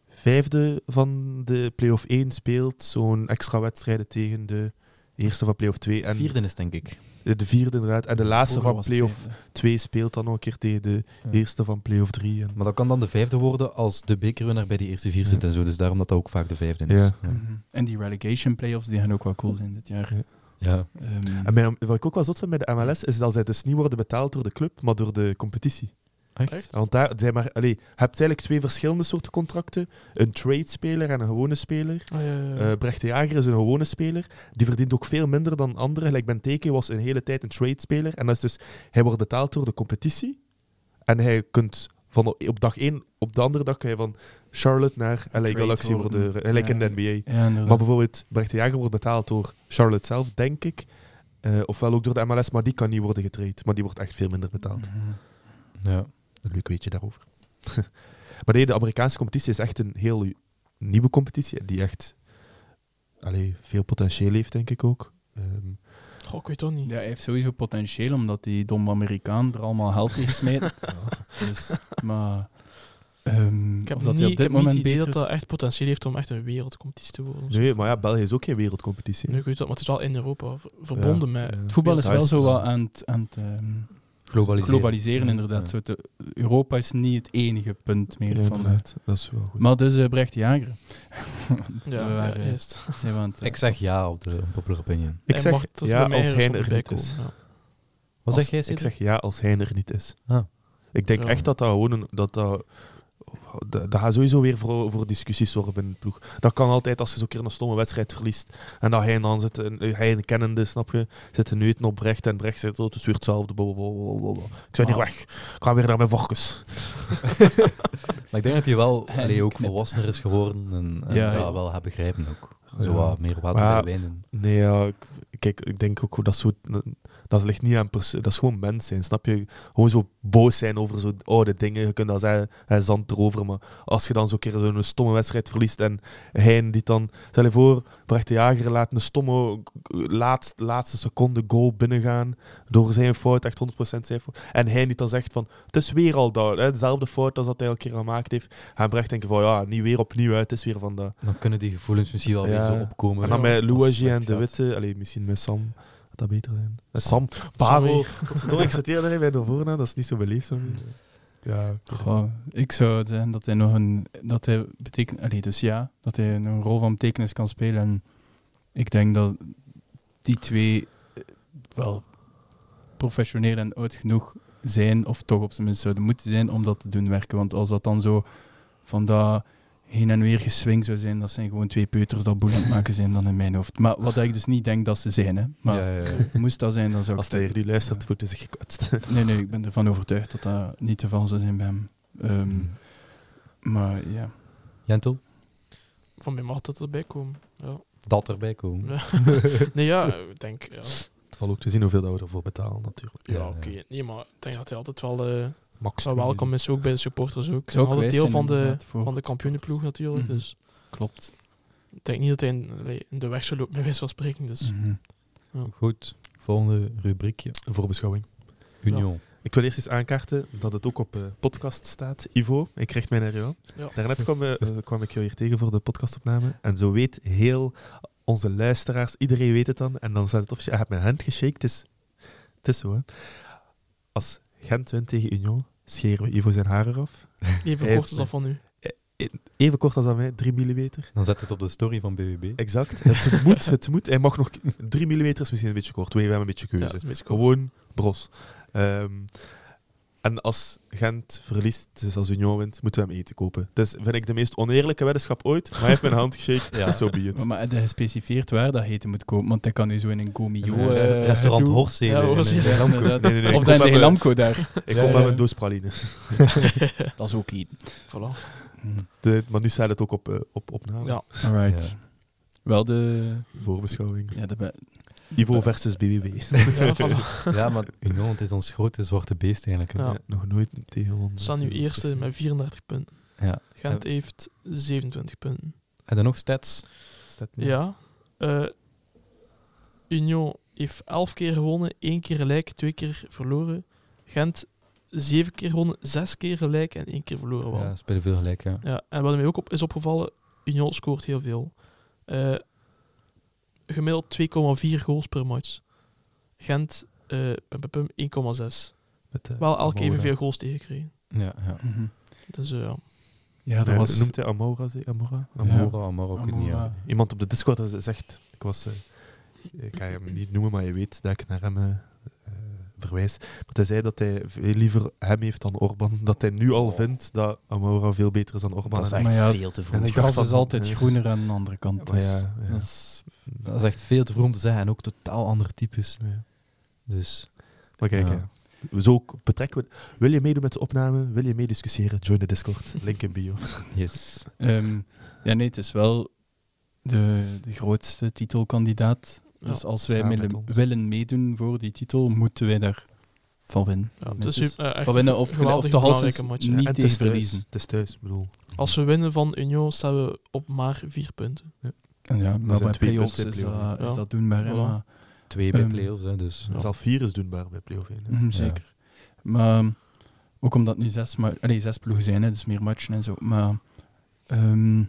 Speaker 3: vijfde van de play-off 1 speelt zo'n extra wedstrijden tegen de eerste van play-off 2. En
Speaker 1: Vierde is denk ik.
Speaker 3: eh, De vierde inderdaad. En de laatste
Speaker 4: Vroeger
Speaker 3: van
Speaker 4: was het
Speaker 3: play-off
Speaker 4: vijfde.
Speaker 3: 2 speelt dan nog een keer tegen de
Speaker 4: Ja.
Speaker 3: eerste van play-off 3. En...
Speaker 1: Maar dat kan dan de vijfde worden als de bekerwinnaar bij die eerste vier
Speaker 3: Ja.
Speaker 1: zit en zo. Dus daarom dat dat ook vaak de vijfde is.
Speaker 3: Ja.
Speaker 1: Ja.
Speaker 4: Mhm. En die relegation play-offs die gaan ook wel cool zijn dit jaar.
Speaker 1: Ja.
Speaker 4: Ehm,
Speaker 3: En mijn- wat ik ook wel zot vind bij de MLS, is dat zij dus niet worden betaald door de club, maar door de competitie.
Speaker 1: Echt?
Speaker 3: Want daar zijn maar, allee, je hebt eigenlijk twee verschillende soorten contracten: een trade-speler en een gewone speler.
Speaker 2: ah, ja, ja, ja.
Speaker 3: Eh Brecht de Jager is een gewone speler. Die verdient ook veel minder dan anderen. Gelijk Ben Teke was een hele tijd een trade-speler. En dat is dus, hij wordt betaald door de competitie. En hij kunt van de- op dag één, op de andere dag, kan je van Charlotte naar LA
Speaker 4: Trade
Speaker 3: Galaxy
Speaker 4: worden.
Speaker 3: worden. eh, Gelijk in de
Speaker 4: Ja.
Speaker 3: NBA.
Speaker 4: ja, inderdaad.
Speaker 3: Maar bijvoorbeeld, Brecht de Jager wordt betaald door Charlotte zelf, denk ik. Eh, ofwel ook door de MLS, maar die kan niet worden getraind. Maar die wordt echt veel minder betaald.
Speaker 4: Mhm.
Speaker 1: Ja.
Speaker 3: Een leuk weetje daarover. maar nee, de Amerikaanse competitie is echt een heel nieuwe competitie. Die echt allee, veel potentieel heeft, denk ik ook. Ehm,
Speaker 2: Goh, ik weet het ook niet.
Speaker 4: Ja, hij heeft sowieso potentieel, omdat die domme Amerikaan er allemaal geld in gesmeten. dus, maar... ehm,
Speaker 2: Ik heb
Speaker 4: of dat
Speaker 2: niet,
Speaker 4: hij
Speaker 2: ik heb
Speaker 4: op dit
Speaker 2: niet het
Speaker 4: moment
Speaker 2: idee
Speaker 4: beter
Speaker 2: dat
Speaker 4: is.
Speaker 2: dat echt potentieel heeft om echt een wereldcompetitie te worden.
Speaker 3: nee, maar ja, België is ook geen wereldcompetitie. Eh,
Speaker 2: Nu, ik weet dat, maar het is wel in Europa ver- verbonden
Speaker 3: Ja,
Speaker 2: met...
Speaker 3: ja.
Speaker 4: Het voetbal is
Speaker 3: Ja,
Speaker 4: wel
Speaker 3: is-
Speaker 4: zo wat aan het, aan het ehm,
Speaker 1: Globaliseren.
Speaker 4: globaliseren,
Speaker 1: Ja.
Speaker 4: inderdaad.
Speaker 1: Ja.
Speaker 4: Zo te- Europa is niet het enige punt meer
Speaker 3: Ja,
Speaker 4: van...
Speaker 3: inderdaad. Dat is wel goed.
Speaker 4: Maar dus eh, Brecht Jager.
Speaker 2: Ja,
Speaker 4: We
Speaker 2: ja,
Speaker 4: waren-
Speaker 2: juist.
Speaker 4: zijn we aan het, eh,
Speaker 1: Ik zeg ja op de Unpopular Opinion.
Speaker 3: ik
Speaker 2: Hij
Speaker 3: zeg
Speaker 2: mag tot
Speaker 3: ja
Speaker 2: bij mij
Speaker 3: als hij
Speaker 2: ergens
Speaker 3: er
Speaker 2: voorbij
Speaker 3: niet is.
Speaker 2: komen,
Speaker 1: Wat
Speaker 3: Als-
Speaker 1: zeg jij,
Speaker 3: Ik
Speaker 1: Cedric?
Speaker 3: zeg ja als hij er niet is.
Speaker 1: Ah.
Speaker 3: Ik denk
Speaker 2: Ja.
Speaker 3: echt dat dat gewoon... Een, dat dat dat dat gaat sowieso weer voor, voor discussies zorgen binnen de ploeg. Dat kan altijd als je zo'n keer een stomme wedstrijd verliest. En dat hij dan zit, en hij een kennende, snap je, zit te neuten op Brecht. En Brecht zegt, oh, het is weer hetzelfde. blablabla. Ik ben hier
Speaker 4: Ah.
Speaker 3: weg. Ik ga weer naar mijn varkens.
Speaker 1: Maar ik denk dat hij wel
Speaker 4: En
Speaker 1: allee, ook
Speaker 4: knip.
Speaker 1: volwassener is geworden en, en
Speaker 4: Ja,
Speaker 1: dat
Speaker 4: ja.
Speaker 1: wel gaat begrijpen ook.
Speaker 3: Ja.
Speaker 1: Zo wat meer water bij
Speaker 3: Maar-
Speaker 1: de wijn. doen.
Speaker 3: Nee, ja, ik- kijk, ik denk ook dat zo, dat ligt niet aan persoon, dat is gewoon mens zijn, snap je? Gewoon zo boos zijn over zo'n oude dingen, je kunt dat zeggen, hij zand erover, maar als je dan zo'n keer zo'n stomme wedstrijd verliest en hij die het dan, stel je voor, Brecht de Jager laat een stomme laatste, laatste seconde goal binnengaan door zijn fout, echt 100% zijn fout, en hij die dan zegt van, het is weer al dat, hè, dezelfde fout als dat hij al een keer gemaakt heeft, en Brecht denkt van, ja, niet weer opnieuw, hè, het is weer van dat.
Speaker 1: Dan kunnen die gevoelens misschien wel
Speaker 3: Ja.
Speaker 1: weer zo opkomen.
Speaker 3: En dan
Speaker 1: Ja,
Speaker 3: met
Speaker 1: als het
Speaker 3: Louagie en
Speaker 1: slecht
Speaker 3: De
Speaker 1: gaat.
Speaker 3: Witte. Allee, misschien met Sam. Dat dat beter zijn. Met Sam. Paro. Godverdomme, ik zit hier bij de voorna. Dat is niet zo beleefd. Zo. Ja.
Speaker 4: Goh, ik zou zeggen dat hij nog een. Dat hij betekent. Allee, dus ja, dat hij een rol van betekenis kan spelen. En ik denk dat die twee eh, wel professioneel en oud genoeg zijn, of toch op zijn minst zouden moeten zijn, om dat te doen werken. Want als dat dan zo van dat heen en weer geswing zou zijn, dat zijn gewoon twee peuters dat boel aan het maken zijn dan in mijn hoofd. Maar wat ik dus niet denk dat ze zijn, hè. Maar
Speaker 1: Ja, ja, ja.
Speaker 4: moest dat zijn, dan zou ik...
Speaker 3: Als hij hier nu luistert, voelt hij zich gekwetst.
Speaker 4: Nee, nee, ik ben ervan overtuigd dat dat niet te val zou zijn bij hem.
Speaker 3: Hmm.
Speaker 4: Ehm, maar ja.
Speaker 1: Jentel,
Speaker 2: Van mij mag dat erbij komen. Ja.
Speaker 1: dat erbij komen.
Speaker 2: Ja. nee, ja, eh, ik denk... Ja,
Speaker 3: Het valt ook te zien hoeveel dat we ervoor betalen, natuurlijk.
Speaker 2: ja
Speaker 1: Ja,
Speaker 2: oké.
Speaker 1: ja.
Speaker 2: Nee, maar ik denk dat hij altijd wel... eh,
Speaker 3: Max.
Speaker 2: Maar welkom is ook bij de supporters ook.
Speaker 4: Zou ook
Speaker 2: Altijd
Speaker 4: wijs
Speaker 2: deel
Speaker 4: zijn
Speaker 2: van de,
Speaker 4: inderdaad voor
Speaker 2: van de
Speaker 4: de
Speaker 2: kampioenenploeg natuurlijk.
Speaker 4: Mhm.
Speaker 2: Dus
Speaker 4: Klopt.
Speaker 2: ik denk niet dat hij in, allee, in de weg zou lopen, bij wijze van spreken.
Speaker 4: Mhm.
Speaker 2: Dus.
Speaker 1: Goed, volgende rubriekje.
Speaker 3: Een voorbeschouwing.
Speaker 1: Union.
Speaker 3: Ik wil eerst eens aankaarten dat het ook op eh, podcast staat. Ivo, ik richt mij naar jou.
Speaker 2: Ja.
Speaker 3: Daarnet kwam, eh, eh, kwam ik jou hier tegen voor de podcastopname. En zo weet heel onze luisteraars, iedereen weet het dan. En dan staat het officieel. Hij heeft mijn hand geshaked. Het is, het is zo, hè. Als Gent wint tegen Union, scheren we Ivo zijn haren af.
Speaker 2: Even kort als
Speaker 3: Hij heeft-
Speaker 2: dat van nu.
Speaker 3: Even kort als aan mij, 3 mm.
Speaker 1: Dan zet het op de story van BBB.
Speaker 3: Exact. Het moet, het moet. Hij mag nog... 3 mm is misschien een beetje kort. We hebben een beetje
Speaker 2: Ja,
Speaker 3: keuze.
Speaker 2: het is een beetje kort.
Speaker 3: Gewoon bros. Ehm, en als Gent verliest, dus als Union wint, moeten we hem eten kopen. Dus vind ik de meest oneerlijke weddenschap ooit. Maar hij heeft mijn hand geshaked,
Speaker 1: Ja.
Speaker 3: dus zo so be it.
Speaker 4: Maar hij heeft gespecificeerd waar dat heten moet kopen, want hij kan nu zo in een gomio...
Speaker 3: Nee,
Speaker 4: eh,
Speaker 3: eh,
Speaker 1: Restaurant
Speaker 4: gedoe.
Speaker 1: Horstelen.
Speaker 2: Ja,
Speaker 1: in, eh,
Speaker 2: Horstelen.
Speaker 1: Lamco.
Speaker 4: Inderdaad.
Speaker 3: Nee, nee, nee.
Speaker 4: Of
Speaker 3: Kom
Speaker 4: dan
Speaker 3: maar
Speaker 4: in
Speaker 3: bij-
Speaker 4: Lamco daar.
Speaker 3: Ik
Speaker 1: Ja,
Speaker 3: kom
Speaker 1: ja.
Speaker 3: wel met een doos praline.
Speaker 4: Dat is ook iets.
Speaker 2: Voilà.
Speaker 4: Mhm.
Speaker 3: De- maar nu staat het ook op, eh, op opname.
Speaker 2: Ja.
Speaker 4: Alright.
Speaker 1: Ja.
Speaker 4: Wel de...
Speaker 3: Voorbeschouwing.
Speaker 4: Ja, de be-
Speaker 3: Ivo versus BBB.
Speaker 2: Ja, voilà.
Speaker 1: Ja, maar Union, het is ons grote zwarte beest eigenlijk. hè.
Speaker 2: Ja.
Speaker 3: Ja, nog nooit tegen Dus ons.
Speaker 2: We staan nu eerste met 34 punten.
Speaker 1: Ja.
Speaker 2: Gent heeft 27 punten.
Speaker 1: En dan nog stats.
Speaker 2: Ja. Eh Union heeft 11 keer gewonnen, 1 keer gelijk, 2 keer verloren. Gent 7 keer gewonnen, 6 keer gelijk en 1 keer verloren. wel.
Speaker 1: Ja, spelen veel gelijk, ja.
Speaker 2: Ja, en wat mij ook op, is opgevallen, Union scoort heel veel. Eh, gemiddeld 2,4 goals per match. Gent eh, pum, pum, pum, 1,6.
Speaker 3: Met, eh,
Speaker 2: Wel elke keer
Speaker 3: Amoura.
Speaker 2: evenveel goals tegengekregen.
Speaker 1: Ja, ja.
Speaker 4: Mhm.
Speaker 2: Dus eh, ja.
Speaker 4: Ja, dat
Speaker 3: Eh,
Speaker 4: was...
Speaker 3: Noemt hij Amora? ze- Amora? Amora.
Speaker 1: Amora, Amora, ik weet niet.
Speaker 4: Amora.
Speaker 1: ja.
Speaker 3: Iemand op de Discord dat ze- zegt, ik was, eh, ik ga hem niet noemen, maar je weet dat ik naar hem eh, eh, verwijs. Dat hij zei dat hij veel liever hem heeft dan Orban. Dat hij nu al vindt dat Amora veel beter is dan Orban.
Speaker 4: Oh. Dat is
Speaker 3: En
Speaker 4: echt Maar ja,
Speaker 5: veel te
Speaker 3: vroeg.
Speaker 4: Het
Speaker 3: Ik dacht
Speaker 4: gras is
Speaker 3: van-
Speaker 4: altijd
Speaker 3: eh.
Speaker 4: groener aan de andere kant.
Speaker 3: Maar
Speaker 4: Dus
Speaker 3: ja, ja.
Speaker 4: Dat is
Speaker 1: Dat is echt veel te vroeg om te zeggen. En ook totaal andere types.
Speaker 3: Ja.
Speaker 1: Dus
Speaker 3: Maar kijk,
Speaker 1: Ja.
Speaker 3: hè. zo k- betrekken we. Wil je meedoen met de opname? Wil je meediscussiëren? Join de Discord. Link in bio.
Speaker 4: dus
Speaker 1: yes.
Speaker 4: Ehm, ja, nee, het is wel de, de grootste titelkandidaat.
Speaker 2: Ja,
Speaker 4: dus als wij
Speaker 3: samen
Speaker 4: willen-
Speaker 3: met ons.
Speaker 4: willen meedoen voor die titel, moeten wij daar van winnen.
Speaker 3: Ja,
Speaker 2: Dus,
Speaker 4: is
Speaker 2: eh, echt
Speaker 4: van winnen
Speaker 2: een
Speaker 4: of, of
Speaker 2: geweldig
Speaker 4: de
Speaker 2: belangrijke
Speaker 4: halsen
Speaker 2: match.
Speaker 3: het
Speaker 4: niet tegen
Speaker 3: is thuis.
Speaker 4: verliezen.
Speaker 3: Het is thuis, ik bedoel.
Speaker 2: Als we winnen van Union staan we op maar 4 punten.
Speaker 4: En ja, maar
Speaker 3: zijn
Speaker 4: bij
Speaker 3: twee
Speaker 4: play-offs
Speaker 3: punten
Speaker 4: is,
Speaker 3: in play-off,
Speaker 4: dat-
Speaker 2: ja.
Speaker 4: is dat doenbaar. hè,
Speaker 2: Voilà.
Speaker 4: maar-
Speaker 1: Twee bij
Speaker 4: Ehm,
Speaker 1: play-offs, hè, dus...
Speaker 3: Zelf vier is doenbaar bij play
Speaker 4: Mhm, zeker. Maar ehm, ook omdat nu zes, ma- allee, zes ploegen zijn, hè, dus meer matchen en zo. Maar ehm,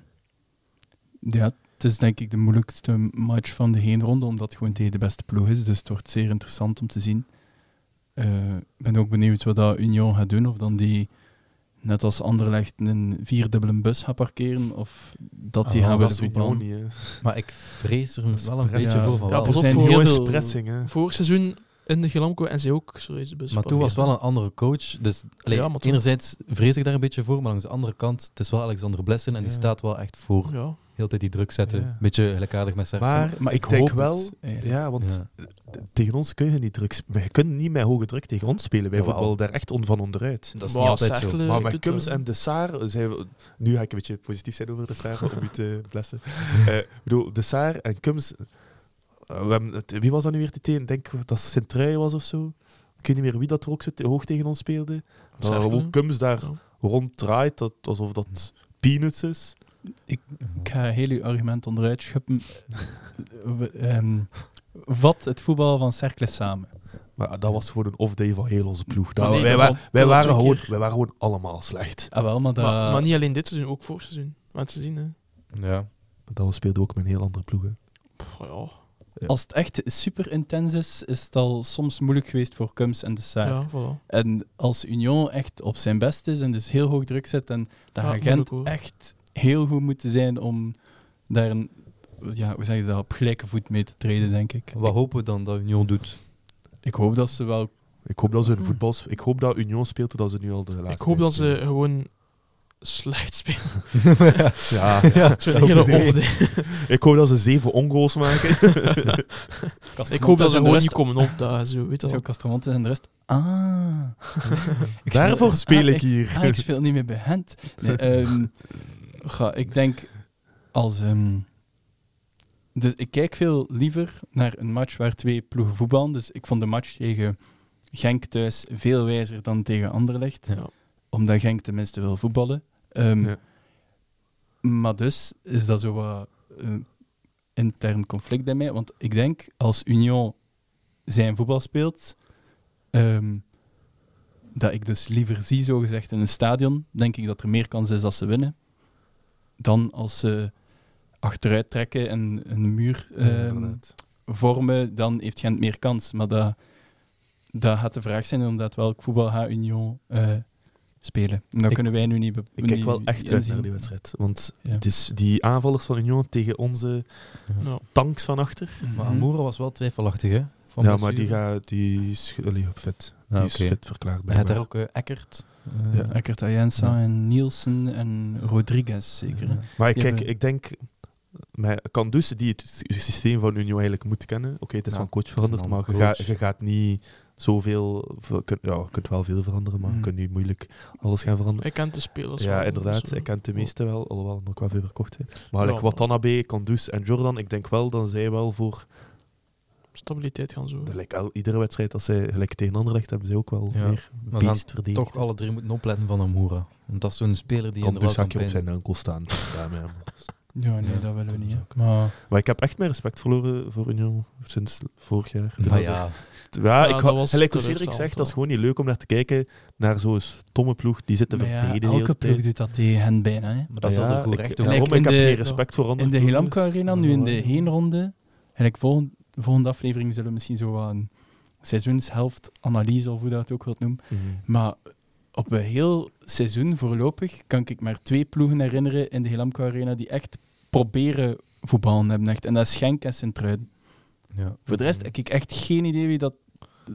Speaker 4: ja, het is denk ik de moeilijkste match van de heenronde, omdat het gewoon tegen de beste ploeg is. Dus het wordt zeer interessant om te zien. Eh, Ik ben ook benieuwd wat dat Union gaat doen. Of dan die, net als Anderlecht, een vierdubbele bus gaat parkeren. Of dat die
Speaker 1: Ah,
Speaker 4: gaan
Speaker 1: dat
Speaker 3: Dat is
Speaker 4: willen voetballen.
Speaker 3: Union niet, hè.
Speaker 1: Maar ik vrees er
Speaker 3: Dat is
Speaker 1: wel een beetje
Speaker 4: prettig.
Speaker 1: voor van
Speaker 2: Ja,
Speaker 1: wel.
Speaker 2: pas op
Speaker 4: zijn
Speaker 2: voor
Speaker 4: heel
Speaker 3: Gewoon
Speaker 4: veel-
Speaker 3: pressing, hè.
Speaker 2: Vorig seizoen in de Gelamco en ze ook zoiets
Speaker 3: Dus
Speaker 2: best
Speaker 1: Maar toen was wel een andere coach. Dus allee,
Speaker 2: Ja, maar toen-
Speaker 1: enerzijds vrees ik daar een beetje voor, maar langs de andere kant, het is wel Alexander Blessen en die
Speaker 3: Ja.
Speaker 1: staat wel echt voor
Speaker 2: Ja,
Speaker 1: heel tijd die druk zetten.
Speaker 3: Ja.
Speaker 1: Beetje gelijkaardig met Serpa.
Speaker 3: Maar,
Speaker 4: Maar
Speaker 3: ik,
Speaker 4: ik
Speaker 3: denk
Speaker 4: hoop
Speaker 3: wel...
Speaker 4: het, eigenlijk.
Speaker 3: ja, want
Speaker 1: Ja.
Speaker 3: t- tegen ons kun je niet druk spelen. Je kunt niet met hoge druk tegen ons spelen. Wij
Speaker 1: Jawel.
Speaker 3: voetballen daar echt on van onderuit.
Speaker 1: Dat is
Speaker 2: Wauw,
Speaker 1: niet altijd zo.
Speaker 2: Cercle,
Speaker 3: Maar
Speaker 2: ik
Speaker 3: met
Speaker 2: weet
Speaker 3: Kums
Speaker 2: wel.
Speaker 3: en de Saar, zijn we- nu ga ik een beetje positief zijn over de Saar om u te blessen. Eh, Ik bedoel, de Saar en Kums, eh, we hebben het- wie was dat nu weer die tegen? Ik denk dat Sint-Truijen was of zo. Ik weet niet meer wie dat er ook zo te- hoog tegen ons speelde. Dat
Speaker 2: Cercle.
Speaker 3: gewoon Kums daar
Speaker 2: Ja.
Speaker 3: ronddraait, dat, alsof dat peanuts is.
Speaker 4: Ik ga heel uw argument onderuit schuppen. We- ehm, vat het voetbal van Cercle samen.
Speaker 3: Maar dat was gewoon een off-day van heel onze ploeg. Dat-
Speaker 2: Nee,
Speaker 3: wij,
Speaker 2: dat
Speaker 3: wa-
Speaker 2: was al- dat
Speaker 3: wij
Speaker 2: was
Speaker 3: waren
Speaker 2: al
Speaker 3: gewoon,
Speaker 2: keer.
Speaker 3: wij waren gewoon allemaal slecht.
Speaker 4: Ah, wel, maar dat...
Speaker 2: maar, maar niet alleen dit seizoen, ook vorig seizoen. Want ze zien, hè.
Speaker 1: Ja.
Speaker 3: Want dan speelden we ook met een heel andere ploegen.
Speaker 2: Pff, ja.
Speaker 4: Als het echt super intens is, is het al soms moeilijk geweest voor Cums en de Saar.
Speaker 2: ja, voilà.
Speaker 4: En als Union echt op zijn best is en dus heel hoog druk zit, en dat
Speaker 2: Ja,
Speaker 4: gaat
Speaker 2: moeilijk,
Speaker 4: Gent
Speaker 2: hoor.
Speaker 4: echt heel goed moeten zijn om daar een, ja, hoe zeg je dat, op gelijke voet mee te treden, denk ik.
Speaker 1: Wat hopen we dan dat Union doet?
Speaker 4: Ik hoop dat ze wel...
Speaker 3: Ik hoop dat ze hun voetbal... Ik hoop dat Union speelt zodat ze nu al de laatste
Speaker 2: Ik hoop
Speaker 3: tijd
Speaker 2: dat ze
Speaker 3: spelen.
Speaker 2: gewoon slecht spelen.
Speaker 3: Ja,
Speaker 2: Zo'n hele off day.
Speaker 3: ik hoop dat ze zeven ongoals maken.
Speaker 2: Ik hoop dat ze gewoon
Speaker 4: de
Speaker 2: niet
Speaker 4: rust...
Speaker 2: komen opdagen, zo, weet je
Speaker 4: Zo,
Speaker 2: wel.
Speaker 4: Castramonte en de rust... Ah... Ik speel-
Speaker 3: Daarvoor speel
Speaker 4: Ah,
Speaker 3: ik hier.
Speaker 4: Ah, ik speel niet meer bij Gent. Nee, ehm, ga, ik denk als. ehm, dus ik kijk veel liever naar een match waar twee ploegen voetballen. Dus ik vond de match tegen Genk thuis veel wijzer dan tegen Anderlecht.
Speaker 2: Ja.
Speaker 4: Omdat Genk tenminste wil voetballen. Ehm,
Speaker 3: Ja.
Speaker 4: Maar dus is dat zo wat een intern conflict bij mij. Want ik denk, als Union zijn voetbal speelt, ehm, dat ik dus liever zie, zogezegd, in een stadion, denk ik dat er meer kans is dat ze winnen, dan als ze achteruit trekken en een muur
Speaker 3: Ja,
Speaker 4: ehm,
Speaker 3: inderdaad.
Speaker 4: vormen, dan heeft Gent meer kans. Maar dat, dat gaat de vraag zijn, inderdaad, welk voetbal gaat Union eh, spelen. En Dat
Speaker 3: Ik-
Speaker 4: kunnen wij nu niet be-
Speaker 3: Ik kijk
Speaker 4: niet
Speaker 3: wel echt uit naar
Speaker 4: inzien.
Speaker 3: die wedstrijd. Want
Speaker 4: Ja.
Speaker 3: het is die aanvallers van Union tegen onze
Speaker 2: Ja.
Speaker 3: tanks van achter.
Speaker 4: Mhm.
Speaker 1: Maar Amoura was wel twijfelachtig, hè? Van
Speaker 3: Ja, maar
Speaker 1: blessure.
Speaker 3: die, gaat, die is allee, op fit. Die
Speaker 1: Ah,
Speaker 3: is
Speaker 1: oké.
Speaker 3: fit verklaard
Speaker 1: Hij had daar
Speaker 3: blijkbaar.
Speaker 1: ook eh, Eckert.
Speaker 3: Ja.
Speaker 1: Eh,
Speaker 4: Eckert Ayensa
Speaker 1: Ja.
Speaker 4: en Nielsen en Rodriguez zeker. hè?
Speaker 3: Ja. Maar
Speaker 4: Die
Speaker 3: kijk,
Speaker 4: hebben-
Speaker 3: ik denk... Met Kandus, die het sy- systeem van Union eigenlijk moet kennen. Oké, het is
Speaker 1: Ja,
Speaker 3: van coach
Speaker 1: is een
Speaker 3: veranderd, maar je,
Speaker 1: andere
Speaker 3: gaat-
Speaker 1: coach.
Speaker 3: je gaat niet zoveel... ver- kun- Ja, je kunt wel veel veranderen, maar je
Speaker 4: Hmm.
Speaker 3: kunt niet moeilijk alles gaan veranderen.
Speaker 2: Hij kent de spelers.
Speaker 3: ja,
Speaker 2: wel,
Speaker 3: inderdaad.
Speaker 2: dus, eh,
Speaker 3: Ik ken de meeste wel, alhoewel er ook wel veel verkocht zijn. Maar like,
Speaker 2: Ja.
Speaker 3: Watanabe, Kandus en Jordan, ik denk wel dat zij wel voor...
Speaker 2: Stabiliteit gaan zo.
Speaker 3: dat lijkt el- iedere wedstrijd, als zij gelijk tegen Anderlecht hebben, ze ook wel
Speaker 1: Ja.
Speaker 3: meer
Speaker 1: Maar we gaan
Speaker 3: beest verdiend.
Speaker 1: toch alle drie moeten opletten van Amoura. Want dat is zo'n speler die
Speaker 3: Kandus
Speaker 1: inderdaad
Speaker 3: gaat hier dus op
Speaker 1: kan
Speaker 3: zijn enkel staan. Dus daarmee, ja.
Speaker 4: Ja, nee,
Speaker 1: Ja,
Speaker 4: dat willen we niet. hè.
Speaker 3: ook.
Speaker 4: Maar
Speaker 3: Maar ik heb echt mijn respect verloren voor Union sinds vorig jaar.
Speaker 1: pijn- Maar ja,
Speaker 3: Ja,
Speaker 2: Ja,
Speaker 3: ik
Speaker 2: dat
Speaker 3: had,
Speaker 2: was
Speaker 3: gelijk hoe Cedric
Speaker 2: teleurstellend,
Speaker 3: zegt,
Speaker 2: hoor.
Speaker 3: dat is gewoon niet leuk om naar te kijken naar zo'n stomme ploeg die zit te
Speaker 4: maar ja,
Speaker 3: verdedigen. de hele
Speaker 4: elke ploeg
Speaker 3: tijd.
Speaker 4: doet dat tegen hen bijna. Hè.
Speaker 1: maar dat is
Speaker 3: Ja,
Speaker 1: altijd goed
Speaker 3: ik-
Speaker 1: recht.
Speaker 3: ja,
Speaker 1: ook.
Speaker 4: Lijkt
Speaker 3: daarom, ik
Speaker 4: in
Speaker 3: heb
Speaker 4: de-
Speaker 3: geen respect voor anderen.
Speaker 4: In de Helamco
Speaker 3: ploegen, dus-
Speaker 4: Arena, nu in de
Speaker 3: Ja.
Speaker 4: heenronde. Eigenlijk volgende, volgende aflevering zullen we misschien zo wat een seizoenshelft analyse of hoe dat ook wilt noemen.
Speaker 3: Mhm.
Speaker 4: Maar op een heel seizoen voorlopig kan ik maar twee ploegen herinneren in de Helamco Arena die echt proberen voetballen hebben. Echt. En dat is Genk en Sint-Truiden.
Speaker 1: Ja.
Speaker 4: Voor de rest heb ik echt geen idee wie dat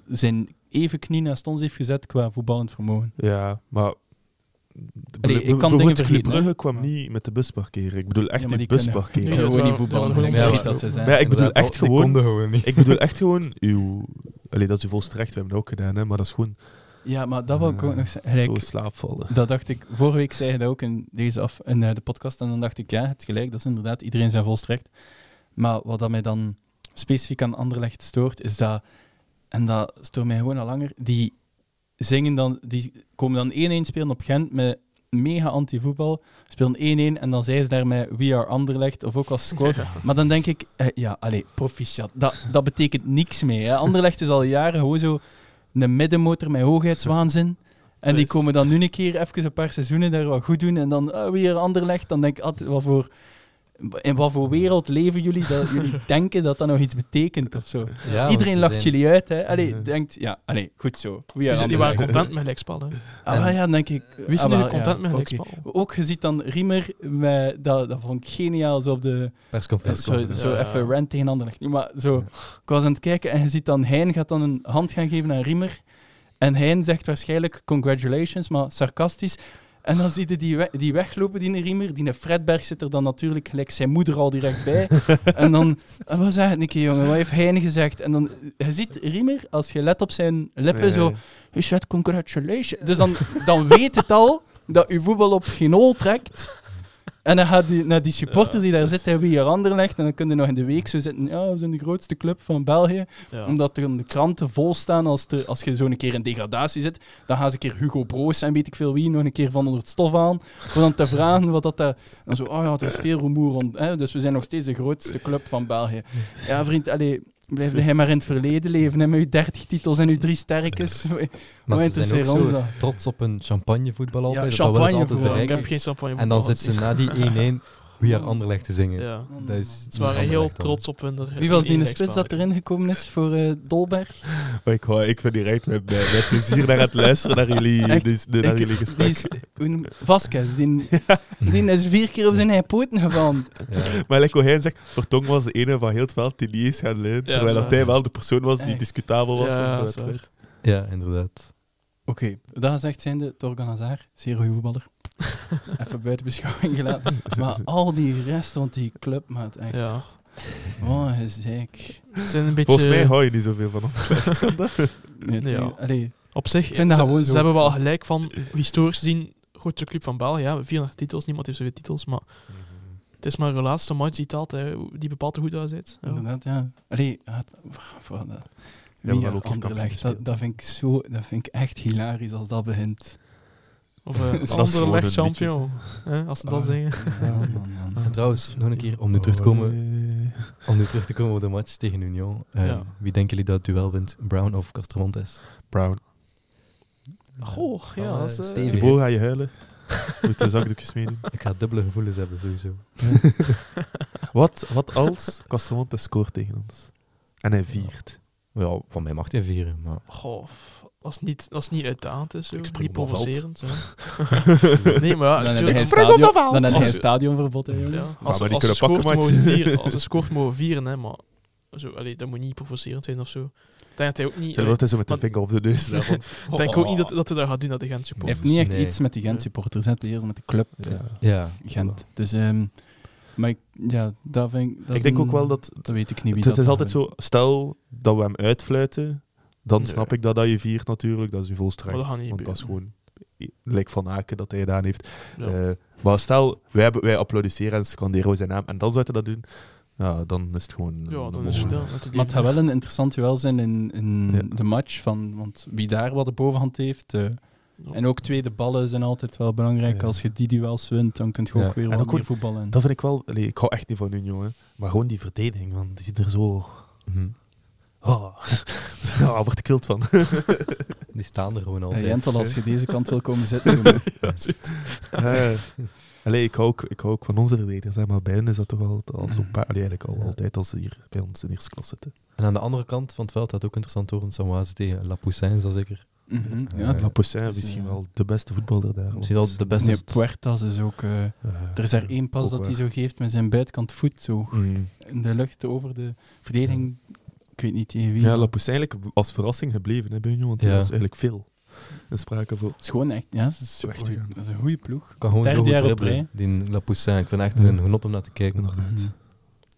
Speaker 4: zijn even knie naast ons heeft gezet qua voetballend vermogen.
Speaker 3: Ja, maar... de-
Speaker 4: Allee, ik kan
Speaker 3: bijvoorbeeld
Speaker 4: dingen vergeten,
Speaker 3: Club Brugge
Speaker 4: hè.
Speaker 3: kwam
Speaker 4: Ja.
Speaker 3: niet met de bus parkeren. Ik bedoel echt
Speaker 4: Ja, maar
Speaker 3: die
Speaker 4: die
Speaker 3: bus
Speaker 4: kunnen-
Speaker 2: Nee,
Speaker 3: parkeren.
Speaker 4: kunnen
Speaker 2: dat
Speaker 4: we
Speaker 2: waren-
Speaker 4: niet voetballen.
Speaker 2: dat waren
Speaker 4: Ik
Speaker 2: gewoon
Speaker 4: denk
Speaker 1: Ja,
Speaker 4: niet dat ze zijn.
Speaker 3: maar ja, ik bedoel
Speaker 1: Inderdaad,
Speaker 3: echt
Speaker 1: die
Speaker 3: gewoon-
Speaker 1: konden gewoon niet.
Speaker 3: Ik bedoel echt gewoon uw... Allee, dat is uw volste recht. We hebben dat ook gedaan, hè, maar dat is gewoon
Speaker 4: Ja, maar dat wil ik ook nog
Speaker 3: zo
Speaker 4: zeggen. Gelijk,
Speaker 3: slaapvallen.
Speaker 4: dat dacht ik, vorige week zei je dat ook in, deze af, in eh, de podcast. En dan dacht ik, ja, je hebt gelijk, dat is inderdaad iedereen zijn volstrekt. Maar wat dat mij dan specifiek aan Anderlecht stoort, is dat, en dat stoort mij gewoon al langer, die zingen dan, die komen dan 1-1 spelen op Gent met mega anti-voetbal, spelen 1-1 en dan zijn ze daar met We Are Anderlecht of ook als score. Maar dan denk ik, eh, ja, allee, proficiat, dat, dat betekent niks mee. Hè. Anderlecht is al jaren gewoon zo een middenmotor met hoogheidswaanzin. En die
Speaker 2: Juist.
Speaker 4: komen dan nu een keer even een paar seizoenen daar wat goed doen en dan ah, weer Anderlecht. Dan denk ik, ah, wat voor, in wat voor wereld leven jullie dat jullie denken dat dat nog iets betekent of zo.
Speaker 1: Ja, want
Speaker 4: Iedereen
Speaker 1: ze
Speaker 4: lacht
Speaker 1: zijn-
Speaker 4: jullie uit, hè. Allee,
Speaker 3: Ja.
Speaker 4: denkt, ja, allee, goed zo. We
Speaker 2: Die
Speaker 4: are
Speaker 2: zijn- die
Speaker 4: Anderlecht.
Speaker 2: waren content met gelijkspel. hè.
Speaker 4: Ah, wel, ja, dan denk ik.
Speaker 2: Wie is
Speaker 4: ah,
Speaker 2: er nu
Speaker 4: wel,
Speaker 2: content
Speaker 4: ja,
Speaker 2: met
Speaker 4: oké.
Speaker 2: gelijkspel?
Speaker 4: Ook, je ziet dan Riemer, met, dat, dat vond ik geniaal, zo op de... eh,
Speaker 1: Persconferentie.
Speaker 4: Sorry, zo
Speaker 2: Ja.
Speaker 4: even rant tegen ander niet, maar zo... Ik was aan het kijken en je ziet dan Hein gaat dan een hand gaan geven aan Riemer. En Hein zegt waarschijnlijk congratulations, maar sarcastisch. En dan zie je die, we- die weglopen, die Riemer. Die Fredberg zit er dan natuurlijk gelijk zijn moeder al direct bij. en dan, "Ah, wat zeg het een keer, jongen? Wat heeft Hein gezegd? En dan, je ziet Riemer, als je let op zijn lippen,
Speaker 3: Nee.
Speaker 4: zo... Je zegt congratulations. Dus dan, dan weet het al dat uw voetbal op geen hol trekt. En dan gaat die naar die supporters die daar zitten, wie hier ander legt. En dan kunnen nog in de week zo zitten. Ja, we zijn de grootste club van België. Omdat er in de kranten vol staan. Als, de, als je zo een keer in degradatie zit, dan gaan ze een keer Hugo Broos en weet ik veel wie nog een keer van onder het stof aan. Om dan te vragen wat dat daar. En zo, oh ja, er is veel rumoer rond. Hè, dus we zijn nog steeds de grootste club van België. Ja, vriend, allee, blijf jij maar in het verleden leven. Hè, met uw 30 titels en uw drie sterkes.
Speaker 1: Maar
Speaker 4: Hoe
Speaker 1: ze zijn
Speaker 4: interesseert
Speaker 1: ook
Speaker 4: ons
Speaker 1: zo
Speaker 4: dat?
Speaker 1: trots op een champagnevoetbal altijd. dat
Speaker 4: champagne
Speaker 1: willen ze altijd
Speaker 4: vooral.
Speaker 2: Ja, Ik
Speaker 1: bereiken.
Speaker 2: heb geen champagne
Speaker 1: En dan
Speaker 2: voetbal dus-
Speaker 1: zit ze na die 1-1 We Are Anderlecht te zingen.
Speaker 2: Ja.
Speaker 1: Dat is
Speaker 2: Ze waren heel trots op hun...
Speaker 4: Wie was die in de spits dat erin gekomen is voor eh, Dolberg?
Speaker 3: Maar ik, hoor- ik vind die echt met, met, met plezier naar het luisteren naar jullie,
Speaker 4: Echt,
Speaker 3: dus, de- naar
Speaker 4: ik-
Speaker 3: jullie
Speaker 4: Die
Speaker 3: gesprek.
Speaker 4: is, hoe noem- Vasquez, die, die is vier keer op zijn eigen poten gevallen.
Speaker 1: Ja.
Speaker 3: Maar lekker hij zegt, Vertong was de ene van heel het veld die niet is gaan leunen.
Speaker 2: Ja,
Speaker 3: terwijl
Speaker 2: zo.
Speaker 3: dat hij wel de persoon was die
Speaker 4: Echt.
Speaker 3: discutabel was.
Speaker 2: Ja,
Speaker 3: op de
Speaker 2: dat is
Speaker 3: wedstrijd.
Speaker 1: ja, inderdaad.
Speaker 4: Oké, dat gezegd zijnde, Torgan Hazard, zeer goede voetballer. Even buiten beschouwing gelaten. Maar al die rest rond die club, maat, echt. Oh,
Speaker 2: Ja.
Speaker 4: Wat een gezeik.
Speaker 2: Ze zijn een beetje...
Speaker 3: Volgens mij hou je niet zoveel van hem.
Speaker 4: Nee,
Speaker 2: Ja.
Speaker 4: nee, allee,
Speaker 2: Op zich,
Speaker 4: vind dat
Speaker 2: ze,
Speaker 4: gewoon
Speaker 2: ze
Speaker 4: zo
Speaker 2: hebben wel
Speaker 4: fijn.
Speaker 2: gelijk van, historisch gezien, grootste club van België. Ja, 34 titels, niemand heeft zoveel titels, maar het is maar de laatste match die telt, hè, die bepaalt hoe goed dat zit. Ja.
Speaker 4: inderdaad, ja. Allee, ja, het- voor- voor- dat-
Speaker 3: Ja,
Speaker 4: Mia
Speaker 3: wel ook heeft
Speaker 4: Anderlecht.
Speaker 3: kampioen
Speaker 4: Dat, dat, vind ik zo, dat vind ik echt hilarisch als dat begint.
Speaker 2: Of eh
Speaker 3: is gewoon een
Speaker 2: Anderlecht champion. hè, als ze dat
Speaker 4: Ah.
Speaker 2: zingen.
Speaker 4: Ja, man, man.
Speaker 1: En trouwens, nog een keer om nu terug te komen,
Speaker 3: Oh,
Speaker 1: om nu terug te komen op de match tegen Union. Eh,
Speaker 2: Ja.
Speaker 1: Wie denken jullie dat het duel wint? Brown of Castromontes?
Speaker 3: Brown.
Speaker 2: Goh, ja, dat is, eh,
Speaker 1: stevig,
Speaker 3: Die
Speaker 1: hè?
Speaker 3: boer ga je huilen. Moet de zakdoekjes meedoen.
Speaker 1: Ik ga dubbele gevoelens hebben, sowieso.
Speaker 3: Wat, wat als Castromonte scoort tegen ons? En hij viert.
Speaker 1: Ja, van mij mag hij vieren, maar...
Speaker 2: Goh, als het niet, als het niet uitdaand is, zo.
Speaker 3: Ik spring
Speaker 2: niet
Speaker 3: op mijn veld.
Speaker 2: provocerend. hè. nee, maar ja,
Speaker 4: Dan heb je
Speaker 2: natuurlijk.
Speaker 4: geen
Speaker 2: Spring op
Speaker 4: stadion-
Speaker 2: mijn
Speaker 4: dan
Speaker 2: veld!
Speaker 4: heb je
Speaker 2: Als-
Speaker 4: geen stadionverbod. Hè, jongen.
Speaker 2: Ja,
Speaker 3: maar
Speaker 2: als,
Speaker 3: die
Speaker 2: als,
Speaker 3: kunnen
Speaker 2: ze scoort,
Speaker 3: pakken,
Speaker 2: mogen
Speaker 3: maat.
Speaker 2: we vieren, als ze scoort, mogen we vieren, hè, maar zo, allee, dat moet niet provocerend zijn of zo. Ik Denk dat hij ook niet,
Speaker 3: Dan
Speaker 2: allee,
Speaker 3: wordt hij zo met de
Speaker 2: want-
Speaker 3: vinger op de neus. daar, want-
Speaker 2: ik denk ook niet dat, dat hij dat gaat doen, dat de Gent
Speaker 4: Hij
Speaker 2: support.
Speaker 4: heeft niet echt
Speaker 1: Nee.
Speaker 4: iets met die Gent supporters, hè, het heeft heel met de club
Speaker 3: Ja.
Speaker 1: Ja,
Speaker 4: Gent. Dus, ehm, maar ik, ja, dat vind ik... dat
Speaker 3: Ik
Speaker 4: is
Speaker 3: denk
Speaker 4: een-
Speaker 3: ook wel dat...
Speaker 4: Dat weet ik niet
Speaker 3: Het,
Speaker 4: wie
Speaker 3: het
Speaker 4: dat
Speaker 3: is
Speaker 4: dan
Speaker 3: altijd
Speaker 4: wint.
Speaker 3: zo, stel dat we hem uitfluiten, dan
Speaker 2: Ja.
Speaker 3: snap ik dat, dat je viert natuurlijk. Dat is je volste
Speaker 2: Maar
Speaker 3: recht.
Speaker 2: dat gaat niet
Speaker 3: Want dat is gewoon...
Speaker 2: gebeuren.
Speaker 3: Lijk van Aken dat hij gedaan heeft.
Speaker 2: Ja.
Speaker 3: Eh, maar stel, wij, hebben- wij applaudisseren en scanderen we zijn naam. En dan zou hij dat doen. Ja, dan is het gewoon...
Speaker 2: ja, dan
Speaker 3: mogen
Speaker 2: is
Speaker 3: we-
Speaker 2: het wel. met de
Speaker 4: Maar het gaat wel een interessant duel zijn in, in
Speaker 3: Ja.
Speaker 4: de match. Van, want wie daar wat de bovenhand heeft. eh,
Speaker 2: Ja.
Speaker 4: En ook tweede ballen zijn altijd wel belangrijk.
Speaker 3: Ja.
Speaker 4: Als je die duels wint, dan kun je
Speaker 1: Ja.
Speaker 4: ook weer
Speaker 3: En
Speaker 4: wat
Speaker 3: ook
Speaker 4: meer
Speaker 3: goed-
Speaker 4: voetballen.
Speaker 3: Dat vind ik wel... allee, ik hou echt niet van Union, hè. Maar gewoon die verdediging, man. Die ziet er zo...
Speaker 1: mhm.
Speaker 3: Oh. Daar word ik wild van.
Speaker 1: die staan er gewoon
Speaker 4: Hey,
Speaker 1: altijd.
Speaker 4: Jentel, als je deze kant wil komen zitten, jongen.
Speaker 3: Eh, allee, ik hou, ook, ik hou ook van onze verdedigers, hè, maar bij hen is dat toch al, al zo pa- allee, eigenlijk al
Speaker 1: Ja.
Speaker 3: altijd als ze hier bij ons in eerste klas zitten.
Speaker 1: En aan de andere kant van het veld had ook interessant horen. Samwaze tegen eh, La Poussin, zal zeker.
Speaker 4: Mhm,
Speaker 1: Eh,
Speaker 4: ja,
Speaker 3: La Poussin
Speaker 4: het is,
Speaker 3: misschien
Speaker 4: eh,
Speaker 3: wel de beste voetballer daar.
Speaker 1: Misschien
Speaker 3: want-
Speaker 1: wel de beste.
Speaker 4: Nee, Puertas is ook... eh,
Speaker 3: Eh,
Speaker 4: er is er één pas
Speaker 3: ook
Speaker 4: dat hij
Speaker 3: waar.
Speaker 4: zo geeft met zijn buitenkant voet. Zo
Speaker 3: Mm.
Speaker 4: in de lucht over de verdediging. Ik weet niet tegen wie.
Speaker 3: Ja, La Poussin eigenlijk als verrassing gebleven, hè, bij Union, want er
Speaker 1: Ja.
Speaker 3: was eigenlijk veel in sprake voor.
Speaker 4: Het is gewoon echt... Ja, het is
Speaker 3: Zo echt,
Speaker 4: goeie-
Speaker 3: ja.
Speaker 4: dat is een goede ploeg.
Speaker 1: kan gewoon
Speaker 4: Derde
Speaker 1: zo goed
Speaker 4: jaar op
Speaker 1: dribbelen, die La Poussin. Ik vind echt
Speaker 3: Ja.
Speaker 1: een genot om naar te kijken.
Speaker 3: Inderdaad.
Speaker 4: Mhm.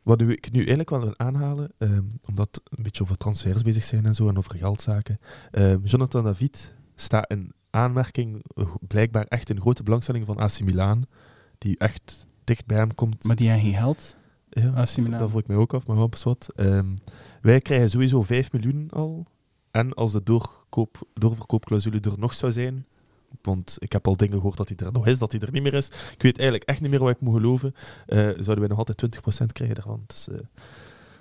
Speaker 3: Wat nu- ik nu eigenlijk wel wil aanhalen, ehm, omdat we een beetje over transfers bezig zijn en zo en over geldzaken. Ehm, Jonathan David staat in aanmerking, eh, blijkbaar echt een grote belangstelling van AC Milan, die echt dicht bij hem komt.
Speaker 4: Maar die hebben geen geld.
Speaker 3: ja,
Speaker 4: AC Milan.
Speaker 3: Dat vroeg ik mij ook af, maar wat is wat. Ehm, wij krijgen sowieso 5 miljoen al. En als de doorkoop, doorverkoopclausule er nog zou zijn, want ik heb al dingen gehoord dat hij er nog is, dat hij er niet meer is. Ik weet eigenlijk echt niet meer wat ik moet geloven. eh, zouden wij nog altijd 20% krijgen daarvan. Dus eh,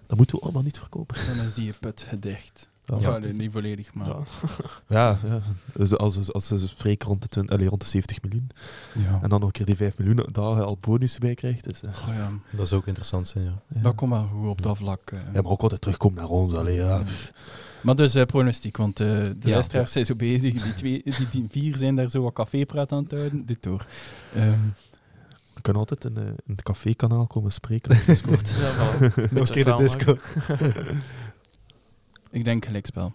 Speaker 3: dat moeten we allemaal niet verkopen.
Speaker 4: Dan is die put gedicht.
Speaker 3: Ja,
Speaker 4: Of,
Speaker 3: ja.
Speaker 4: eh, niet volledig, maar...
Speaker 3: Ja. ja. Dus als, als ze spreken rond de, 20, allee, rond de 70 miljoen
Speaker 4: Ja.
Speaker 3: en dan nog een keer die 5 miljoen, daar je al bonus bij krijgt. Dus, eh,
Speaker 4: Goh, ja.
Speaker 1: Dat is ook interessant zijn, ja.
Speaker 3: ja.
Speaker 4: Dat komt wel goed op dat vlak. eh.
Speaker 3: Ja, maar ook altijd terugkomt naar ons. Allee, ja.
Speaker 4: Maar dus eh, pronostiek, want eh, de
Speaker 1: Ja.
Speaker 4: luisteraars zijn zo bezig. Die, twee, die, die vier zijn daar zo wat cafépraat aan het houden. Dit door. Ehm,
Speaker 3: We kunnen altijd in, eh, in het café-kanaal komen spreken op Discord.
Speaker 2: Ja, voilà.
Speaker 1: Nog
Speaker 2: Beetje reclame maken.
Speaker 4: ik denk gelijkspel.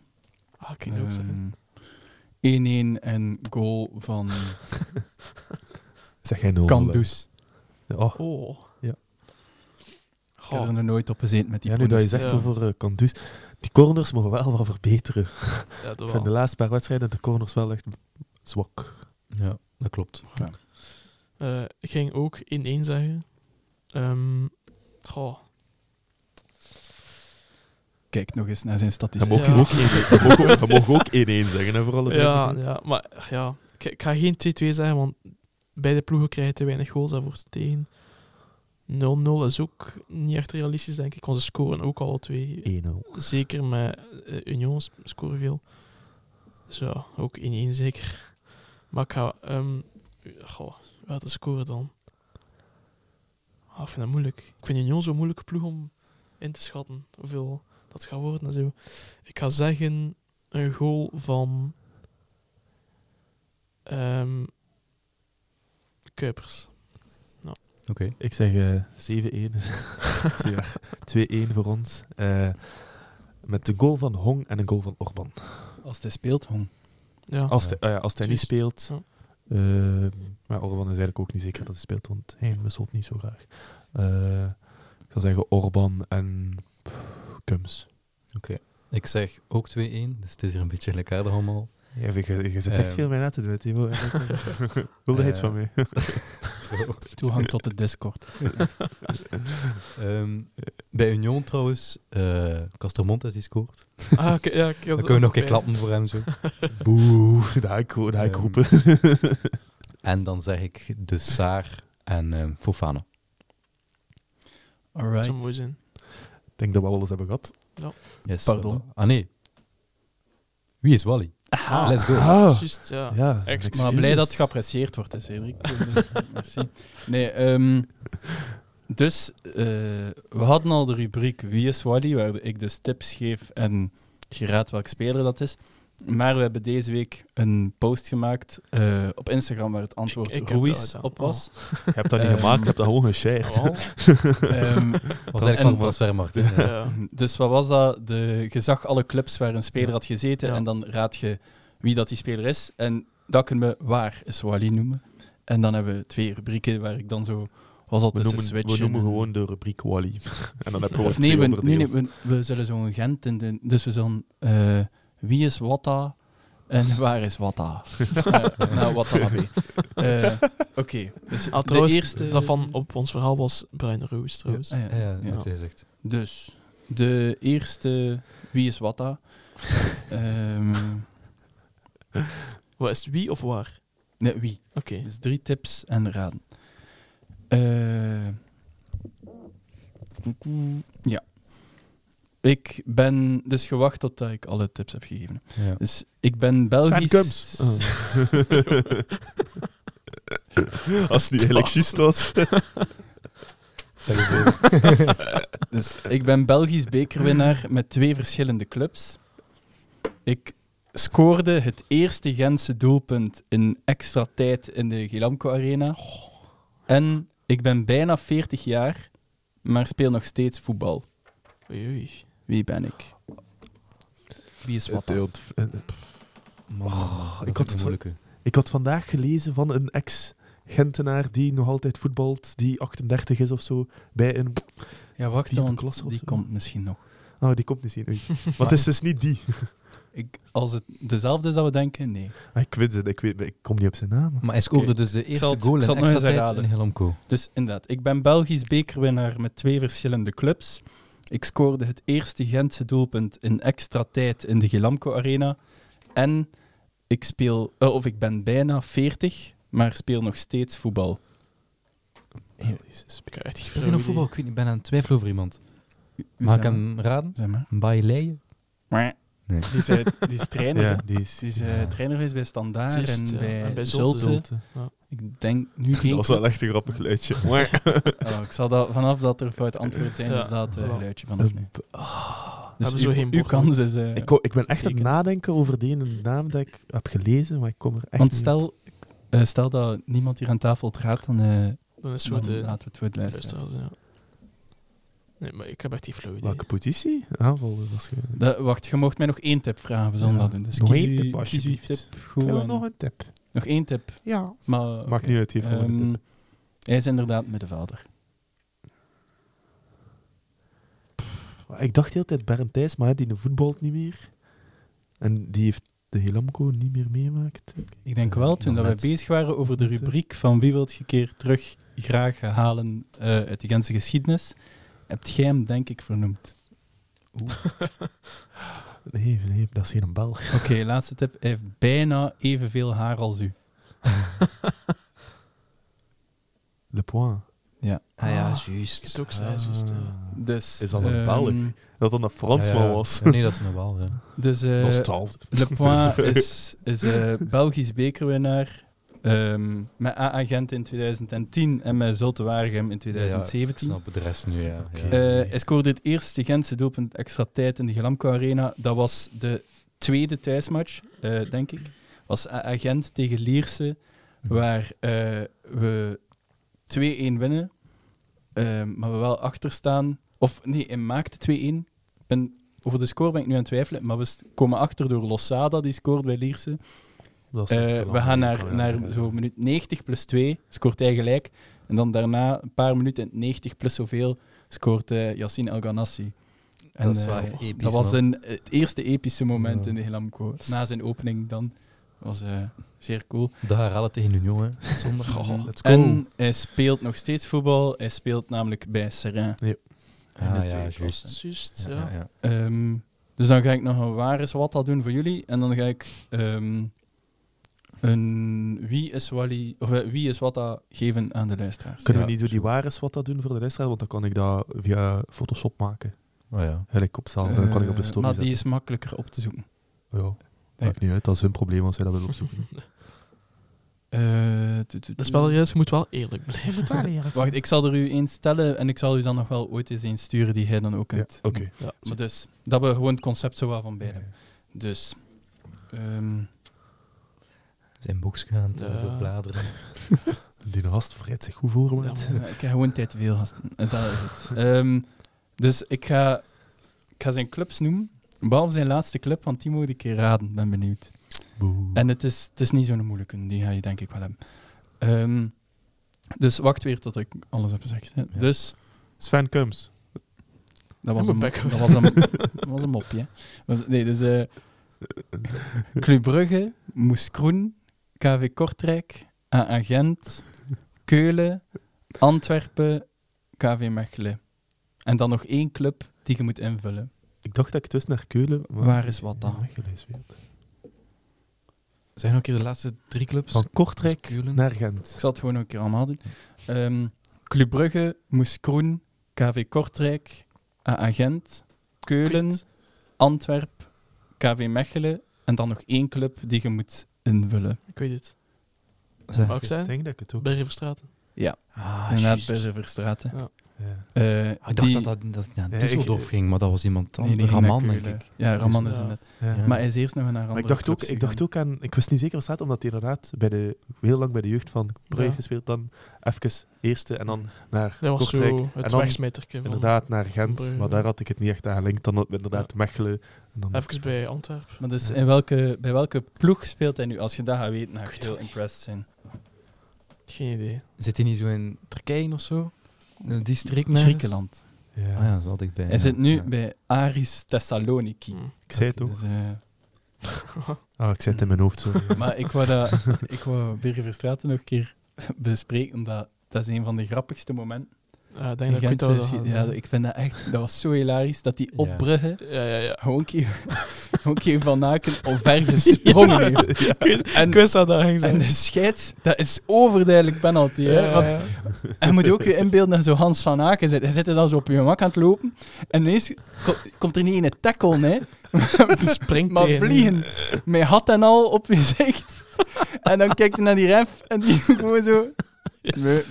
Speaker 2: Ah, ik kan het ook zeggen.
Speaker 4: Ehm, 1-1 en goal van
Speaker 3: Zeg jij nul?
Speaker 2: dus.
Speaker 4: Kandus.
Speaker 3: hè? Oh.
Speaker 2: Oh.
Speaker 3: Ja.
Speaker 4: Ik heb
Speaker 2: Goh.
Speaker 4: er nog nooit op gezeten met die
Speaker 3: Ja, nu dat je
Speaker 4: pronostiek.
Speaker 3: zegt
Speaker 2: ja.
Speaker 3: over eh, Kandus. Die corners mogen wel wat verbeteren.
Speaker 2: Ja, dat
Speaker 3: Ik vind de
Speaker 2: wel.
Speaker 3: laatste paar wedstrijden de corners wel echt zwak.
Speaker 1: Ja, dat klopt.
Speaker 2: Eh, ik ging ook 1-1 zeggen. Ehm goh.
Speaker 4: Kijk nog eens naar zijn
Speaker 3: Dat
Speaker 4: statistieken.
Speaker 3: mogen
Speaker 2: Dus Ja.
Speaker 3: ook 1-1 we mogen ook 1-1 zeggen, hè, voor alle
Speaker 2: Ja,
Speaker 3: duidelijkheid.
Speaker 2: ja, maar ja, ik, ik ga geen 2-2 zeggen, want beide ploegen krijgen te weinig goals daarvoor ze tegen. 0-0 is ook niet echt realistisch, denk ik. Want ze scoren ook alle twee.
Speaker 3: 1-0.
Speaker 2: Zeker met eh, Union s- scoren veel. Dus ja, ook 1-1 zeker. Maar ik ga... ehm goh, wat te scoren dan? Ah, ik vind dat moeilijk. Ik vind Union zo'n moeilijke ploeg om in te schatten. Hoeveel dat gaat worden en zo. Ik ga zeggen een goal van... ehm Kuipers.
Speaker 1: Oké.
Speaker 3: Ik zeg eh, 7-1. Dat is niet waar. 2-1 voor ons. Eh, met een goal van Hong en een goal van Orban.
Speaker 4: Als hij speelt, hong.
Speaker 2: Ja.
Speaker 1: Oh.
Speaker 3: Als, hij- ah ja, als hij niet speelt.
Speaker 2: Ja.
Speaker 3: eh, maar Orban is eigenlijk ook niet zeker dat hij speelt, want hij wisselt niet zo graag. Eh, ik zou zeggen Orban en pff, Kums.
Speaker 1: Ik zeg ook 2-1, dus het is hier een beetje gelijkaardig allemaal. Ehm,
Speaker 3: Ja, je, je zit
Speaker 1: echt veel
Speaker 3: meer na te doen, Timo.
Speaker 1: Wilde
Speaker 3: Wilde
Speaker 1: iets
Speaker 3: iets
Speaker 1: van
Speaker 3: van mij.
Speaker 4: Toegang tot de Discord.
Speaker 1: Ehm, bij Union trouwens, eh Castromontes die scoort.
Speaker 2: Ah, oké, ja, ik
Speaker 1: Dan kunnen we nog een keer klappen voor hem zo.
Speaker 3: Boe, daar ik, daar ik
Speaker 1: Ehm,
Speaker 3: roepen.
Speaker 1: En dan zeg ik de Saar en ehm, Fofana.
Speaker 2: Dat
Speaker 4: Alright.
Speaker 2: zou mooi zijn.
Speaker 3: Ik denk dat we alles hebben gehad.
Speaker 1: Yes,
Speaker 4: Pardon.
Speaker 1: eh, ah nee. Wie is Wally?
Speaker 4: Aha.
Speaker 1: Let's go.
Speaker 3: Ah,
Speaker 2: Juist, ja.
Speaker 3: ja,
Speaker 2: Excuses.
Speaker 4: Maar blij dat het geapprecieerd wordt, hè, Cedric. Merci. Nee, ehm, dus eh, we hadden al de rubriek Wie is Wally, waar ik dus tips geef en geraad welk speler dat is. Maar we hebben deze week een post gemaakt eh, op Instagram waar het antwoord
Speaker 2: ik heb dat
Speaker 4: Ruiz
Speaker 2: gedaan.
Speaker 4: op was.
Speaker 3: Je hebt dat niet
Speaker 4: Ehm,
Speaker 3: gemaakt, je hebt dat gewoon geshared.
Speaker 4: Ehm,
Speaker 1: Was eigenlijk van
Speaker 4: en-
Speaker 1: de transfermarkt. hè? Ja.
Speaker 2: Ja.
Speaker 4: dus wat was dat? De, je zag alle clubs waar een speler
Speaker 2: Ja.
Speaker 4: had gezeten
Speaker 2: Ja.
Speaker 4: en dan raad je wie dat die speler is. En dat kunnen we waar is Wally noemen. En dan hebben we twee rubrieken waar ik dan zo was al
Speaker 3: We
Speaker 4: tussen
Speaker 3: noemen, we
Speaker 4: switchen.
Speaker 3: noemen gewoon de rubriek Wally. en dan heb je
Speaker 4: eh, Of
Speaker 3: gewoon
Speaker 4: nee, we,
Speaker 3: 200
Speaker 4: nee, nee,
Speaker 3: deels.
Speaker 4: we, we zullen zo'n Gent in de... Dus we zullen... eh, wie is Watta en waar is Watta? Eh, nou, Watanabe. Eh, Oké. Dus
Speaker 2: Ah,
Speaker 4: de
Speaker 2: trouwens,
Speaker 4: eerste...
Speaker 2: dat van op ons verhaal was Brian Roos trouwens.
Speaker 4: Ah, ja.
Speaker 1: Ja, ja,
Speaker 4: Ja.
Speaker 1: heeft hij gezegd.
Speaker 4: Dus, de eerste... Wie is Watta? Ehm,
Speaker 2: Wat is het, wie of waar?
Speaker 4: nee, wie?
Speaker 2: Oké.
Speaker 4: Dus drie tips en raden. Eh, ja. Ik ben dus gewacht totdat ik alle tips heb gegeven.
Speaker 1: Ja.
Speaker 4: Dus ik ben Belgisch.
Speaker 3: Kums. Als het niet eigenlijk juist was.
Speaker 1: Zeg het even.
Speaker 4: Dus ik ben Belgisch bekerwinnaar met twee verschillende clubs. Ik scoorde het eerste Gentse doelpunt in extra tijd in de Gilamco Arena. En ik ben bijna 40 jaar, maar speel nog steeds voetbal.
Speaker 2: Oei, oei.
Speaker 4: Wie ben ik? Wie is wat?
Speaker 3: Het
Speaker 4: dan?
Speaker 3: deelt- eh,
Speaker 1: Man, dat
Speaker 3: ik
Speaker 1: vind
Speaker 3: had
Speaker 1: een
Speaker 3: het-
Speaker 1: moeilijke.
Speaker 3: Ik had vandaag gelezen van een ex-Gentenaar die nog altijd voetbalt, die 38 is of zo, bij een...
Speaker 4: Ja, wacht
Speaker 3: Vierde
Speaker 4: dan.
Speaker 3: klasse of
Speaker 4: Die
Speaker 3: zo?
Speaker 4: komt misschien nog.
Speaker 3: Oh, die komt niet zien. Oei. Maar het is dus niet die.
Speaker 4: Ik, als het dezelfde is dat we denken, nee.
Speaker 3: Ah, Ik weet het, ik, weet, ik kom niet op zijn naam.
Speaker 1: Maar hij scoorde
Speaker 4: Oké.
Speaker 1: dus de eerste
Speaker 4: zal het-
Speaker 1: goal
Speaker 4: ik
Speaker 1: in
Speaker 4: zal het nog
Speaker 1: extra
Speaker 4: eens
Speaker 1: tijd
Speaker 4: herhalen.
Speaker 1: in Helmco.
Speaker 4: Dus inderdaad, ik ben Belgisch bekerwinnaar met twee verschillende clubs. Ik scoorde het eerste Gentse doelpunt in extra tijd in de Gilamco Arena. En ik speel, eh, of ik ben bijna 40, maar speel nog steeds voetbal.
Speaker 3: Ah, Jezus.
Speaker 2: Dus Ik heb echt geen
Speaker 1: Is
Speaker 2: flauw
Speaker 1: hij nog
Speaker 2: idee.
Speaker 1: voetbal? Ik weet niet, ik ben aan het twijfelen over iemand. Mag ik
Speaker 4: Zeg
Speaker 1: hem raden?
Speaker 4: Zeg maar.
Speaker 1: Een Baileye? Nee.
Speaker 4: Die is, eh, die is trainer.
Speaker 3: Ja,
Speaker 4: hè.
Speaker 3: die is...
Speaker 4: Die is eh, trainer geweest bij Standaard
Speaker 2: Juist,
Speaker 4: en,
Speaker 2: ja.
Speaker 4: bij
Speaker 2: En bij
Speaker 4: Zulte.
Speaker 2: Zulte.
Speaker 4: Ik denk nu
Speaker 3: Dat
Speaker 4: geen...
Speaker 3: was wel echt een grappig geluidje.
Speaker 4: Oh, ik zal dat, vanaf dat er fout antwoord zijn,
Speaker 2: Ja.
Speaker 4: is dat eh,
Speaker 2: Ja.
Speaker 4: geluidje vanaf nu. Dus
Speaker 2: Hebben zo
Speaker 4: uw-
Speaker 2: geen
Speaker 4: uw
Speaker 2: bord,
Speaker 4: kans is... eh,
Speaker 3: ah. Ik, ko- ik ben echt aan het
Speaker 4: Zeker.
Speaker 3: nadenken over die ene naam dat ik heb gelezen, maar ik kom er echt
Speaker 4: Want
Speaker 3: niet
Speaker 4: stel, eh, stel dat niemand hier aan tafel het raadt, dan, eh
Speaker 2: Dan is het
Speaker 4: dan
Speaker 2: voor de
Speaker 4: laten we het voor het luisteren.
Speaker 2: luisteraars, ja. Nee, maar ik heb echt geen flauw
Speaker 3: op.
Speaker 2: idee.
Speaker 3: Welke positie? Aanval waarschijnlijk.
Speaker 4: wacht, je mocht mij nog één tip vragen, we zullen
Speaker 3: Ja.
Speaker 4: dat doen. Dus
Speaker 3: Nog
Speaker 4: kies
Speaker 3: één
Speaker 4: uw-
Speaker 3: tip,
Speaker 4: kies uw
Speaker 3: alsjeblieft.
Speaker 4: tip
Speaker 3: Ik
Speaker 4: goed
Speaker 3: wil
Speaker 4: en-
Speaker 3: nog een tip.
Speaker 4: nog één tip.
Speaker 3: Ja.
Speaker 4: Maar,
Speaker 3: Maakt
Speaker 4: oké.
Speaker 3: niet uit, geef gewoon een
Speaker 4: Ehm,
Speaker 3: tip.
Speaker 4: Hij is inderdaad middenvelder.
Speaker 3: Maar Ik dacht de hele tijd Bernd Thijs, maar die voetbalt niet meer. En die heeft de Helamco niet meer meemaakt.
Speaker 4: Ik denk wel, toen
Speaker 3: nog
Speaker 4: dat we
Speaker 3: net.
Speaker 4: bezig waren over de
Speaker 3: Net, eh.
Speaker 4: rubriek van wie wilt je een keer terug graag halen eh, uit de Gentse geschiedenis, hebt jij hem denk ik vernoemd.
Speaker 3: Nee, nee, dat is geen bal.
Speaker 4: Oké, laatste tip. Hij heeft bijna evenveel haar als u.
Speaker 3: Le Point.
Speaker 1: Ah ja,
Speaker 2: Ah,
Speaker 1: juist.
Speaker 2: Het ook zijn, juist, ja.
Speaker 3: Ah.
Speaker 4: Dus,
Speaker 3: Is dat een
Speaker 4: ehm,
Speaker 3: Belg? Dat dan een Fransman
Speaker 1: Ja, ja.
Speaker 3: was.
Speaker 1: Ja, nee, dat is een bal, ja.
Speaker 4: Dus, eh,
Speaker 3: dat is twaalfde.
Speaker 4: Le Point is, is eh, Belgisch bekerwinnaar. ehm, met AA Gent in 2010 en met Zulte Waregem in 2017.
Speaker 1: Ja, ik snap de rest nu, ja.
Speaker 3: Oké.
Speaker 1: ja.
Speaker 4: Eh, hij scoorde het eerste Gentse doelpunt extra tijd in de Glamco Arena. Dat was de tweede thuismatch, eh, denk ik. was AA Gent tegen Lierse, waar eh, we 2-1 winnen, eh, maar we wel achter staan. Of nee, hij maakte 2-1. Ik ben- Over de score ben ik nu aan het twijfelen, maar we st- komen achter door Losada, die scoort bij Lierse.
Speaker 3: Dat is
Speaker 4: Eh,
Speaker 3: echt te lang
Speaker 4: we gaan
Speaker 3: geleden.
Speaker 4: naar, naar zo minuut 90 plus 2, scoort hij gelijk. En dan daarna, een paar minuten, in het 90 plus zoveel, scoort eh Yassine El Ghanassi. En,
Speaker 1: dat is
Speaker 4: eh,
Speaker 1: wel echt episch,
Speaker 4: dat was
Speaker 1: man.
Speaker 4: een, het eerste epische moment
Speaker 3: Ja.
Speaker 4: in de Helamco. Na zijn opening dan. was eh, zeer cool.
Speaker 1: De herhalen tegen Union, hè.
Speaker 2: Oh,
Speaker 3: Zondag.
Speaker 1: Oh,
Speaker 3: Let's go.
Speaker 4: En hij speelt nog steeds voetbal. Hij speelt namelijk bij Serrain.
Speaker 1: Ah,
Speaker 4: de
Speaker 1: ja,
Speaker 4: tweede
Speaker 1: juist.
Speaker 4: klasse.
Speaker 2: Juist,
Speaker 1: Ja,
Speaker 2: ja.
Speaker 1: ja, ja.
Speaker 4: Ehm, dus dan ga ik nog een waar is wat dat doen voor jullie. En dan ga ik ehm, een wie is, Wally, of, eh, wie is wat dat geven aan de luisteraars.
Speaker 3: Kunnen
Speaker 1: Ja,
Speaker 3: we niet door die waar is wat dat doen voor de luisteraar? Want dan kan ik dat via Photoshop maken.
Speaker 1: Oh, ja.
Speaker 3: Eigenlijk op zaal. dan kan ik op de
Speaker 4: Eh,
Speaker 3: story
Speaker 4: Maar
Speaker 3: zetten.
Speaker 4: die is makkelijker op te zoeken.
Speaker 3: Ja. Maakt niet uit, dat is hun probleem als zij dat willen opzoeken.
Speaker 4: Eh, tu- tu- tu-
Speaker 2: De spelregels moet wel eerlijk blijven.
Speaker 4: Wacht, ik zal er u eens stellen en ik zal u dan nog wel ooit eens een sturen die hij dan ook
Speaker 3: Ja,
Speaker 4: kunt.
Speaker 3: Oké.
Speaker 4: Maar dus, dat we gewoon het concept zo wel van bij hebben. Dus, ehm,
Speaker 1: Zijn boeks gaan te
Speaker 2: Ja.
Speaker 1: bladeren.
Speaker 3: Die gast verrijdt zich goed voor, man.
Speaker 2: Ja,
Speaker 4: Ja, ik heb gewoon tijd te veel gasten. En Dat is het. Ehm, dus ik ga, ik ga zijn clubs noemen. Behalve zijn laatste club, want die moet ik een keer raden. Ben benieuwd.
Speaker 3: Boe.
Speaker 4: En het is, het is niet zo'n moeilijke. Die ga je denk ik wel hebben. Ehm, dus wacht weer tot ik alles heb gezegd. Hè.
Speaker 1: Ja.
Speaker 4: Dus,
Speaker 3: Sven Kums.
Speaker 4: dat was,
Speaker 2: Ja,
Speaker 4: een,
Speaker 2: maar
Speaker 4: mop-
Speaker 2: Beckham.
Speaker 4: dat was, een, dat was een mopje. hè. Was- Nee, dus... eh Club Brugge, Moes Kroen, KV Kortrijk, AA Gent, Keulen, Antwerpen, KV Mechelen. En dan nog één club die je moet invullen.
Speaker 3: Ik dacht dat ik dus naar Keulen... maar
Speaker 4: Waar Ah. is wat dan?
Speaker 3: ik ben weggelezen weer.
Speaker 1: Zijn ook hier de laatste drie clubs?
Speaker 3: Van Kortrijk
Speaker 1: Keulen.
Speaker 3: naar
Speaker 4: Ik
Speaker 3: Gent.
Speaker 4: zal het gewoon nog een keer allemaal doen. Ehm Club Brugge, Moes Kroen, KV Kortrijk, AA Gent, Keulen, Antwerp, KV Mechelen. En dan nog één club die je moet invullen.
Speaker 2: Ik weet het.
Speaker 1: Zeg.
Speaker 2: Mag ik
Speaker 3: Ik
Speaker 2: zijn?
Speaker 3: denk dat ik het ook...
Speaker 2: Bij Riverstraten.
Speaker 1: Ah,
Speaker 4: Inderdaad,
Speaker 1: juist.
Speaker 4: bij Zeverstraten.
Speaker 2: Ja.
Speaker 3: Ja.
Speaker 4: Eh,
Speaker 1: Ah, Ik dacht
Speaker 4: die-
Speaker 1: dat dat, dat naar
Speaker 3: Ja, ik-
Speaker 1: Düsseldorf ging, maar dat was iemand
Speaker 4: nee, die
Speaker 1: anders.
Speaker 4: ging naar
Speaker 1: Raman,
Speaker 4: Keulen.
Speaker 1: denk ik.
Speaker 4: Ja, Raman is
Speaker 2: Ja.
Speaker 4: in het.
Speaker 3: Ja.
Speaker 1: Ja.
Speaker 4: Maar hij is eerst nog naar andere
Speaker 3: Maar ik dacht, ook,
Speaker 4: clubs
Speaker 3: ik dacht ook aan... Ik wist niet zeker wat staat, omdat hij inderdaad bij de, heel lang bij de jeugd van Brugge
Speaker 2: Ja. Mm.
Speaker 3: gespeeld. Dan even eerste en dan naar
Speaker 2: Dat was
Speaker 3: Kortrijk.
Speaker 2: zo
Speaker 3: en
Speaker 2: het
Speaker 3: dan
Speaker 2: wegsmijterke van...
Speaker 3: Inderdaad naar Gent,
Speaker 2: Brugge.
Speaker 3: maar daar had ik het niet echt aan gelinkt. Dan had- inderdaad Mechelen. En dan
Speaker 2: Even bij Antwerpen.
Speaker 4: gegaan. Maar dus in welke, bij welke ploeg speelt hij nu? Als je dat gaat weten, dan ga ik heel impressed zijn.
Speaker 2: Geen idee.
Speaker 1: Zit hij niet zo in Turkije of zo? In die streek nergens?
Speaker 4: Griekenland.
Speaker 3: Ja.
Speaker 1: Ah ja, dat is altijd bij.
Speaker 4: Hij
Speaker 1: ja.
Speaker 4: zit nu
Speaker 1: Ja.
Speaker 4: bij Aris Thessaloniki.
Speaker 2: Hm.
Speaker 3: Ik zei het ook.
Speaker 4: Dus, eh,
Speaker 3: Ah, ik zei het in mijn hoofd, sorry.
Speaker 4: maar ik wou, dat, ik wou Bergeverstraten nog een keer bespreken, omdat dat is een van de grappigste momenten.
Speaker 2: Ja, Ah, ik
Speaker 4: in
Speaker 2: denk dat ik weet dat
Speaker 4: Gent
Speaker 2: we
Speaker 4: zijn
Speaker 2: dat
Speaker 4: geschiedenis.
Speaker 2: gaan
Speaker 4: ja,
Speaker 2: zien.
Speaker 4: ik vind dat echt, dat was zo hilarisch, dat die
Speaker 1: Ja.
Speaker 4: op Brugge
Speaker 2: Ja, ja, ja.
Speaker 4: gewoon een keer- gewoon een keer van Aken omver gesprongen heeft. En-
Speaker 2: Ik wist dat dat ging
Speaker 4: En
Speaker 2: zijn.
Speaker 4: de scheids, dat is overduidelijk penalty. Hè?
Speaker 2: Ja,
Speaker 4: Want
Speaker 2: ja,
Speaker 4: En moet je ook je inbeelden dat zo Hans van Aken zit. Hij zit er dan zo op je gemak aan het lopen. En ineens ko- komt er niet een tackle, hè.
Speaker 2: ja. springt
Speaker 4: maar
Speaker 2: tegen.
Speaker 4: vliegen. Met hat en al op je gezicht. En dan kijkt hij naar die ref en die gewoon zo... Nee,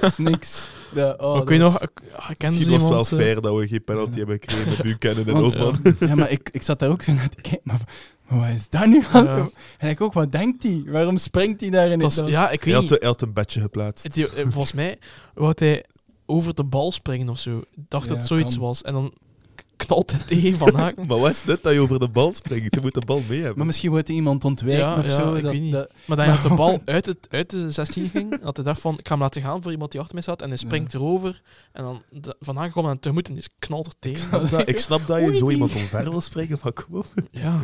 Speaker 4: dat is niks. Ja, oh,
Speaker 2: Maar
Speaker 4: dat
Speaker 2: ik weet
Speaker 4: was-
Speaker 2: nog, ik ah, ik kende
Speaker 3: Misschien
Speaker 2: ze
Speaker 3: was het
Speaker 2: iemand...
Speaker 3: wel
Speaker 2: eh,
Speaker 3: fair dat we geen penalty hebben gekregen met Buchanan en
Speaker 4: Want,
Speaker 3: Osman.
Speaker 4: eh, ja, maar ik, ik zat daar ook zo naar te kijken. Maar, maar wat is dat nu aan?
Speaker 2: Ja.
Speaker 4: En ik ook, wat denkt hij? Waarom springt hij daarin?
Speaker 2: het was- ja, ik
Speaker 3: Hij
Speaker 2: weet
Speaker 3: had,
Speaker 2: niet.
Speaker 3: hij had een bedje geplaatst.
Speaker 2: Het- eh, Volgens mij wou hij over de bal springen of zo. Ik dacht dat
Speaker 4: Ja,
Speaker 2: het zoiets
Speaker 4: kan.
Speaker 2: was. En dan k- knalt het tegen Van Haak.
Speaker 3: Maar wat is dit dat je over de bal springt? Je moet de bal mee
Speaker 4: Maar
Speaker 3: hebben.
Speaker 4: misschien wordt hij iemand ontwijken
Speaker 2: Ja,
Speaker 4: of
Speaker 2: ja,
Speaker 4: zo.
Speaker 2: ik
Speaker 4: dat,
Speaker 2: weet niet.
Speaker 4: dat-
Speaker 2: Maar dan had de bal uit, het, uit de 16 ging. Had hij dacht van, ik ga hem laten gaan voor iemand die achter mij staat. En hij springt erover. En dan de- Van Haak komt aan tegemoet en die knalt er tegen.
Speaker 3: Maar ik snap dat je zo iemand omver wil springen, maar kom op.
Speaker 2: Ja.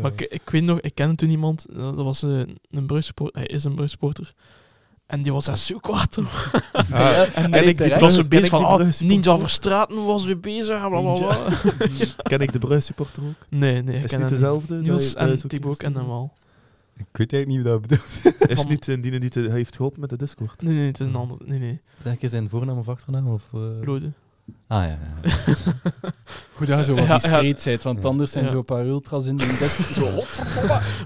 Speaker 2: Maar ik, ik weet nog, ik kende toen iemand, eh, dat was eh, een Brugge-supporter, hij is een Brugge-supporter. En die was daar zo kwaad hoor.
Speaker 3: Ah,
Speaker 4: en
Speaker 3: ken,
Speaker 4: nee,
Speaker 3: ik die
Speaker 4: terecht.
Speaker 2: was zo bezig
Speaker 3: Brugge, ken, ik die
Speaker 2: van,
Speaker 3: Brugge
Speaker 2: oh, Ninja
Speaker 3: supporter
Speaker 2: voor Straten was weer bezig, blablabla.
Speaker 3: ook? ken ik de Brugge supporter ook?
Speaker 2: Nee, nee, ik
Speaker 3: Is
Speaker 2: ken
Speaker 3: niet
Speaker 2: hem
Speaker 3: dezelfde?
Speaker 2: Niels
Speaker 3: Dat je- dat
Speaker 2: en
Speaker 3: is ook
Speaker 2: Thibaut
Speaker 3: eerst-
Speaker 2: kennen hem al.
Speaker 1: Ik weet eigenlijk niet wie dat bedoelt.
Speaker 3: Is
Speaker 2: Van-
Speaker 3: niet eh, die die te- heeft geholpen met de Discord?
Speaker 2: Nee, nee, het is een ander. Nee, nee,
Speaker 1: Denk je zijn voornaam of achternaam? Of, eh?
Speaker 2: Rode.
Speaker 1: Ah ja, ja, ja.
Speaker 4: Goed dat je zo wat
Speaker 2: Ja, ja.
Speaker 4: discreet bent, want
Speaker 1: Ja.
Speaker 4: anders zijn
Speaker 2: Ja.
Speaker 4: zo een paar ultras in die desk. zo hot.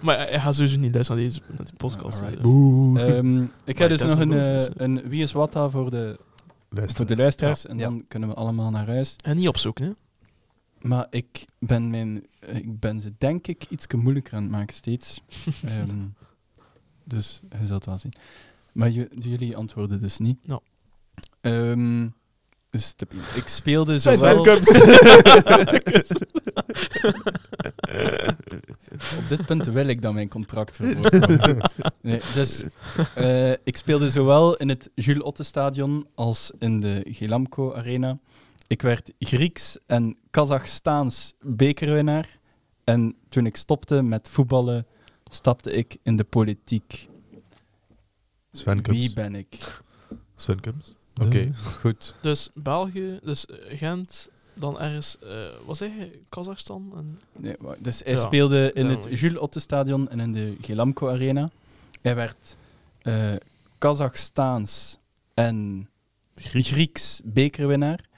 Speaker 2: Maar hij gaat sowieso niet luisteren naar deze naar die podcast. Dus-
Speaker 4: Alright.
Speaker 2: Boe.
Speaker 4: Ehm, ik heb
Speaker 2: Maar
Speaker 4: dus
Speaker 2: dat is
Speaker 4: nog een,
Speaker 2: een
Speaker 4: eh,
Speaker 2: bonus, hè.
Speaker 4: een wie is wat daar voor de, voor
Speaker 3: Luister.
Speaker 4: de luisteraars. En dan kunnen we allemaal naar huis.
Speaker 2: En niet opzoeken, hè.
Speaker 4: Maar ik ben, mijn, eh, ik ben ze denk ik iets moeilijker aan het maken steeds. Ehm, dus je zult wel zien. Maar ju- jullie antwoorden dus niet.
Speaker 2: No.
Speaker 4: Ehm, dus te- ik speelde
Speaker 3: Sven
Speaker 4: zowel...
Speaker 3: Kums.
Speaker 4: Op dit punt wil ik dan mijn contract verwoorden. Nee, dus eh, ik speelde zowel in het Jules Otte Stadion als in de Gelamco Arena. Ik werd Grieks en Kazachstaans bekerwinnaar. En toen ik stopte met voetballen, stapte ik in de politiek.
Speaker 3: Sven
Speaker 4: Wie
Speaker 3: Kums.
Speaker 4: ben ik?
Speaker 3: Sven Kums.
Speaker 1: Oké, goed.
Speaker 2: Dus België, dus eh, Gent, dan ergens, eh wat zeg je, Kazachstan? En,
Speaker 4: Nee, wa- dus hij
Speaker 2: Ja.
Speaker 4: speelde in
Speaker 2: Ja,
Speaker 4: het
Speaker 2: maar-
Speaker 4: Jules Otte Stadion en in de Gelamco Arena. Hij werd eh Kazachstaans en Grieks bekerwinnaar.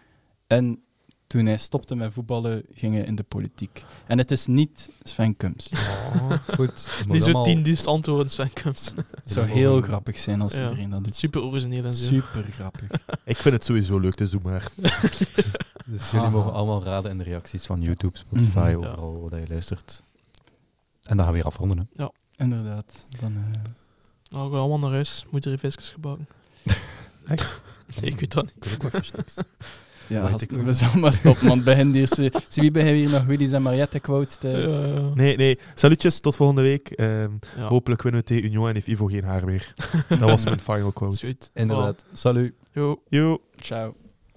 Speaker 4: En toen hij stopte met voetballen, ging hij in de politiek. En het is niet Sven Kums.
Speaker 1: Oh, goed.
Speaker 2: niet zo'n 10.000 antwoorden, Sven Kums.
Speaker 4: Het zou heel grappig zijn als
Speaker 2: Ja.
Speaker 4: iedereen dat doet.
Speaker 2: Super origineel en zo.
Speaker 4: Super grappig.
Speaker 3: Ik vind het sowieso leuk, dus doe maar.
Speaker 1: Dus jullie
Speaker 4: Haha.
Speaker 1: mogen allemaal raden in de reacties van YouTube, Spotify,
Speaker 4: Mhm.
Speaker 2: Ja.
Speaker 1: overal waar je luistert. En dan gaan we weer afronden. Hè.
Speaker 4: Inderdaad. Dan, eh,
Speaker 2: Nou, we gaan allemaal naar huis. Moeten er visjes gebakken. Nee, ik weet dat niet.
Speaker 3: Ik wil ook wat verstiks.
Speaker 4: ja,
Speaker 3: Weet
Speaker 4: als
Speaker 3: ik
Speaker 4: we
Speaker 3: veel.
Speaker 4: zullen maar stoppen, want bij hen die is... eh, Zie wie bij hen hier nog Willys en Mariette quotes? eh. te-
Speaker 2: Ja.
Speaker 3: Eh, Nee, nee. Salutjes, tot volgende week. Ehm,
Speaker 2: Ja.
Speaker 3: Hopelijk winnen we tegen Union en heeft Ivo geen haar meer. Dat was mijn final quote.
Speaker 2: Sweet.
Speaker 1: Inderdaad. Salut.
Speaker 2: Wow. Yo.
Speaker 3: Yo.
Speaker 4: Ciao.